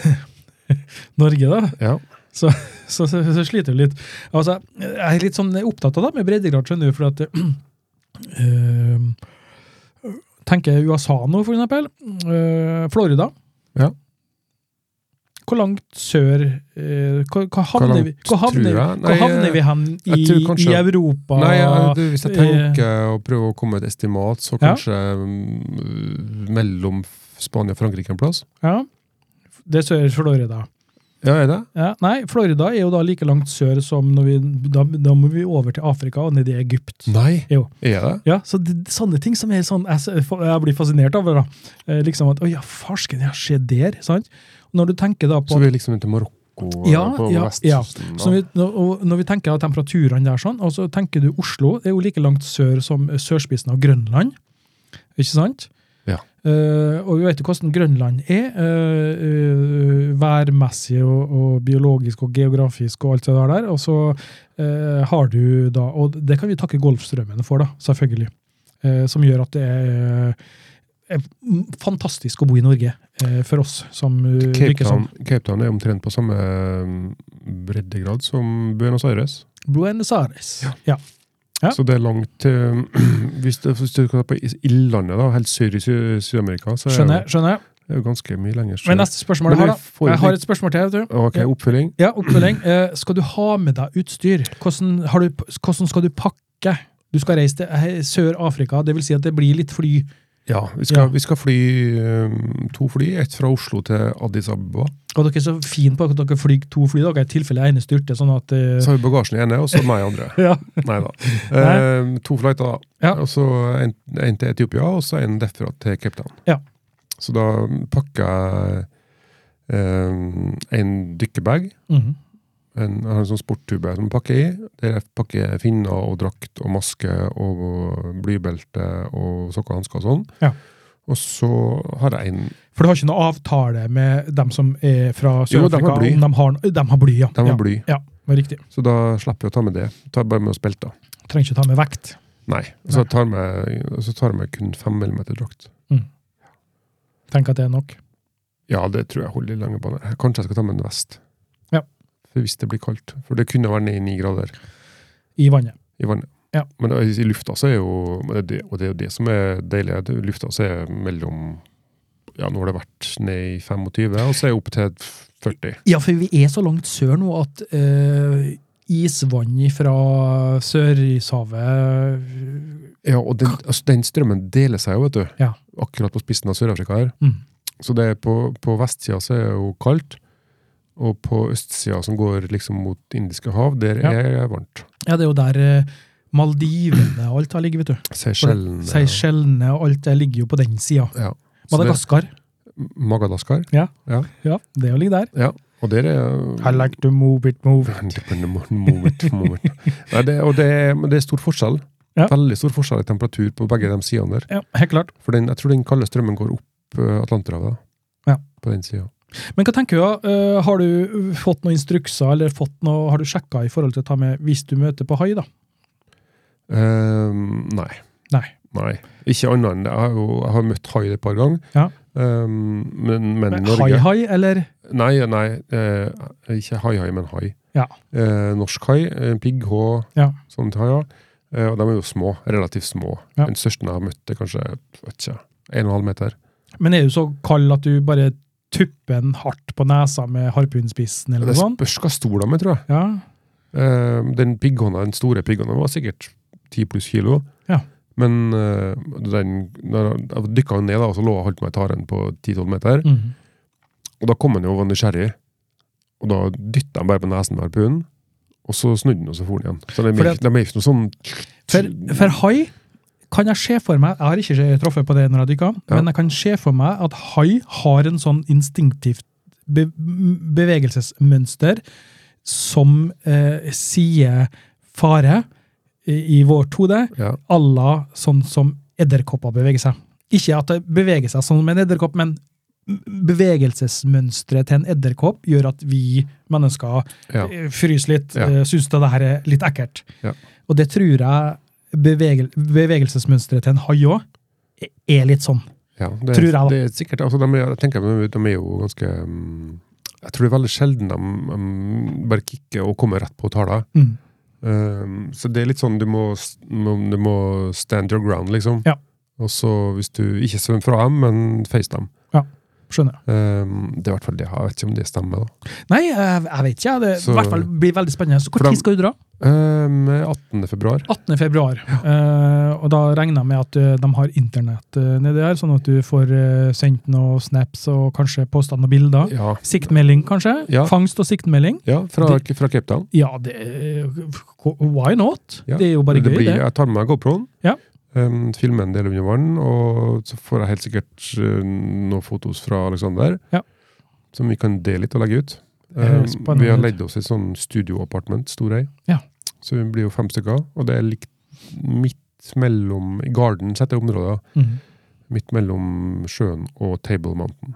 Speaker 1: *laughs* Norge, da,
Speaker 2: Ja.
Speaker 1: så, så, så sliter du litt. Altså, jeg er litt sånn opptatt av det med breddegrad, skjønner du, for at *clears throat* eh, Tenker USA nå, for eksempel. eh, Florida.
Speaker 2: Ja.
Speaker 1: Hvor langt sør eh, Hva hva
Speaker 2: langt
Speaker 1: havner vi, hva havner,
Speaker 2: tror jeg?
Speaker 1: hva
Speaker 2: Nei,
Speaker 1: havner vi hen
Speaker 2: jeg
Speaker 1: i,
Speaker 2: tror kanskje-
Speaker 1: i Europa?
Speaker 2: Nei, ja, du, hvis jeg
Speaker 1: eh,
Speaker 2: tenker å prøve å komme med et estimat, så
Speaker 1: Ja.
Speaker 2: kanskje mm, mellom Spania og Frankrike en plass?
Speaker 1: ja. Det er sør-Florida.
Speaker 2: Ja, er det?
Speaker 1: Ja, nei, Florida er jo da like langt sør som når vi, da, da må vi over til Afrika og ned i Egypt.
Speaker 2: Nei,
Speaker 1: Jo.
Speaker 2: er det?
Speaker 1: Ja, så det, sånne ting som er sånn Jeg, s- fa- jeg blir fascinert over, da. Eh, liksom at Å ja, farsken, ja, se der! Sant? Når du tenker da på
Speaker 2: Så vi er liksom inn til Marokko
Speaker 1: Ja,
Speaker 2: på Mm,
Speaker 1: ja, ja.
Speaker 2: vestkysten? da.
Speaker 1: så vi, når, og når vi tenker av temperaturene der, sånn, og så tenker du Oslo det er jo like langt sør som eh, sørspissen av Grønland. Ikke sant?
Speaker 2: Ja.
Speaker 1: Eh, og vi vet jo hvordan Grønland er, eh, eh, værmessig og, og biologisk og geografisk og alt det der. der. Og så eh, har du da, og det kan vi takke Golfstrømmene for, da, selvfølgelig. Eh, som gjør at det er, eh, er fantastisk å bo i Norge eh, for oss som eh,
Speaker 2: Cape
Speaker 1: virker som
Speaker 2: Town, Cape Town er omtrent på samme eh, breddegrad som Buenos Aires.
Speaker 1: Buenos Aires. Ja. Ja.
Speaker 2: Så det er langt til *clears throat* Hvis du hvis du skal på is- Ildlandet, da, helt sør i Sy- Sør-Amerika, så er
Speaker 1: Skjønner.
Speaker 2: det jo-
Speaker 1: skjønner.
Speaker 2: det er jo ganske mye lenger sør.
Speaker 1: Men neste spørsmål
Speaker 2: Men
Speaker 1: jeg har,
Speaker 2: vi
Speaker 1: da.
Speaker 2: får
Speaker 1: Jeg har
Speaker 2: litt-
Speaker 1: et spørsmål til. vet du.
Speaker 2: Ok, oppfølging.
Speaker 1: Ja, oppfølging. Eh, skal du ha med deg utstyr? Hvordan, har du, hvordan skal du pakke? Du skal reise til eh, Sør-Afrika, det vil si at det blir litt fly.
Speaker 2: Ja, vi skal,
Speaker 1: Ja.
Speaker 2: Vi skal fly eh, to fly. Ett fra Oslo til Addis Ababa.
Speaker 1: Og dere er så fine på at dere flyr to fly, dere, i tilfelle ene styrter. sånn at... eh,
Speaker 2: Så har vi bagasjen i ene, og så meg i andre.
Speaker 1: *laughs* ja.
Speaker 2: Nei da. Eh, to flighter, da.
Speaker 1: Ja.
Speaker 2: Og så en, en til Etiopia, og så en derfra til Cape Town.
Speaker 1: Ja.
Speaker 2: Så da pakker jeg eh, en dykkerbag.
Speaker 1: Mhm.
Speaker 2: En, jeg har en sånn sporttube som jeg pakker i. Der jeg pakker finner og drakt og maske og blybelte og sokker og hansker og sånn.
Speaker 1: Ja.
Speaker 2: Og så har jeg en
Speaker 1: For du har ikke noe avtale med dem som er fra
Speaker 2: Jo, de har
Speaker 1: Sør-Afrika?
Speaker 2: bly.
Speaker 1: om De har, de har bly, ja.
Speaker 2: Den var
Speaker 1: ja.
Speaker 2: bly,
Speaker 1: Ja, det er riktig.
Speaker 2: så da slipper jeg å ta med det. Tar bare med oss belter.
Speaker 1: Trenger ikke ta med vekt.
Speaker 2: Nei. Og så tar jeg med, og så tar jeg med kun 5 mm drakt.
Speaker 1: Tenk at det er nok.
Speaker 2: Ja, det tror jeg holder i lange baner. Kanskje jeg skal ta med en vest.
Speaker 1: Ja.
Speaker 2: For hvis det blir kaldt. For det kunne være ned i 9 grader
Speaker 1: I vannet.
Speaker 2: i vannet.
Speaker 1: Ja.
Speaker 2: Men i i lufta så er jo men det, Og det er jo det som er deilig. Det er jo Lufta så er mellom Ja, nå har det vært ned i 25, og så er jeg opp til 40.
Speaker 1: Ja, for vi er så langt sør nå at eh, isvann fra Sørishavet
Speaker 2: Ja, og den, altså, den strømmen deler seg jo, vet du.
Speaker 1: Ja.
Speaker 2: Akkurat på spissen av Sør-Afrika her.
Speaker 1: Mm.
Speaker 2: Så det er på, på vestsida så er det jo kaldt, og på østsida som går liksom mot Indiske hav, der
Speaker 1: Ja.
Speaker 2: er det varmt.
Speaker 1: Ja, det er jo der eh, Maldivene og alt har ligget, vet du.
Speaker 2: Seychellene
Speaker 1: Seychellene og alt det ligger jo på den sida.
Speaker 2: ja. Så det-
Speaker 1: Madagaskar.
Speaker 2: Madagaskar.
Speaker 1: Ja, det jo ligger der.
Speaker 2: Ja. Og der er
Speaker 1: I like to move it,
Speaker 2: *laughs*
Speaker 1: move it.
Speaker 2: Moment, moment. Nei, det, og det er, men det er stor forskjell.
Speaker 1: Ja.
Speaker 2: Veldig stor forskjell i temperatur på begge de sidene der.
Speaker 1: Ja, helt klart.
Speaker 2: For den, jeg tror den kalde strømmen går opp eh, Atlanterhavet. da.
Speaker 1: Ja.
Speaker 2: På den sida.
Speaker 1: Men hva tenker du, da? Eh, har du fått noen instrukser, eller fått noe, har du sjekka i forhold til å ta med hvis du møter på hai, da?
Speaker 2: Ehm, nei.
Speaker 1: Nei.
Speaker 2: Ikke annet enn det. Jeg har, jo, jeg har møtt hai et par ganger.
Speaker 1: Ja.
Speaker 2: Ehm, men, men, i Norge
Speaker 1: Hai-hai, eller?
Speaker 2: Nei, nei eh, ikke hai-hai, men hai.
Speaker 1: Ja.
Speaker 2: Eh, norsk hai, eh, pigghå,
Speaker 1: Ja.
Speaker 2: sånne haier. Eh, og de er jo små, relativt små.
Speaker 1: Ja.
Speaker 2: Den største jeg har møtt, er kanskje vet ikke, en og en halv meter.
Speaker 1: Men er du så kald at du bare tupper den hardt på nesa med harpunspissen, eller
Speaker 2: Det
Speaker 1: noe sånt?
Speaker 2: spørs hva stor de er, tror jeg.
Speaker 1: Ja.
Speaker 2: Eh, den pigghånda, den store pigghånda var sikkert 10 pluss kilo.
Speaker 1: Ja.
Speaker 2: Men eh, den, når jeg- jeg dykka jo ned, da, og så lå jeg og holdt meg i taren på 10-12 meter.
Speaker 1: Mhm.
Speaker 2: Og da kom han jo og var nysgjerrig. Og da dytta han bare på nesen med harpunen. Og så snudde han, og så for han igjen. Så de
Speaker 1: For
Speaker 2: er
Speaker 1: det-
Speaker 2: ikke- de er ikke noe sånn
Speaker 1: For, for hai kan jeg se for meg Jeg har ikke truffet på det når jeg dykker,
Speaker 2: Ja.
Speaker 1: men jeg kan se for meg at hai har en sånn instinktivt be bevegelsesmønster som eh, sier fare i, i vårt hode,
Speaker 2: ja.
Speaker 1: à la sånn som edderkopper beveger seg. Ikke at det beveger seg som en edderkopp, men bevegelsesmønsteret til en edderkopp gjør at vi mennesker
Speaker 2: Ja.
Speaker 1: eh, fryser litt,
Speaker 2: Ja.
Speaker 1: ja. syns det her er litt ekkelt.
Speaker 2: Ja.
Speaker 1: Og det tror jeg bevegel bevegelsesmønsteret til en hai òg er litt sånn.
Speaker 2: ja det,
Speaker 1: Tror jeg, da.
Speaker 2: Det er sikkert, altså, de, er, jeg tenker, de, de er jo ganske mm, Jeg tror det er veldig sjelden de mm, bare kicker og kommer rett på tala.
Speaker 1: Mm.
Speaker 2: Um, så det er litt sånn du må, s- må- du må stand your ground, liksom.
Speaker 1: Ja.
Speaker 2: Og så hvis du ikke svømmer fra dem, men face dem.
Speaker 1: Skjønner. jeg.
Speaker 2: Um, det er i hvert fall det. Jeg vet ikke om det stemmer. da.
Speaker 1: Nei, jeg, jeg vet ikke. jeg. Det
Speaker 2: Så-
Speaker 1: i hvert fall blir veldig spennende. Så
Speaker 2: For
Speaker 1: Hvor
Speaker 2: dem-
Speaker 1: tid skal du dra?
Speaker 2: Um, 18. februar.
Speaker 1: 18. februar. Eh, og da regner jeg med at eh, de har internett eh, nedi der, sånn at du får eh, sendt noen snaps og kanskje postet noen bilder.
Speaker 2: Ja.
Speaker 1: Siktmelding, kanskje?
Speaker 2: Ja.
Speaker 1: Fangst og siktmelding?
Speaker 2: ja fra, fra Cape Town.
Speaker 1: Ja, det eh, Why not?
Speaker 2: Ja,
Speaker 1: Det er jo bare
Speaker 2: det
Speaker 1: gøy,
Speaker 2: blir,
Speaker 1: det.
Speaker 2: Jeg tar med meg GoPro-en,
Speaker 1: Ja.
Speaker 2: um, filmer en del under vann, og så får jeg helt sikkert uh, noen fotos fra Alexander,
Speaker 1: Ja.
Speaker 2: som vi kan dele litt og legge ut.
Speaker 1: Det høres
Speaker 2: Um,
Speaker 1: spennende
Speaker 2: vi har
Speaker 1: ut.
Speaker 2: leid oss et sånn studio-apartment, Storøy.
Speaker 1: Ja.
Speaker 2: Så vi blir jo fem stykker, og det er likt midt mellom i garden, sette områder,
Speaker 1: Mhm.
Speaker 2: midt mellom sjøen og Table Mountain.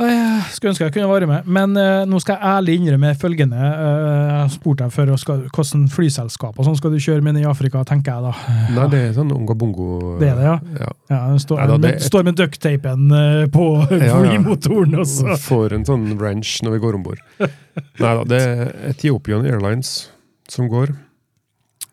Speaker 1: Eh, Skulle ønske jeg kunne være med, men eh, nå skal jeg ærlig innrømme følgende. Eh, jeg spurte deg før skal, hvordan flyselskap og sånn skal du kjøre med ned i Afrika, tenker jeg da.
Speaker 2: Nei, det er sånn ongabongo
Speaker 1: Det er det, ja.
Speaker 2: ja.
Speaker 1: Ja, jeg står,
Speaker 2: Nei da,
Speaker 1: med,
Speaker 2: det-
Speaker 1: står med duckteipen eh, på
Speaker 2: ja.
Speaker 1: flymotoren, og så
Speaker 2: Får en sånn wrench når vi går om bord. Nei da, det er Ethiopian Airlines som går.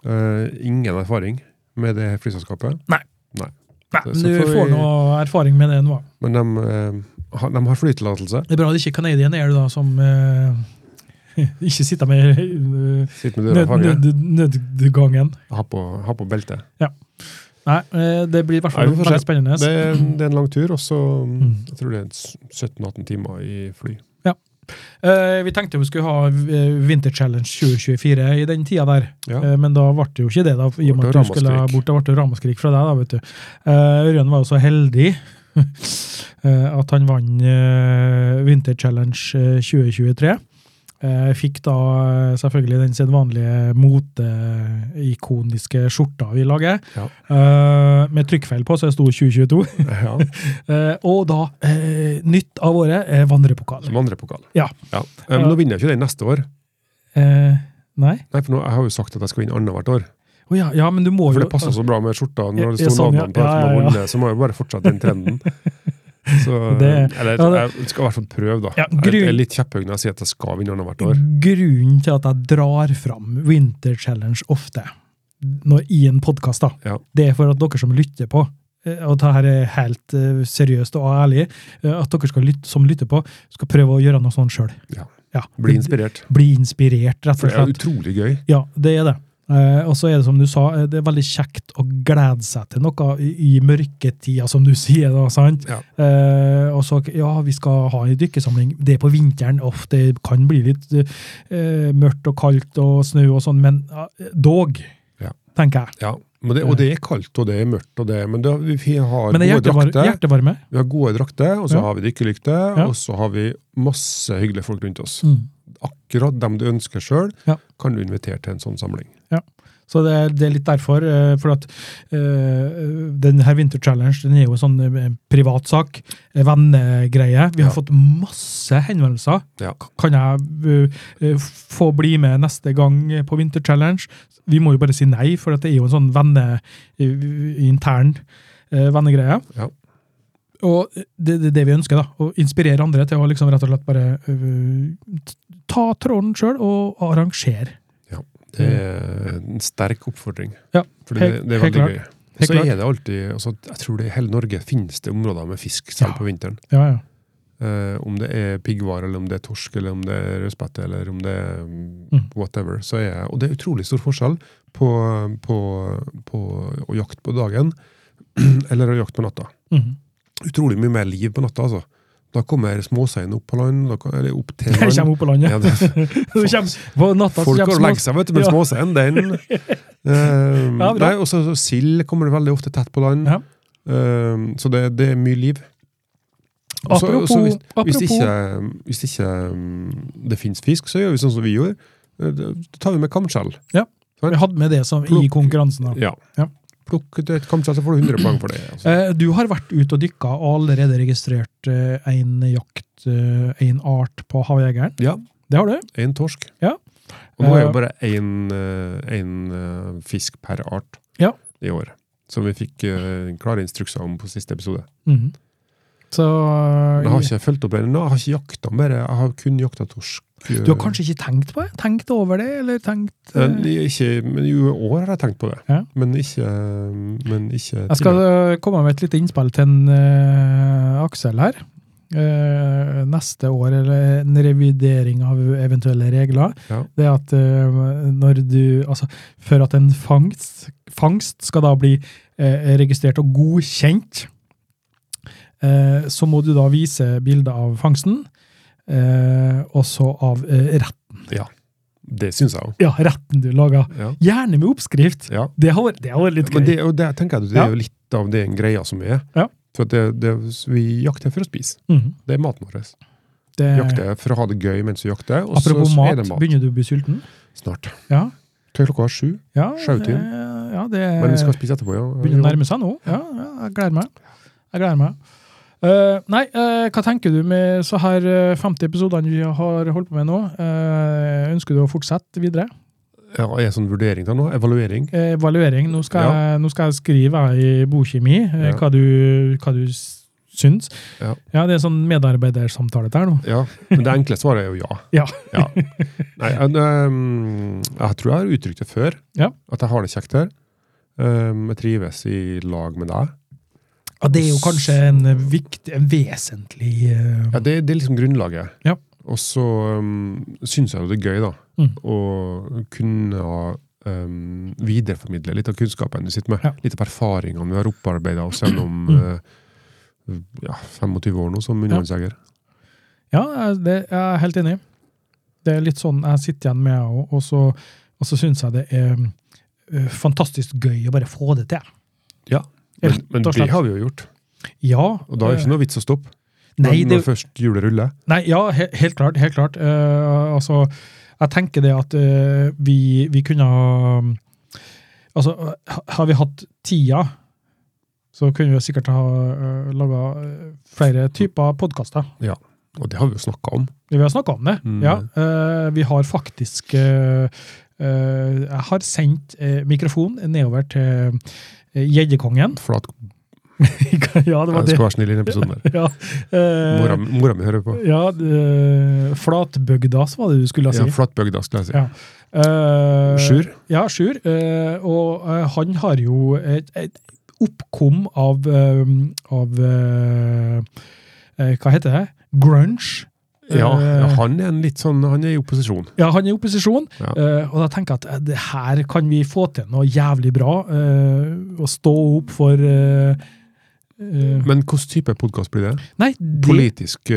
Speaker 2: Eh, ingen erfaring med det flyselskapet.
Speaker 1: Nei,
Speaker 2: Så
Speaker 1: men du
Speaker 2: får vi-
Speaker 1: får noe erfaring med det nå.
Speaker 2: Men de, eh, har- de har flytillatelse.
Speaker 1: Det er bra det ikke er Canadian Air da, som eh, *laughs* ikke sitter med eh,
Speaker 2: Sitter med døra i
Speaker 1: nød,
Speaker 2: fanget.
Speaker 1: nød, nødgangen.
Speaker 2: Ha på, ha på belte.
Speaker 1: Nei, eh, det blir i hvert fall
Speaker 2: Nei, vi får se.
Speaker 1: veldig spennende.
Speaker 2: Det, er- det er en lang tur, og så
Speaker 1: Mm.
Speaker 2: jeg tror det er 17-18 timer i fly. *laughs*
Speaker 1: Eh, vi tenkte vi skulle ha eh, Winter Challenge 2024 i den tida der,
Speaker 2: Ja.
Speaker 1: Eh, men da ble det jo ikke det. da, i og med
Speaker 2: Ble det
Speaker 1: at du skulle
Speaker 2: ramaskrik.
Speaker 1: bort, Det ble jo ramaskrik fra deg, da, vet du. Eh, Ørjan var jo så heldig *laughs* eh, at han vant eh, Winter Challenge eh, 2023. Eh, fikk da eh, selvfølgelig den sedvanlige moteikoniske skjorta vi lager,
Speaker 2: Ja.
Speaker 1: eh, med trykkfeil på, så det sto 2022.
Speaker 2: ja.
Speaker 1: Eh, og da, eh, nytt av året, er vandrepokal.
Speaker 2: Som andrepokal.
Speaker 1: Ja.
Speaker 2: ja. Eh, Men nå vinner jeg ikke den neste år.
Speaker 1: Eh, nei?
Speaker 2: Nei, for nå, Jeg har jo sagt at jeg skal vinne annethvert år.
Speaker 1: Å ja, ja, men du må jo
Speaker 2: For
Speaker 1: altså,
Speaker 2: det passer så bra med skjorta.
Speaker 1: Ja,
Speaker 2: Når det
Speaker 1: ja,
Speaker 2: står
Speaker 1: sånn, ja.
Speaker 2: navnene på
Speaker 1: Ja,
Speaker 2: dem
Speaker 1: ja,
Speaker 2: som har
Speaker 1: ja.
Speaker 2: vunnet, så må jeg bare fortsette
Speaker 1: *laughs*
Speaker 2: den trenden. Så,
Speaker 1: Det-
Speaker 2: eller
Speaker 1: ja, det-
Speaker 2: jeg skal i hvert fall prøve, da.
Speaker 1: Ja,
Speaker 2: Jeg
Speaker 1: grunn-
Speaker 2: er litt kjepphøy når jeg sier at jeg skal vinne annethvert år.
Speaker 1: Grunnen til at jeg drar fram Winter Challenge ofte når, i en podkast,
Speaker 2: Ja.
Speaker 1: det er for at dere som lytter på eh, og det her er helt eh, seriøst og ærlig, eh, at dere skal lytte, som lytter på, skal prøve å gjøre noe sånt sjøl.
Speaker 2: Ja. Bli inspirert.
Speaker 1: Bli inspirert, rett
Speaker 2: For
Speaker 1: og
Speaker 2: det er
Speaker 1: slett.
Speaker 2: utrolig gøy.
Speaker 1: Ja, det er det. Eh, og så er det som du sa, eh, det er veldig kjekt å glede seg til noe i, i mørketida, som du *laughs* sier. da, sant?
Speaker 2: Ja.
Speaker 1: Eh, og så, ja, vi skal ha en dykkesamling. Det er på vinteren, uff, det kan bli litt eh, mørkt og kaldt og snø og sånn, men ja, dog,
Speaker 2: Ja.
Speaker 1: tenker jeg.
Speaker 2: Ja. Men det, og det er kaldt, og det er mørkt, og det, men da, vi har
Speaker 1: Men det er
Speaker 2: gode
Speaker 1: hjertevar
Speaker 2: drakter.
Speaker 1: hjertevarme.
Speaker 2: Vi har gode drakter, og så
Speaker 1: Ja.
Speaker 2: har vi dykkerlykte,
Speaker 1: Ja.
Speaker 2: og så har vi masse hyggelige folk rundt oss.
Speaker 1: Mm.
Speaker 2: Akkurat dem du ønsker sjøl,
Speaker 1: Ja.
Speaker 2: kan du invitere til en sånn samling.
Speaker 1: Så det er, det er litt derfor. eh, For at eh, den her Winter Challenge den er jo en sånn eh, privatsak. eh, Vennegreie. Vi har
Speaker 2: Ja.
Speaker 1: fått masse henvendelser.
Speaker 2: Ja.
Speaker 1: Kan jeg eh, eh, få bli med neste gang på Winter Challenge? Vi må jo bare si nei, for at det er jo en sånn venne, eh, intern eh, vennegreie.
Speaker 2: Ja.
Speaker 1: Og det er det, er det vi ønsker, da. Å inspirere andre til å liksom rett og slett bare eh, t- ta tråden sjøl og arrangere.
Speaker 2: Det
Speaker 1: Mm.
Speaker 2: er en sterk oppfordring.
Speaker 1: Ja,
Speaker 2: For det, det er
Speaker 1: helt
Speaker 2: veldig
Speaker 1: klart.
Speaker 2: gøy. Og
Speaker 1: Helt
Speaker 2: Så
Speaker 1: klart.
Speaker 2: er det alltid altså, Jeg tror det i hele Norge finnes det områder med fisk, selv
Speaker 1: Ja.
Speaker 2: på vinteren.
Speaker 1: Ja, ja.
Speaker 2: Eh, om det er piggvar, eller om det er torsk, eller om det er rødspette, eller om det er mm,
Speaker 1: Mm.
Speaker 2: whatever. Så er, og det er utrolig stor forskjell på, på, på å jakte på dagen *clears throat* eller å jakte på natta.
Speaker 1: Mhm.
Speaker 2: utrolig mye mer liv på natta, altså. Da kommer småseien opp på land, da, kan- eller opp
Speaker 1: *laughs*
Speaker 2: til
Speaker 1: Jeg kommer
Speaker 2: land.
Speaker 1: opp på landet.
Speaker 2: Ja, det,
Speaker 1: *laughs* Det kommer- På natta så
Speaker 2: folk går og
Speaker 1: kommer
Speaker 2: legger
Speaker 1: små-
Speaker 2: seg, vet du, men
Speaker 1: Ja.
Speaker 2: småseien,
Speaker 1: *laughs*
Speaker 2: den eh,
Speaker 1: Ja, bra.
Speaker 2: Nei, og så så sild kommer det veldig ofte tett på land.
Speaker 1: Ja.
Speaker 2: Eh, så det, det er mye liv. Og så- og
Speaker 1: Apropos,
Speaker 2: så hvis, hvis,
Speaker 1: apropos
Speaker 2: ikke, hvis ikke mm, det finnes fisk, så gjør vi sånn som vi gjorde. Eh, Da tar vi med kamskjell.
Speaker 1: Vi hadde med det som i
Speaker 2: Plukk.
Speaker 1: konkurransen. da.
Speaker 2: Ja.
Speaker 1: Ja.
Speaker 2: Plukk et et kamskjell, så får du 100
Speaker 1: *clears throat*
Speaker 2: poeng for det. Altså.
Speaker 1: Eh, Du har vært ute og dykka og allerede registrert eh, en jakt, eh, en art på Havjegeren.
Speaker 2: Ja.
Speaker 1: Det har du.
Speaker 2: Én torsk.
Speaker 1: Ja.
Speaker 2: Og nå er
Speaker 1: Eh,
Speaker 2: jo bare én eh, én, eh, fisk per art
Speaker 1: Ja.
Speaker 2: i år. Som vi fikk eh, klare instrukser om på siste episode.
Speaker 1: Mhm. Så eh,
Speaker 2: Men jeg har ikke fulgt opp ennå. Jeg har ikke jakta mer. Jeg har kun jakta torsk. eh,
Speaker 1: Du har kanskje ikke tenkt på det? Tenkt over det, eller tenkt eh,
Speaker 2: eh, ikke, men I år har jeg tenkt på det,
Speaker 1: Ja.
Speaker 2: men ikke, men ikke
Speaker 1: Jeg skal
Speaker 2: tidligere.
Speaker 1: eh, komme med et lite innspill til en eh, Aksel her. Eh, neste år, eller en revidering av eventuelle regler,
Speaker 2: Ja.
Speaker 1: det er at eh, når du Altså, for at en fangst, fangst skal da bli eh, registrert og godkjent, eh, så må du da vise bilde av fangsten, eh, og så av eh, rett,
Speaker 2: Det syns jeg òg.
Speaker 1: ja, retten du laga.
Speaker 2: Ja.
Speaker 1: Gjerne med oppskrift!
Speaker 2: Ja.
Speaker 1: Det har vært det har vært litt
Speaker 2: Men
Speaker 1: gøy.
Speaker 2: det, og det, tenker jeg, det er jo litt av den greia som er.
Speaker 1: Ja.
Speaker 2: For at det, det, vi jakter for å spise.
Speaker 1: Mhm.
Speaker 2: Det er maten vår.
Speaker 1: Det-
Speaker 2: Jakter for å ha det gøy mens vi jakter, og så
Speaker 1: Apropos
Speaker 2: er
Speaker 1: mat,
Speaker 2: det mat.
Speaker 1: begynner du å bli sulten?
Speaker 2: Snart.
Speaker 1: Ja.
Speaker 2: Til klokka sju.
Speaker 1: ja
Speaker 2: Sjautin.
Speaker 1: eh, Ja, det
Speaker 2: Men vi skal spise etterpå, ja.
Speaker 1: begynner å nærme seg nå. Ja, ja, jeg gleder meg. Jeg gleder meg. Eh, nei, eh, hva tenker du med så her eh, 50 episodene vi har holdt på med nå? Eh, ønsker du å fortsette videre?
Speaker 2: Ja, er det sånn vurdering da nå? Evaluering?
Speaker 1: Eh, evaluering. Nå skal,
Speaker 2: Ja.
Speaker 1: jeg, nå skal jeg skrive jeg, i bokkjemi eh,
Speaker 2: Ja.
Speaker 1: hva, du, hva du s- syns.
Speaker 2: Ja.
Speaker 1: det er sånn medarbeidersamtale der nå.
Speaker 2: Ja, men det enkle svaret er jo ja.
Speaker 1: Ja.
Speaker 2: Nei, jeg, ehm, jeg tror jeg har uttrykt det før,
Speaker 1: Ja.
Speaker 2: at jeg har det kjekt her. Ehm, jeg trives i lag med deg.
Speaker 1: Ja, det er jo kanskje en eh, viktig, en vesentlig eh,
Speaker 2: Ja, det, det er liksom grunnlaget.
Speaker 1: Ja.
Speaker 2: Og så um, syns jeg jo det er gøy, da,
Speaker 1: Mm.
Speaker 2: å kunne um, videreformidle litt av kunnskapen vi sitter med.
Speaker 1: Ja. Mm.
Speaker 2: Litt av erfaringene vi har opparbeida oss gjennom eh, ja, 25 år nå som undervannsjeger.
Speaker 1: Ja, jeg- det jeg er jeg helt enig i. Det er litt sånn jeg sitter igjen med, jeg også, og så, og så syns jeg det er eh, fantastisk gøy å bare få det til.
Speaker 2: Ja. Men,
Speaker 1: Rett
Speaker 2: men
Speaker 1: og
Speaker 2: det
Speaker 1: slett.
Speaker 2: har vi jo gjort,
Speaker 1: Ja. eh,
Speaker 2: og da er det ikke noe vits å stoppe.
Speaker 1: Nei,
Speaker 2: når,
Speaker 1: det,
Speaker 2: når først hjulet ruller.
Speaker 1: nei ja, he, helt klart. Helt klart. Eh, altså, jeg tenker det at eh, vi, vi kunne ha Altså, ha- har vi hatt tida, så kunne vi sikkert ha uh, laga flere typer podkaster.
Speaker 2: Og det har vi jo snakka om.
Speaker 1: Vi har snakka om det,
Speaker 2: Mm.
Speaker 1: ja. Eh, vi har faktisk eh, eh, Jeg har sendt eh, mikrofon nedover til eh, gjeddekongen. *laughs*
Speaker 2: For at
Speaker 1: ja, det var
Speaker 2: jeg
Speaker 1: det.
Speaker 2: skal være snill i denne episoden der.
Speaker 1: Ja, *laughs* eh,
Speaker 2: Mora, mora mi hører på.
Speaker 1: ja eh, Flatbygda, så var det du skulle
Speaker 2: Ja,
Speaker 1: si.
Speaker 2: Flatbygda, skal jeg si.
Speaker 1: Ja. Eh,
Speaker 2: Sjur?
Speaker 1: Ja, Sjur. eh, og eh, han har jo et, et oppkom av, eh, av eh, eh, Hva heter det? Grunge.
Speaker 2: Ja,
Speaker 1: Eh,
Speaker 2: ja, han er en litt sånn Han er i opposisjon.
Speaker 1: Ja, han er i opposisjon,
Speaker 2: Ja.
Speaker 1: eh, og da tenker jeg at eh, det her kan vi få til noe jævlig bra. eh, Å stå opp for eh, eh,
Speaker 2: Men hvilken type podkast blir det?
Speaker 1: Nei, det,
Speaker 2: Politisk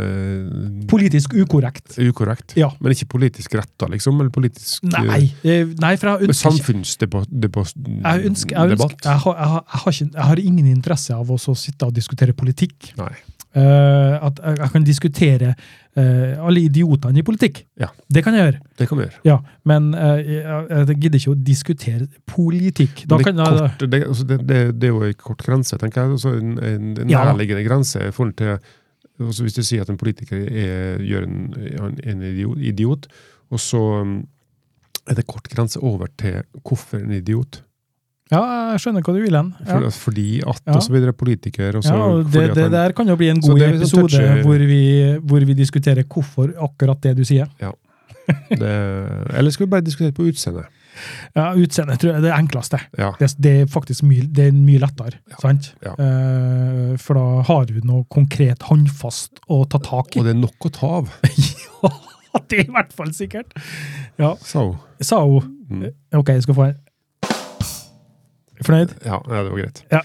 Speaker 2: eh,
Speaker 1: politisk ukorrekt.
Speaker 2: ukorrekt.
Speaker 1: Ja.
Speaker 2: Men ikke politisk retta, liksom? Eller politisk eh,
Speaker 1: Nei, eh, nei for jeg
Speaker 2: men
Speaker 1: ønsker ikke
Speaker 2: samfunnsdebatt?
Speaker 1: jeg, ønsker, jeg, ønsker, jeg, har, jeg, har, jeg, har ikke, jeg har ingen interesse av å så sitte og diskutere politikk.
Speaker 2: Nei.
Speaker 1: Eh, at jeg, jeg kan diskutere eh, alle idiotene i politikk.
Speaker 2: Ja.
Speaker 1: Det kan jeg gjøre.
Speaker 2: Det kan vi gjøre.
Speaker 1: Ja, men eh, jeg, jeg gidder ikke å diskutere politikk. Da
Speaker 2: Men det,
Speaker 1: kan
Speaker 2: er
Speaker 1: jeg,
Speaker 2: kort, det, altså, det, det, det er jo en kort grense, tenker jeg. Altså, en en, en
Speaker 1: Ja.
Speaker 2: nærliggende grense i forhold til altså, Hvis du sier at en politiker er, gjør en, en, en idiot, idiot, og så um, er det kort grense over til hvorfor en idiot.
Speaker 1: ja, jeg skjønner hva du vil hen. Ja.
Speaker 2: For, Fordi at,
Speaker 1: Ja.
Speaker 2: og så videre, politiker, og så
Speaker 1: Ja, og
Speaker 2: fordi
Speaker 1: det,
Speaker 2: at
Speaker 1: det
Speaker 2: han-
Speaker 1: der kan jo bli en
Speaker 2: Så
Speaker 1: god
Speaker 2: det er litt sånn
Speaker 1: episode
Speaker 2: touchy.
Speaker 1: hvor, vi, hvor vi diskuterer hvorfor akkurat det du sier.
Speaker 2: Det, eller skal vi bare diskutere på utseendet?
Speaker 1: Ja, Utseendet tror jeg er det enkleste.
Speaker 2: Ja.
Speaker 1: Det, det er faktisk mye, det er mye lettere. sant?
Speaker 2: Ja.
Speaker 1: Eh, for da har du noe konkret håndfast å ta tak i.
Speaker 2: Og det er nok å ta av,
Speaker 1: Ja, *laughs* det er i hvert fall sikkert!
Speaker 2: sa hun.
Speaker 1: Sa hun.
Speaker 2: Mm.
Speaker 1: OK, jeg skal få en. Fornøyd?
Speaker 2: Ja, ja, det var greit.
Speaker 1: Ja.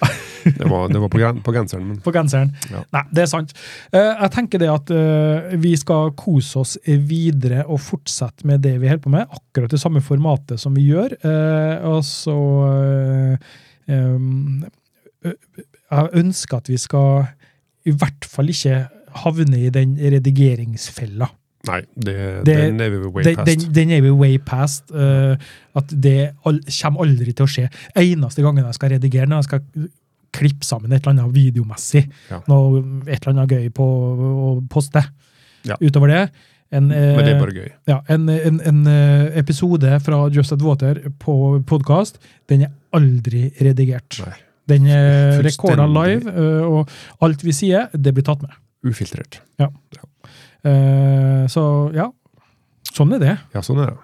Speaker 2: det, var, det var på, gren, på genseren, men
Speaker 1: på genseren.
Speaker 2: Ja.
Speaker 1: Nei, det er sant. Eh, Jeg tenker det at eh, vi skal kose oss videre og fortsette med det vi holder på med, akkurat det samme formatet som vi gjør. Eh, Og så eh, em, ø- Jeg ønsker at vi skal i hvert fall ikke havne i den redigeringsfella.
Speaker 2: nei, det,
Speaker 1: Det-
Speaker 2: den er vi way
Speaker 1: Den,
Speaker 2: past.
Speaker 1: den, den er vi way past. eh, At det all, kommer aldri til å skje. Eneste gangen jeg skal redigere, når jeg skal klippe sammen et eller annet videomessig,
Speaker 2: Ja.
Speaker 1: noe, et eller annet gøy på å poste.
Speaker 2: Ja.
Speaker 1: Utover det en, eh,
Speaker 2: men det er bare gøy.
Speaker 1: ja, en, en, en eh, episode fra Just At Water på podkast, den er aldri redigert.
Speaker 2: Nei.
Speaker 1: Den er
Speaker 2: Fullstendig.
Speaker 1: rekorda live, eh, og alt vi sier, det blir tatt med.
Speaker 2: Ufiltrert.
Speaker 1: Eh, Så ja, sånn er det.
Speaker 2: Ja, sånn er det.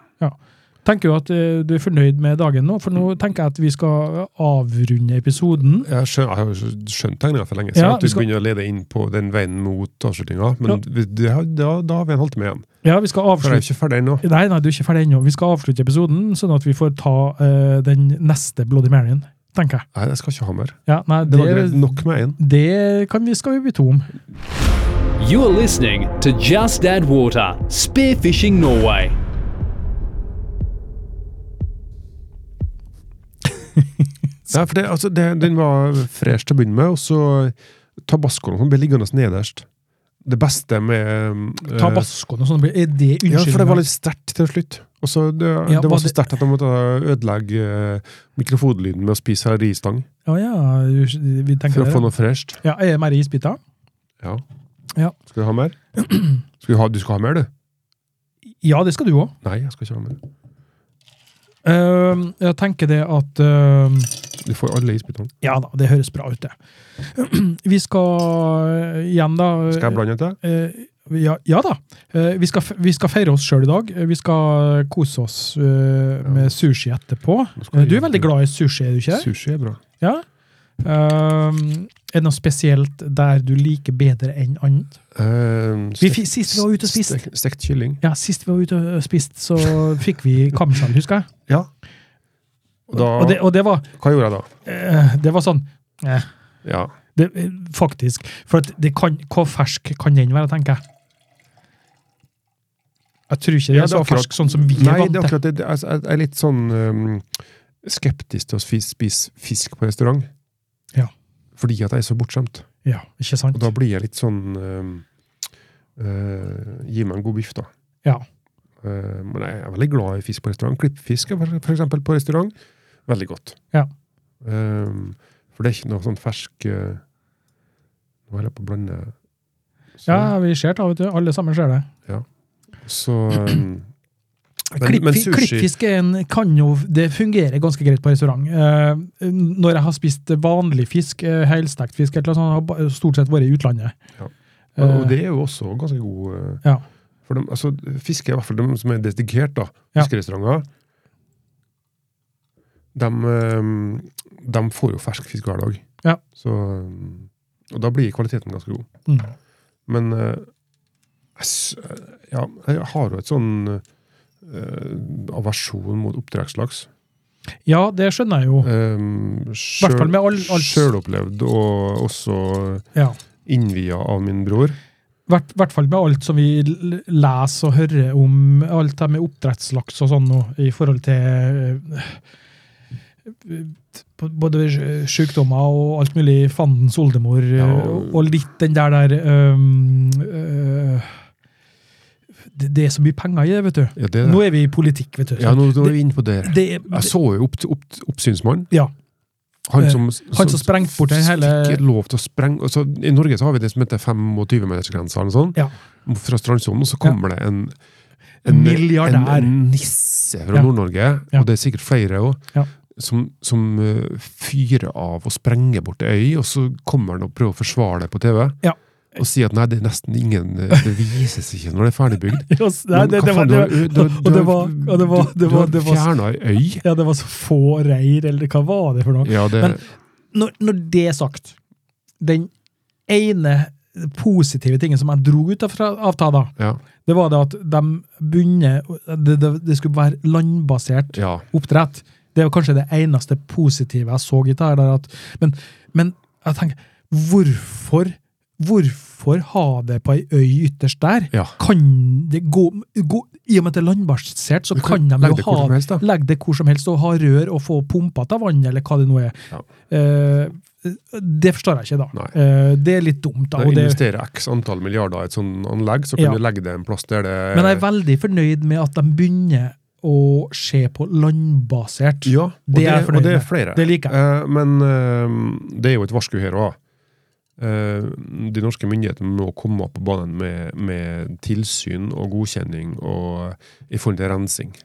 Speaker 1: Tenker du at eh, du er fornøyd med dagen nå? For
Speaker 2: Mm.
Speaker 1: nå tenker jeg at vi skal eh, avrunde episoden.
Speaker 2: Jeg, skjøn, jeg har jo skjønt tegninga for lenge siden,
Speaker 1: Ja,
Speaker 2: at du
Speaker 1: vi skal-
Speaker 2: begynner å lede inn på den veien mot avslutninga. Men
Speaker 1: Ja.
Speaker 2: vi- det, har- da, da har vi en halvtime igjen.
Speaker 1: Ja, vi skal
Speaker 2: For jeg
Speaker 1: avslutte
Speaker 2: er ikke ferdig ennå.
Speaker 1: Nei, nei, du er ikke ferdig ennå. Vi skal avslutte episoden, sånn at vi får ta eh, den neste Bloody Maryen, tenker jeg.
Speaker 2: Nei, jeg skal ikke ha mer.
Speaker 1: Ja, nei,
Speaker 2: Det
Speaker 1: det,
Speaker 2: var greit.
Speaker 1: det,
Speaker 2: Nok med én.
Speaker 1: kan vi, skal vi bli to om.
Speaker 3: You are listening to Just Add Water, Spearfishing Norway.
Speaker 2: Nei, for det, altså, det, den var fresh til å begynne med, og så tabascoen som ble liggende nederst. Det beste med eh,
Speaker 1: Tabascoen og sånn. blir- Er det
Speaker 2: Ja, for det
Speaker 1: unnskyldninga?
Speaker 2: var litt sterkt til slutt. Og så det,
Speaker 1: Ja,
Speaker 2: det
Speaker 1: var
Speaker 2: var så
Speaker 1: det-
Speaker 2: sterkt at de måtte ødelegge eh, mikrofonlyden med å spise risstang
Speaker 1: Å ja, vi tenker
Speaker 2: for å få
Speaker 1: det.
Speaker 2: noe fresht.
Speaker 1: Ja, er det mer isbiter?
Speaker 2: Ja.
Speaker 1: Ja.
Speaker 2: Skal du
Speaker 1: *clears throat*
Speaker 2: ha mer? Skal du, ha, du skal ha mer, du?
Speaker 1: Ja, det skal du òg.
Speaker 2: Nei, jeg skal ikke ha mer.
Speaker 1: Ehm, jeg tenker det at eh,
Speaker 2: Du får alle isbitene.
Speaker 1: Ja da, det høres bra ut, det. *clears throat* Vi skal eh, igjen, da eh,
Speaker 2: Skal jeg blande dette?
Speaker 1: Eh, ja, ja da. Eh, vi, skal, fe- vi skal feire oss sjøl i dag. Eh, Vi skal kose oss eh, med sushi etterpå.
Speaker 2: Nå skal
Speaker 1: Eh,
Speaker 2: vi-
Speaker 1: du er veldig glad i sushi, er du ikke det?
Speaker 2: Sushi er bra.
Speaker 1: Ja. Ehm, er det noe spesielt der du liker bedre enn annet?
Speaker 2: Eh,
Speaker 1: Vi,
Speaker 2: stek-
Speaker 1: fi- sist vi var ute og spiste
Speaker 2: stek- Stekt kylling.
Speaker 1: ja, sist vi var ute og spist, så *laughs* fikk vi kamskjell, husker jeg.
Speaker 2: Ja. Og da,
Speaker 1: Og det, og det var
Speaker 2: hva gjorde jeg da?
Speaker 1: eh, Det var sånn eh,
Speaker 2: Ja.
Speaker 1: det, eh, Faktisk. For at det kan, hvor fersk kan den være, tenker jeg. Jeg tror ikke den
Speaker 2: Ja,
Speaker 1: er
Speaker 2: det er
Speaker 1: så
Speaker 2: akkurat-
Speaker 1: fersk sånn som vi er
Speaker 2: Nei,
Speaker 1: vant til.
Speaker 2: det er akkurat det. det. er- Jeg er litt sånn ehm, skeptisk til å spise, spise fisk på restaurant.
Speaker 1: Ja.
Speaker 2: Fordi at jeg er så bortskjemt.
Speaker 1: Ja, ikke sant?
Speaker 2: Og da blir jeg litt sånn ehm, eh, Gi meg en god biff, da.
Speaker 1: Ja.
Speaker 2: Eh, men jeg er veldig glad i fisk på restaurant. Klippfisk er for for eksempel på restaurant veldig godt.
Speaker 1: Ja.
Speaker 2: Ehm, for det er ikke noe sånn fersk eh, Nå holder jeg på å blande. Så,
Speaker 1: ja, vi ser det, vet du. Alle sammen ser det.
Speaker 2: så
Speaker 1: *clears throat*
Speaker 2: ehm, Men-
Speaker 1: Klipp,
Speaker 2: men sushi-
Speaker 1: Klippfisk er en, kan jo, det fungerer ganske greit på restaurant. Eh, når jeg har spist vanlig fisk, eh, helstekt fisk, eller noe sånt, har ba- stort sett vært i utlandet.
Speaker 2: Ja.
Speaker 1: Eh,
Speaker 2: Og det er jo også ganske god eh,
Speaker 1: Ja.
Speaker 2: For de, altså, fiske er i hvert fall de som er dedikert, da.
Speaker 1: Ja.
Speaker 2: Fiskerestauranter. De, eh, de får jo fersk fisk hver dag.
Speaker 1: Ja.
Speaker 2: Så, eh, og da blir kvaliteten ganske god.
Speaker 1: mm.
Speaker 2: Men eh, jeg s- eh, ja, jeg har jo et sånn eh, aversjon mot oppdrettslaks.
Speaker 1: ja, det skjønner jeg jo.
Speaker 2: Um,
Speaker 1: hvert fall med all- all-
Speaker 2: Sjølopplevd og også
Speaker 1: Ja.
Speaker 2: innvia av min bror.
Speaker 1: I hvert, hvert fall med alt som vi l- leser og hører om alt det med oppdrettslaks og sånn nå, i forhold til eh, b- både sj- sykdommer og alt mulig fandens oldemor, eh,
Speaker 2: Ja, og-
Speaker 1: og, og litt den der der um, eh, det, det er så mye penger i det, vet du.
Speaker 2: Ja, det,
Speaker 1: Nå er vi i politikk, vet du.
Speaker 2: ja, nå, nå er vi inne på det.
Speaker 1: det, det,
Speaker 2: Jeg så jo opp, opp, oppsynsmannen.
Speaker 1: ja,
Speaker 2: Han som,
Speaker 1: Eh, han som sprengte bort den hele
Speaker 2: Fikk lov til å sprenge altså, I Norge så har vi det som heter 25-metersgrensa eller sånn.
Speaker 1: Ja.
Speaker 2: Fra strandsonen så kommer det en
Speaker 1: Milliardær.
Speaker 2: En, en nisse fra
Speaker 1: Ja.
Speaker 2: Nord-Norge,
Speaker 1: Ja.
Speaker 2: og det er sikkert flere òg,
Speaker 1: Ja.
Speaker 2: som, som eh, fyrer av og sprenger bort ei øy, og så kommer han og prøver å forsvare det på TV.
Speaker 1: Ja.
Speaker 2: Og sier at nei, det er nesten ingen eh, Det vises ikke når det er ferdigbygd.
Speaker 1: Yes, *laughs* nei, det- det var- det var- og det var- og det var- det var-
Speaker 2: Du
Speaker 1: det
Speaker 2: har
Speaker 1: var-
Speaker 2: fjerna ei øy.
Speaker 1: Ja, det var så få reir, eller hva var det for noe?
Speaker 2: Ja, det,
Speaker 1: Men- når, når det er sagt, den ene positive tingen som jeg dro ut av fra- av ta da,
Speaker 2: ja,
Speaker 1: det var det at de begynner det, det, det skulle være landbasert
Speaker 2: ja.
Speaker 1: oppdrett. Det var kanskje det eneste positive jeg så i det her. der At, men, men jeg tenker, hvorfor Hvorfor ha det på ei øy ytterst der?
Speaker 2: Ja.
Speaker 1: Kan det gå, gå I og med at det er landbasert, så
Speaker 2: Du
Speaker 1: kan
Speaker 2: kan
Speaker 1: de
Speaker 2: legge
Speaker 1: jo
Speaker 2: det
Speaker 1: ha
Speaker 2: hvor som helst, da.
Speaker 1: legge det hvor som helst og ha rør og få pumpa av vannet, eller hva det nå er.
Speaker 2: Ja.
Speaker 1: Eh, det forstår jeg ikke, da.
Speaker 2: Nei.
Speaker 1: Eh, det er litt dumt, da.
Speaker 2: Når
Speaker 1: Og
Speaker 2: du
Speaker 1: det,
Speaker 2: investerer x antall milliarder i et sånt anlegg, så kan
Speaker 1: Ja.
Speaker 2: du legge det en plass der det
Speaker 1: men jeg er veldig fornøyd med at de begynner å se på landbasert.
Speaker 2: Ja, og
Speaker 1: Det
Speaker 2: det,
Speaker 1: er jeg fornøyd
Speaker 2: og det er
Speaker 1: med.
Speaker 2: flere.
Speaker 1: Det liker
Speaker 2: jeg. men eh, det er jo et varsku her òg. de norske myndighetene må komme opp på banen med, med tilsyn og godkjenning og i forhold til rensing.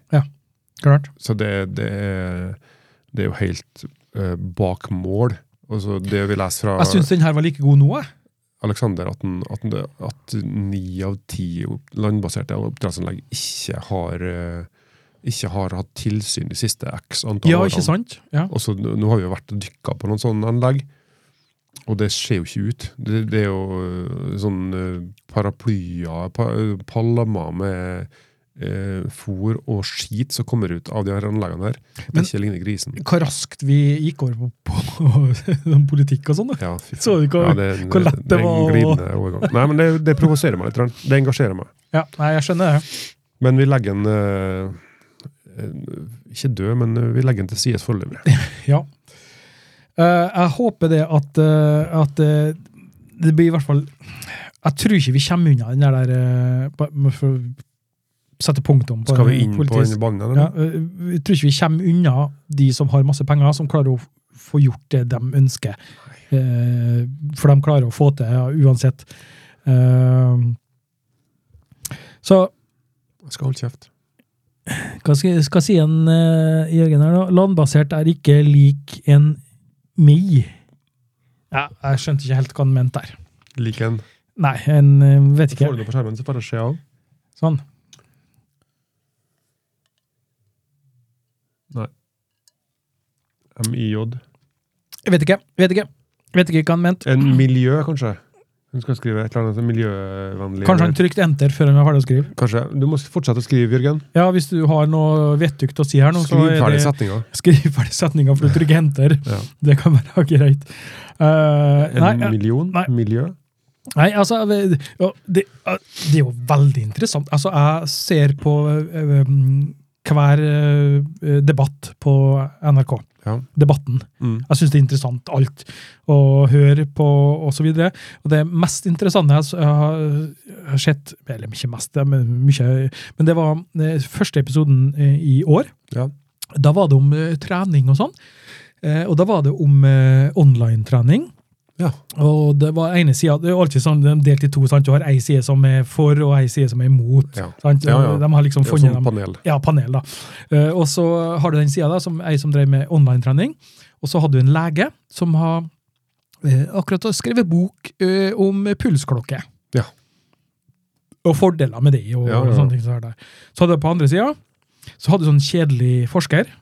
Speaker 1: Klart.
Speaker 2: Så det, det, er, det er jo helt eh, bak mål. Altså det vi leser fra
Speaker 1: Jeg syns den her var like god nå, jeg.
Speaker 2: Alexander, at, den, at, den, at ni av ti opp- landbaserte oppdrettsanlegg ikke har eh, ikke har hatt tilsyn de siste x antall
Speaker 1: Ja,
Speaker 2: årene.
Speaker 1: ikke sant? Ja.
Speaker 2: Og så, nå har vi jo vært og dykka på noen sånne anlegg, og det ser jo ikke ut. Det, det er jo øh, sånn øh, paraplyer, pa, øh, palmer med øh, fôr og skit som kommer ut av de her anleggene her.
Speaker 1: Men-
Speaker 2: det ikke ligner grisen.
Speaker 1: Hvor raskt vi gikk over på, på *laughs* politikk og sånn. da.
Speaker 2: Ja, fy
Speaker 1: Så du hvor-
Speaker 2: faen. Ja, det er en-
Speaker 1: hvor lett det
Speaker 2: er en
Speaker 1: var å-
Speaker 2: glidende overgang. Nei, men det, det provoserer meg litt. grann. Det engasjerer meg.
Speaker 1: Ja, nei, jeg skjønner det.
Speaker 2: Men vi legger en øh, øh, Ikke død, men øh, vi legger en til sides foreløpig.
Speaker 1: Ja. Eh, jeg håper det at, eh, at eh, det blir i hvert fall Jeg tror ikke vi kommer unna den der eh, på- med- for- sette punktum på
Speaker 2: Skal vi
Speaker 1: en
Speaker 2: inn på
Speaker 1: politisk-
Speaker 2: den banen? eller?
Speaker 1: Ja, øh, jeg tror ikke vi kommer unna de som har masse penger, som klarer å f- få gjort det de ønsker. Eh, for de klarer å få til ja, uansett. Eh, så
Speaker 2: Jeg skal holde kjeft.
Speaker 1: hva skal, skal jeg si en, eh, Jørgen her da? Landbasert er ikke lik en mi. Ja, jeg skjønte ikke helt hva han mente der.
Speaker 2: Lik en.
Speaker 1: Nei, en eh, vet ikke.
Speaker 2: Får du det på skjermen, så bare se av.
Speaker 1: Sånn.
Speaker 2: MIJ.
Speaker 1: Jeg vet ikke, vet ikke. Vet ikke hva han mente.
Speaker 2: En miljø, kanskje? Hun skal skrive et eller annet sånn miljøvennlig
Speaker 1: Kanskje han trykte enter før han var ferdig å skrive.
Speaker 2: Kanskje. Du må fortsette å skrive, Jørgen.
Speaker 1: Ja, hvis du har noe vettugt å si her nå, så
Speaker 2: Skriv
Speaker 1: er
Speaker 2: ferdig
Speaker 1: det
Speaker 2: setninga.
Speaker 1: *laughs* Skriv ferdig setninga, for du trykker enter.
Speaker 2: Ja.
Speaker 1: Det kan være *laughs* greit. Eh,
Speaker 2: En
Speaker 1: nei, eh,
Speaker 2: million?
Speaker 1: nei.
Speaker 2: Miljø?
Speaker 1: nei, altså eh, ja, det, eh, det er jo veldig interessant. Altså, jeg ser på eh, um, hver eh, debatt på NRK.
Speaker 2: Ja.
Speaker 1: Debatten.
Speaker 2: Mm.
Speaker 1: Jeg syns det er interessant, alt. Å høre på, og så videre. Og det mest interessante jeg s- jeg har jeg har sett Eller ikke mest, det er mye. Men det var eh, første episoden eh, i år.
Speaker 2: Ja.
Speaker 1: Da var det om eh, trening og sånn. Eh, Og da var det om eh, online-trening.
Speaker 2: Ja.
Speaker 1: Og det var ene sida Det er jo alltid sånn, de er delt i to. sant? Du har ei side som er for, og ei side som er imot.
Speaker 2: Ja.
Speaker 1: Sant?
Speaker 2: Ja, ja.
Speaker 1: De har liksom
Speaker 2: Det er jo
Speaker 1: funnet
Speaker 2: sånn
Speaker 1: dem.
Speaker 2: panel.
Speaker 1: Ja, panel, da. Eh, og så har du den sida, da, som ei som drev med online-trening. Og så hadde du en lege som har eh, akkurat skrevet bok eh, om pulsklokke.
Speaker 2: Ja.
Speaker 1: Og fordeler med det. og,
Speaker 2: Ja, ja, ja.
Speaker 1: sånne ting som er der. Så hadde du på andre sida så hadde du sånn kjedelig forsker.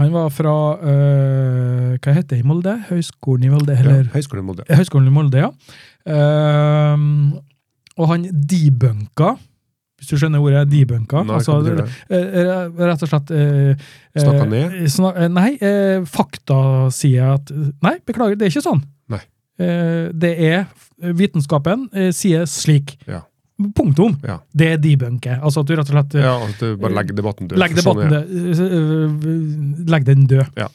Speaker 1: Han var fra eh, Hva heter det i Molde? Høgskolen i Molde,
Speaker 2: Ja.
Speaker 1: eller
Speaker 2: Høgskolen i Molde.
Speaker 1: Eh, Høgskolen i Molde, ja. Ehm, og han debunka, hvis du skjønner ordet debunka.
Speaker 2: Nei,
Speaker 1: altså,
Speaker 2: hva betyr det?
Speaker 1: eh, rett og slett eh, eh,
Speaker 2: Snakka ned?
Speaker 1: sna- eh, nei, eh, fakta sier at Nei, beklager, det er ikke sånn.
Speaker 2: Nei.
Speaker 1: Eh, det er Vitenskapen eh, sier slik.
Speaker 2: Ja.
Speaker 1: Punktum.
Speaker 2: Ja.
Speaker 1: Det er debunke. Altså at du rett og slett eh,
Speaker 2: Ja, altså, du bare legg debatten død.
Speaker 1: Legg
Speaker 2: for sånn
Speaker 1: debatten
Speaker 2: er det.
Speaker 1: død. Legg den død.
Speaker 2: Ja.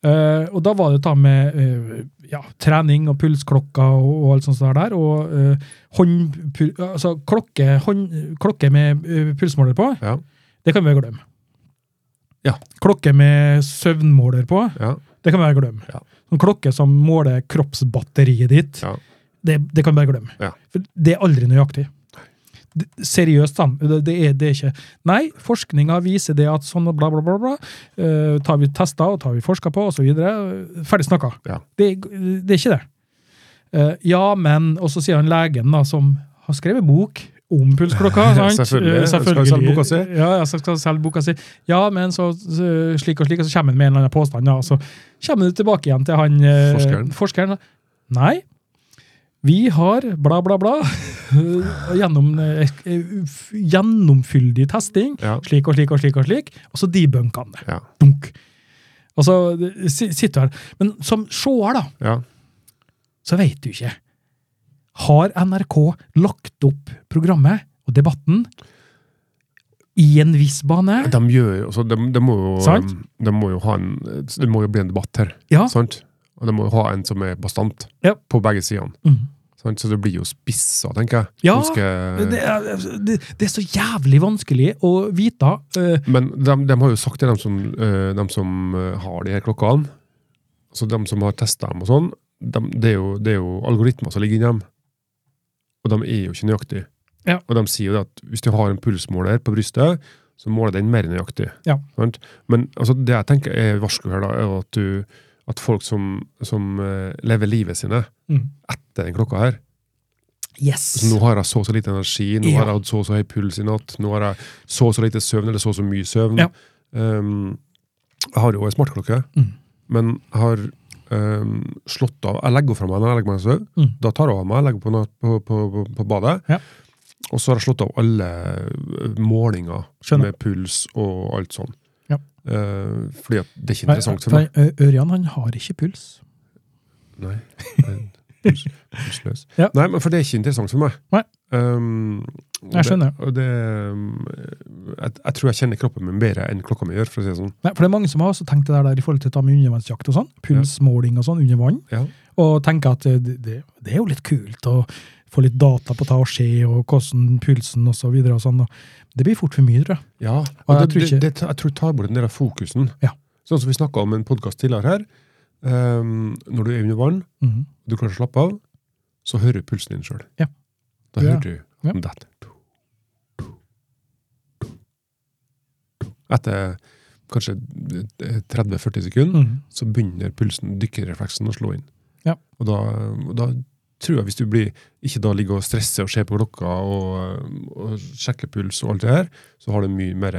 Speaker 1: Eh, og da var det ta med eh, ja, trening og pulsklokker og, og alt sånt der. der og eh, hånd, pu- altså klokke, hånd, klokke med eh, pulsmåler på,
Speaker 2: Ja.
Speaker 1: det kan vi glemme.
Speaker 2: Ja.
Speaker 1: Klokke med søvnmåler på,
Speaker 2: Ja.
Speaker 1: det kan vi glemme.
Speaker 2: Ja.
Speaker 1: Sånn klokke som måler kroppsbatteriet ditt,
Speaker 2: Ja.
Speaker 1: det, det kan vi bare glemme.
Speaker 2: Ja.
Speaker 1: For det er aldri nøyaktig. Det, seriøst, da. Det, det, er, det er ikke Nei, forskninga viser det at sånn og bla, bla, bla. bla. Eh, tar vi tester og tar vi forsker på, osv. Ferdig snakka.
Speaker 2: Ja.
Speaker 1: Det, det er ikke det. Eh, ja, men Og så sier han legen, da, som har skrevet bok om
Speaker 2: *laughs*
Speaker 1: pulsklokka. sant?
Speaker 2: Selvfølgelig.
Speaker 1: Eh,
Speaker 2: Skal selge boka si.
Speaker 1: Ja, ja, så skal selge boka si. Ja, men så, så slik og slik, og så kommer han med en eller annen påstand, da, og så kommer du tilbake igjen til han eh,
Speaker 2: Forskeren.
Speaker 1: forskeren da. Nei. Vi har bla, bla, *laughs* bla. Gjennom, eh, f- gjennomfyldig testing.
Speaker 2: Ja.
Speaker 1: Slik og slik og slik og slik. Og så debunker han det.
Speaker 2: Ja.
Speaker 1: Dunk. Og så eh, si- sitter du her. Men som seer, da,
Speaker 2: ja.
Speaker 1: så vet du ikke. Har NRK lagt opp programmet og debatten i en viss bane?
Speaker 2: De gjør jo altså, de, de må jo
Speaker 1: Sant?
Speaker 2: um, De må jo ha en Det må jo bli en debatt her.
Speaker 1: Ja.
Speaker 2: Sant? Og de må jo ha en som er bastant
Speaker 1: Ja.
Speaker 2: på begge sidene.
Speaker 1: Mm.
Speaker 2: Sant? Så det blir jo spissa, tenker jeg.
Speaker 1: Ja,
Speaker 2: Som skal-
Speaker 1: Det er, altså, det, det er så jævlig vanskelig å vite. eh,
Speaker 2: Men de, de har jo sagt til dem som, eh, dem som eh, har de her klokkene, altså dem som har testa dem og sånn, dem- det, er jo, det er jo algoritmer som ligger inni dem. Og de er jo ikke nøyaktige.
Speaker 1: Ja.
Speaker 2: Og de sier jo det at hvis du har en pulsmåler på brystet, så måler den mer nøyaktig.
Speaker 1: Ja.
Speaker 2: Sant? Men altså, det jeg tenker er varsko her, da, er jo at, du, at folk som, som eh, lever livet sine
Speaker 1: Mm.
Speaker 2: etter den klokka her
Speaker 1: Yes!
Speaker 2: så nå har jeg så og så lite energi, nå
Speaker 1: Ja.
Speaker 2: har jeg hatt så og så høy puls i natt, nå har jeg så og så lite søvn, eller så og så mye søvn.
Speaker 1: Ja.
Speaker 2: Um, jeg har jo ei smartklokke,
Speaker 1: Mm.
Speaker 2: men jeg har um, slått av Jeg legger henne fra meg når jeg legger meg til å sove.
Speaker 1: Mm.
Speaker 2: Da tar hun av meg, jeg legger på, na- på, på, på, på badet.
Speaker 1: Ja.
Speaker 2: Og så har jeg slått av alle eh, målinger
Speaker 1: Skjønner.
Speaker 2: med puls og alt sånn.
Speaker 1: Ja.
Speaker 2: Eh, fordi at det er ikke interessant for
Speaker 1: Nei,
Speaker 2: meg.
Speaker 1: nei, Ø- Ørjan han har ikke puls. *laughs*
Speaker 2: Nei. Puls- Pulsløs.
Speaker 1: Ja.
Speaker 2: Nei, men for det er ikke interessant for meg.
Speaker 1: Nei.
Speaker 2: Um, og
Speaker 1: Jeg skjønner.
Speaker 2: Det, og det, um, jeg, jeg tror jeg kjenner kroppen min bedre enn klokka mi gjør, for å si det sånn.
Speaker 1: Nei, for det er mange som har også tenkt det der, der i forhold til å ta med undervannsjakt og sånn. Pulsmåling og sånn under vann.
Speaker 2: Ja.
Speaker 1: og tenker at eh, det, det er jo litt kult å få litt data på hva som skjer, og hvordan pulsen og så videre og sånn. da. Det blir fort for mye, tror jeg.
Speaker 2: Ja,
Speaker 1: Og jeg
Speaker 2: og det,
Speaker 1: tror
Speaker 2: det,
Speaker 1: ikke-
Speaker 2: det, jeg tror det tar bort en del av fokusen.
Speaker 1: Ja.
Speaker 2: Sånn som vi snakka om en podkast tidligere her. ehm, når du er under vann,
Speaker 1: Mhm.
Speaker 2: du klarer å slappe av, så hører pulsen din sjøl.
Speaker 1: Ja.
Speaker 2: Da
Speaker 1: Ja.
Speaker 2: hører du
Speaker 1: Ja.
Speaker 2: om dette. Etter kanskje eh, 30-40 sekunder,
Speaker 1: Mhm.
Speaker 2: så begynner pulsen, dykkerrefleksen, å slå inn.
Speaker 1: Ja.
Speaker 2: Og da, og da tror jeg, hvis du blir, ikke da ligger og stresser og ser på klokka og, og sjekker puls og alt det her, så har du mye mer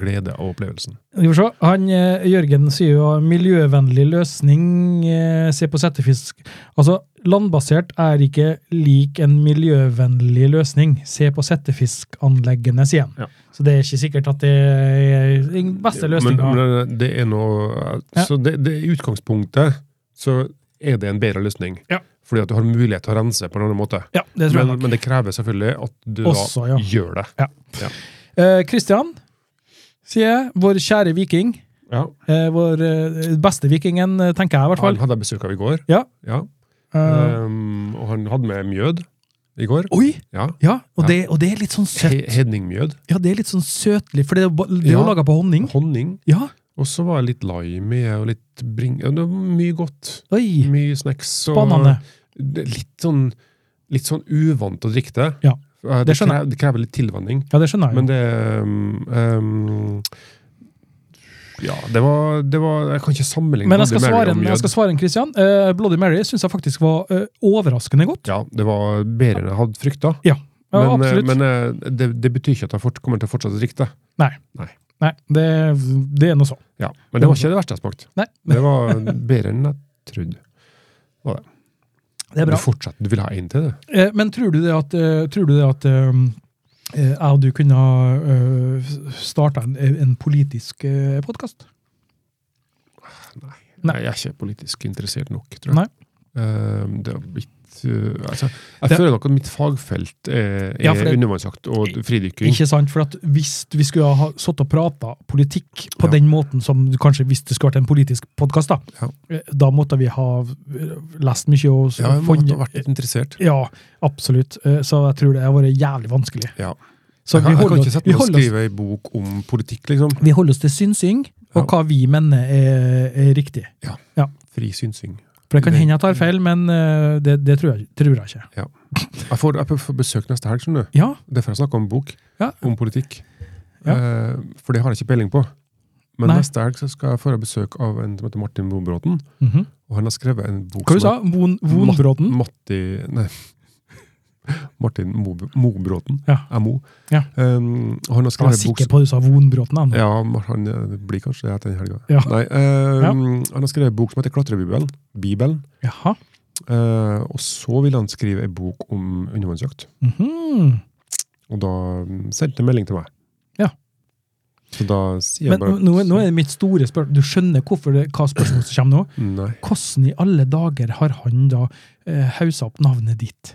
Speaker 2: glede av opplevelsen.
Speaker 1: Vi får se. Han, eh, Jørgen sier jo miljøvennlig løsning, eh, se på settefisk. Altså, landbasert er ikke lik en miljøvennlig løsning. Se på settefiskanleggene, sier han.
Speaker 2: Ja.
Speaker 1: Så det er ikke sikkert at det er den beste
Speaker 2: Men,
Speaker 1: løsninga.
Speaker 2: men det er noe,
Speaker 1: Ja.
Speaker 2: så det, det, i utgangspunktet så er det en bedre løsning.
Speaker 1: Ja.
Speaker 2: Fordi at du har mulighet til å rense på en annen måte.
Speaker 1: Ja, det sånn. tror jeg
Speaker 2: Men,
Speaker 1: nok.
Speaker 2: men det krever selvfølgelig at du
Speaker 1: Også, ja.
Speaker 2: da gjør det.
Speaker 1: Eh, Christian, sier jeg, vår kjære viking.
Speaker 2: Ja.
Speaker 1: Eh, vår eh, beste vikingen, eh, tenker jeg i hvert fall.
Speaker 2: Han hadde jeg besøk av i går.
Speaker 1: Ja. Oh. Eh,
Speaker 2: Ehm, og han hadde med mjød i går.
Speaker 1: oi!
Speaker 2: Ja.
Speaker 1: Ja, og
Speaker 2: Ja.
Speaker 1: det, og det er litt sånn søtt.
Speaker 2: He- Hedningmjød.
Speaker 1: Ja, det er litt sånn søtlig, for det er jo ba- det er jo
Speaker 2: Ja.
Speaker 1: laga på honning.
Speaker 2: Honning.
Speaker 1: Ja,
Speaker 2: Og så var det litt lime i, og litt bring... ja, Det var mye godt.
Speaker 1: oi!
Speaker 2: Mye snacks. Og
Speaker 1: Spennende.
Speaker 2: Det er Litt sånn, litt sånn uvant å drikke det.
Speaker 1: Ja,
Speaker 2: Eh,
Speaker 1: det
Speaker 2: Det,
Speaker 1: skjønner
Speaker 2: krever, det krever litt tilvenning.
Speaker 1: Ja, det skjønner jeg.
Speaker 2: Men
Speaker 1: jo.
Speaker 2: det um, um, Ja, det var, det var Jeg kan ikke sammenligne
Speaker 1: Men jeg skal svare
Speaker 2: Bloody Mary og
Speaker 1: en, jeg
Speaker 2: mjød.
Speaker 1: skal svare en Christian. Eh, Bloody Mary syns jeg faktisk var eh, overraskende godt.
Speaker 2: Ja, det var bedre enn jeg hadde frykta.
Speaker 1: Ja,
Speaker 2: men eh,
Speaker 1: absolutt.
Speaker 2: men eh, det, det betyr ikke at jeg fort, kommer til å fortsette å drikke det.
Speaker 1: Nei, det, det er noe sånn.
Speaker 2: Ja, men det var ikke det verste jeg smakte.
Speaker 1: Nei,
Speaker 2: Det var bedre enn jeg trodde.
Speaker 1: det er
Speaker 2: Du
Speaker 1: bra.
Speaker 2: fortsetter, du vil ha en til, du.
Speaker 1: Eh, men tror du det at, eh, tror du det at eh, eh, jeg og du kunne ha uh, starta en, eh, en politisk uh, podkast? Nei.
Speaker 2: Nei, jeg er ikke politisk interessert nok, tror jeg.
Speaker 1: Nei.
Speaker 2: Eh, det er blitt eh, altså, Jeg
Speaker 1: Det-
Speaker 2: føler nok at mitt fagfelt eh, er, er
Speaker 1: Ja, for det-
Speaker 2: undervannsjakt og fridykking.
Speaker 1: Ikke sant? For at hvis vi skulle ha sittet og prata politikk på
Speaker 2: Ja.
Speaker 1: den måten som du kanskje hvis det skulle vært en politisk podkast, da, eh, da måtte vi ha eh, lest mye og så
Speaker 2: Ja, jeg
Speaker 1: funnet-
Speaker 2: måtte ha vært litt interessert.
Speaker 1: Ja, absolutt. Eh, Så jeg tror det har vært jævlig vanskelig.
Speaker 2: Ja.
Speaker 1: Så vi
Speaker 2: jeg, kan, jeg
Speaker 1: holder,
Speaker 2: kan
Speaker 1: oss-
Speaker 2: ikke sette
Speaker 1: vi,
Speaker 2: meg og
Speaker 1: holder oss,
Speaker 2: skrive ei bok om politikk, liksom.
Speaker 1: vi holder oss til synsing, og
Speaker 2: Ja.
Speaker 1: hva vi mener er, er riktig.
Speaker 2: Fri synsing.
Speaker 1: For det kan
Speaker 2: Det-
Speaker 1: hende jeg tar feil, men eh, det, det tror, jeg, tror jeg ikke.
Speaker 2: Jeg får, jeg får besøk neste helg, skjønner du.
Speaker 1: Ja,
Speaker 2: Derfor jeg snakka om bok.
Speaker 1: Ja.
Speaker 2: Om politikk.
Speaker 1: Ja.
Speaker 2: Eh, for det har jeg ikke peiling på. Men
Speaker 1: Nei.
Speaker 2: neste helg så skal jeg få besøk av en som heter Martin Bobråten.
Speaker 1: mhm.
Speaker 2: Og han har skrevet en bok
Speaker 1: Hva du
Speaker 2: som
Speaker 1: sa Von, Vonbråten?
Speaker 2: Mat- Matti Nei. Martin Mob- Mobråten.
Speaker 1: Ja.
Speaker 2: MO.
Speaker 1: Ja.
Speaker 2: Um, og han har
Speaker 1: Jeg var
Speaker 2: skrevet bok
Speaker 1: sikker på at du sa Vonbråten. han.
Speaker 2: Ja, men han eh, blir kanskje det etter den helga.
Speaker 1: Ja.
Speaker 2: Nei, um, Han har skrevet en bok som heter Klatrebibelen. Bibelen.
Speaker 1: Jaha.
Speaker 2: Eh, og så ville han skrive en bok om undervannsjakt.
Speaker 1: Mhm.
Speaker 2: Og da mm, sendte han melding til meg.
Speaker 1: Ja.
Speaker 2: Så da sier
Speaker 1: Men
Speaker 2: jeg bare
Speaker 1: nå, nå er det mitt store spørsmål. Du skjønner hvorfor det, hva spørsmålet som kommer nå?
Speaker 2: Nei.
Speaker 1: Hvordan i alle dager har han da eh, hausa opp navnet ditt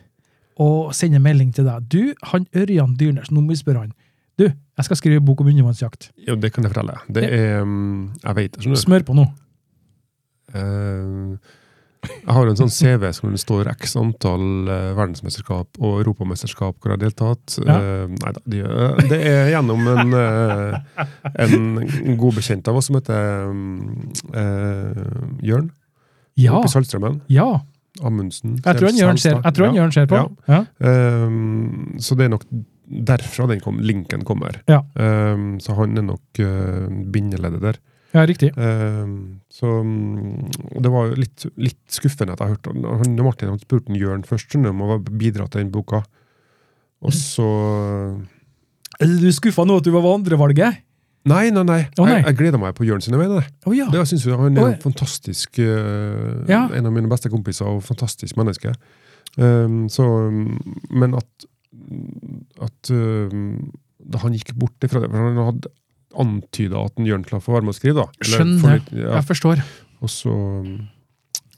Speaker 1: og sender melding til deg? Du, han Ørjan Dyrnes, nå må vi spørre han. Du, jeg skal skrive bok om undervannsjakt.
Speaker 2: Jo, det kan jeg fortelle. deg. Det er mm, Jeg vet det, skjønner du.
Speaker 1: Smør på nå.
Speaker 2: Eh, jeg har en sånn CV som det står x antall eh, verdensmesterskap og europamesterskap hvor jeg har deltatt.
Speaker 1: Ja.
Speaker 2: Eh, nei da, det, gjør- det er gjennom en, eh, en god bekjent av oss som heter mm, eh, Jørn.
Speaker 1: Ja.
Speaker 2: Oppe i Saltstraumen.
Speaker 1: ja.
Speaker 2: Amundsen.
Speaker 1: Ah. Jeg tror han Jørn ser, jeg tror han
Speaker 2: Ja.
Speaker 1: Jørn ser på. Ja.
Speaker 2: Ehm, så det er nok derfra den kom, linken kommer.
Speaker 1: Ja.
Speaker 2: Ehm, så han er nok uh, bindeleddet der.
Speaker 1: ja, riktig.
Speaker 2: Ehm, så mm, og Det var jo litt, litt skuffende at jeg hørte han, han Martin han spurte han Jørn først skjønner du, om å bidra til den boka. Og
Speaker 1: Mm.
Speaker 2: så
Speaker 1: Du skuffa nå at du var ved andrevalget?
Speaker 2: Nei, nei, nei.
Speaker 1: Å, nei.
Speaker 2: Jeg, jeg gleder meg på Jørn sine vegne.
Speaker 1: Å ja.
Speaker 2: Det, jeg synes jo han er
Speaker 1: Oi.
Speaker 2: en fantastisk eh,
Speaker 1: Ja.
Speaker 2: En av mine beste kompiser og fantastisk menneske. Um, så, um, men at, at um, da han gikk bort ifra det for Han hadde antyda at en Jørn slapp å være med å skrive. da.
Speaker 1: Skjønner.
Speaker 2: for litt- ja.
Speaker 1: Jeg forstår.
Speaker 2: Og så um,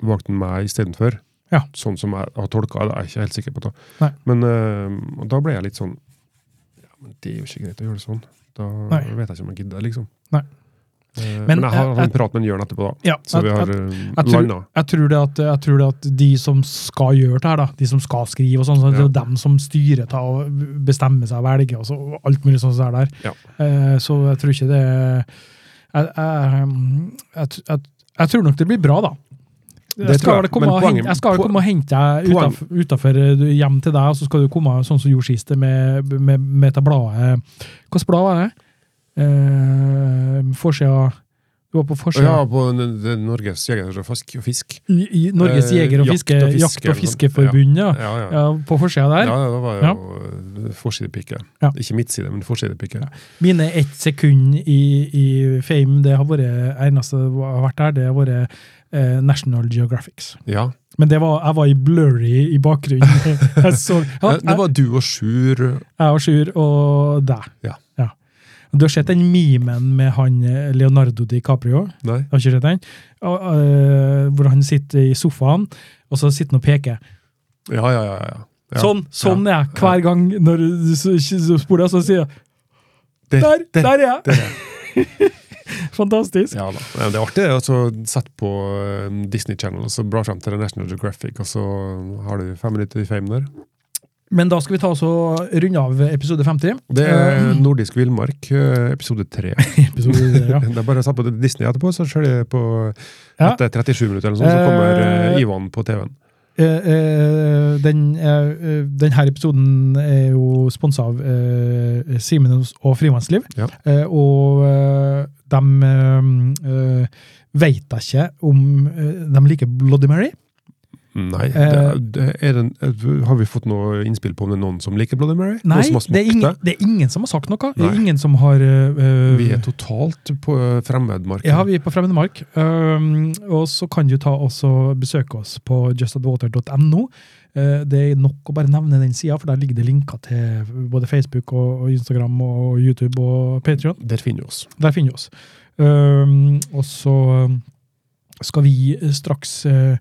Speaker 2: valgte han meg istedenfor.
Speaker 1: Ja.
Speaker 2: Sånn som jeg har tolka det. Jeg er ikke helt sikker på det.
Speaker 1: Nei.
Speaker 2: Men um, og da ble jeg litt sånn Ja, men det er jo ikke greit å gjøre det sånn. Da
Speaker 1: Nei.
Speaker 2: vet jeg ikke om jeg gidder, liksom.
Speaker 1: Nei.
Speaker 2: Eh,
Speaker 1: Men
Speaker 2: Men, jeg har
Speaker 1: jeg-
Speaker 2: hatt en prat med en Jørn etterpå, da.
Speaker 1: Ja,
Speaker 2: Så vi
Speaker 1: jeg-
Speaker 2: har um,
Speaker 1: Jeg tror,
Speaker 2: landa.
Speaker 1: jeg, tror det at, jeg tror det at de som skal gjøre det her, da, de som skal skrive, og sånn, så det er jo dem som styrer ta og bestemmer seg og velger og, så, og alt mulig sånt som det der.
Speaker 2: Ja.
Speaker 1: Eh, så jeg tror ikke det jeg, jeg, um, jeg, jeg, jeg tror nok det blir bra, da.
Speaker 2: Det
Speaker 1: Jeg
Speaker 2: tror
Speaker 1: skal,
Speaker 2: jeg,
Speaker 1: vel komme
Speaker 2: men
Speaker 1: og hente,
Speaker 2: poenget-
Speaker 1: jeg skal vel
Speaker 2: poen-
Speaker 1: komme og hente deg
Speaker 2: poen-
Speaker 1: utaf- utafor eh, hjem til deg, og så skal du komme sånn som gjorde sist, med, med, med det bladet Hvilket blad var det? Eh, forsida Du var på forsida?
Speaker 2: Ja, på den- den Norges jeger og fisk. og fisk.
Speaker 1: I, i Norges
Speaker 2: Eh,
Speaker 1: jeger- og,
Speaker 2: jakt
Speaker 1: fiske,
Speaker 2: og fiske,
Speaker 1: jakt- og
Speaker 2: eller noe sånt.
Speaker 1: fiskeforbund, ja.
Speaker 2: Ja, ja.
Speaker 1: ja. På forsida der.
Speaker 2: Ja, det var
Speaker 1: Ja.
Speaker 2: jo eh, forsidepikke.
Speaker 1: Ja.
Speaker 2: Ikke midtside, men forsidepikke.
Speaker 1: Mine ett sekund i, i fame, det har vært eneste jeg har vært der, det har vært eh, National Geographics.
Speaker 2: Ja.
Speaker 1: Men det var, jeg var i blurry i
Speaker 2: *laughs*
Speaker 1: bakgrunnen. Jeg, så, ja,
Speaker 2: Eh, Det var du og
Speaker 1: jeg
Speaker 2: Sjur
Speaker 1: og Sjur og deg.
Speaker 2: Ja.
Speaker 1: Du har sett den memen med han eh, Leonardo DiCaprio?
Speaker 2: Nei.
Speaker 1: Jeg har ikke sett den. Og, eh, hvor han sitter i sofaen, og så sitter han og peker.
Speaker 2: Ja, ja, ja. ja. ja.
Speaker 1: Sånn, sånn er jeg hver gang når du s- s- spoler, så sier jeg
Speaker 2: Det-
Speaker 1: Der,
Speaker 2: det-
Speaker 1: der er jeg!
Speaker 2: det er
Speaker 1: *laughs* Fantastisk.
Speaker 2: Ja da. Nei, Det er artig å altså, sette på eh, Disney Channel og så blar frem til National Geographic, og så har du fem minutter i fame der.
Speaker 1: Men da skal vi ta oss og runde av episode 50.
Speaker 2: Det er Nordisk villmark, eh, episode
Speaker 1: *laughs*
Speaker 2: tre.
Speaker 1: Eh, episode, ja.
Speaker 2: Det er bare å sette på Disney etterpå, så ser de på
Speaker 1: Ja.
Speaker 2: etter 37 minutter eller sånn, så kommer eh,
Speaker 1: Eh,
Speaker 2: Ivan på TV-en.
Speaker 1: *laughs* Eh, eh, den, eh, eh, den her episoden er jo sponsa av eh, Simen og Frimannsliv.
Speaker 2: Ja.
Speaker 1: Eh, og eh, de eh, eh, veit da ikke om eh, de liker Bloody Mary.
Speaker 2: Nei, det,
Speaker 1: eh,
Speaker 2: er- det er en, eh, Har vi fått noe innspill på om det er noen som liker Bloody Mary?
Speaker 1: Nei,
Speaker 2: noen som har smakt
Speaker 1: det er, ingen,
Speaker 2: det?
Speaker 1: det er ingen som har sagt noe. Det
Speaker 2: Nei.
Speaker 1: er ingen som har eh, eh,
Speaker 2: Vi er totalt på eh, fremmedmarken.
Speaker 1: Ja, vi er på fremmed mark. Um, og så kan du ta også besøke oss på justadwater.no. Eh, det er nok å bare nevne den sida, for der ligger det linker til både Facebook og, og Instagram og YouTube og Patreon.
Speaker 2: Der finner vi oss.
Speaker 1: Der finner du oss. Um, og så um, skal vi straks eh,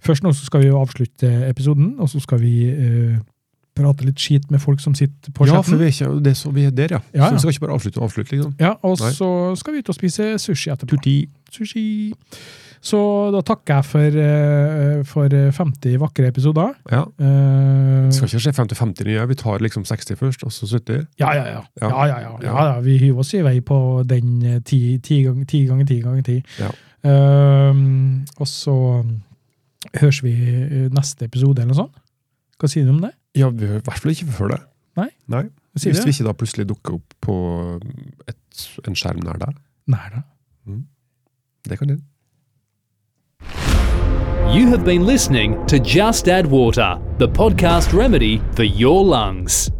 Speaker 1: Først nå så skal vi jo avslutte episoden, og så skal vi eh, prate litt skit med folk som sitter på
Speaker 2: Ja,
Speaker 1: chatten.
Speaker 2: for vi er, ikke, det er så, vi er der, ja.
Speaker 1: Ja,
Speaker 2: Så
Speaker 1: ja.
Speaker 2: vi skal ikke bare avslutte og avslutte, liksom.
Speaker 1: Ja, og
Speaker 2: Nei.
Speaker 1: så skal vi ut og spise sushi etterpå. Sushi. Så da takker jeg for, eh, for 50 vakre episoder.
Speaker 2: Ja.
Speaker 1: Eh,
Speaker 2: Vi skal ikke se 50-50 nye, vi tar liksom 60 først, og så 70.
Speaker 1: ja, ja, ja.
Speaker 2: Ja.
Speaker 1: Ja, ja, ja. ja, ja. Vi hyver oss i vei på den eh, ti ti gang- ti ganger ti ganger ti.
Speaker 2: Ja.
Speaker 1: Eh, og så høres vi i neste episode eller noe sånt. Hva sier du om det?
Speaker 2: Ja, vi hører i hvert fall ikke før det.
Speaker 1: Nei. Sier
Speaker 2: Hvis
Speaker 1: du
Speaker 2: vi
Speaker 1: det?
Speaker 2: ikke da plutselig dukker opp på et, en skjerm nær deg.
Speaker 1: Nei da.
Speaker 2: Det kan hende.
Speaker 3: You have been listening to Just Add Water, the podcast remedy for your lungs.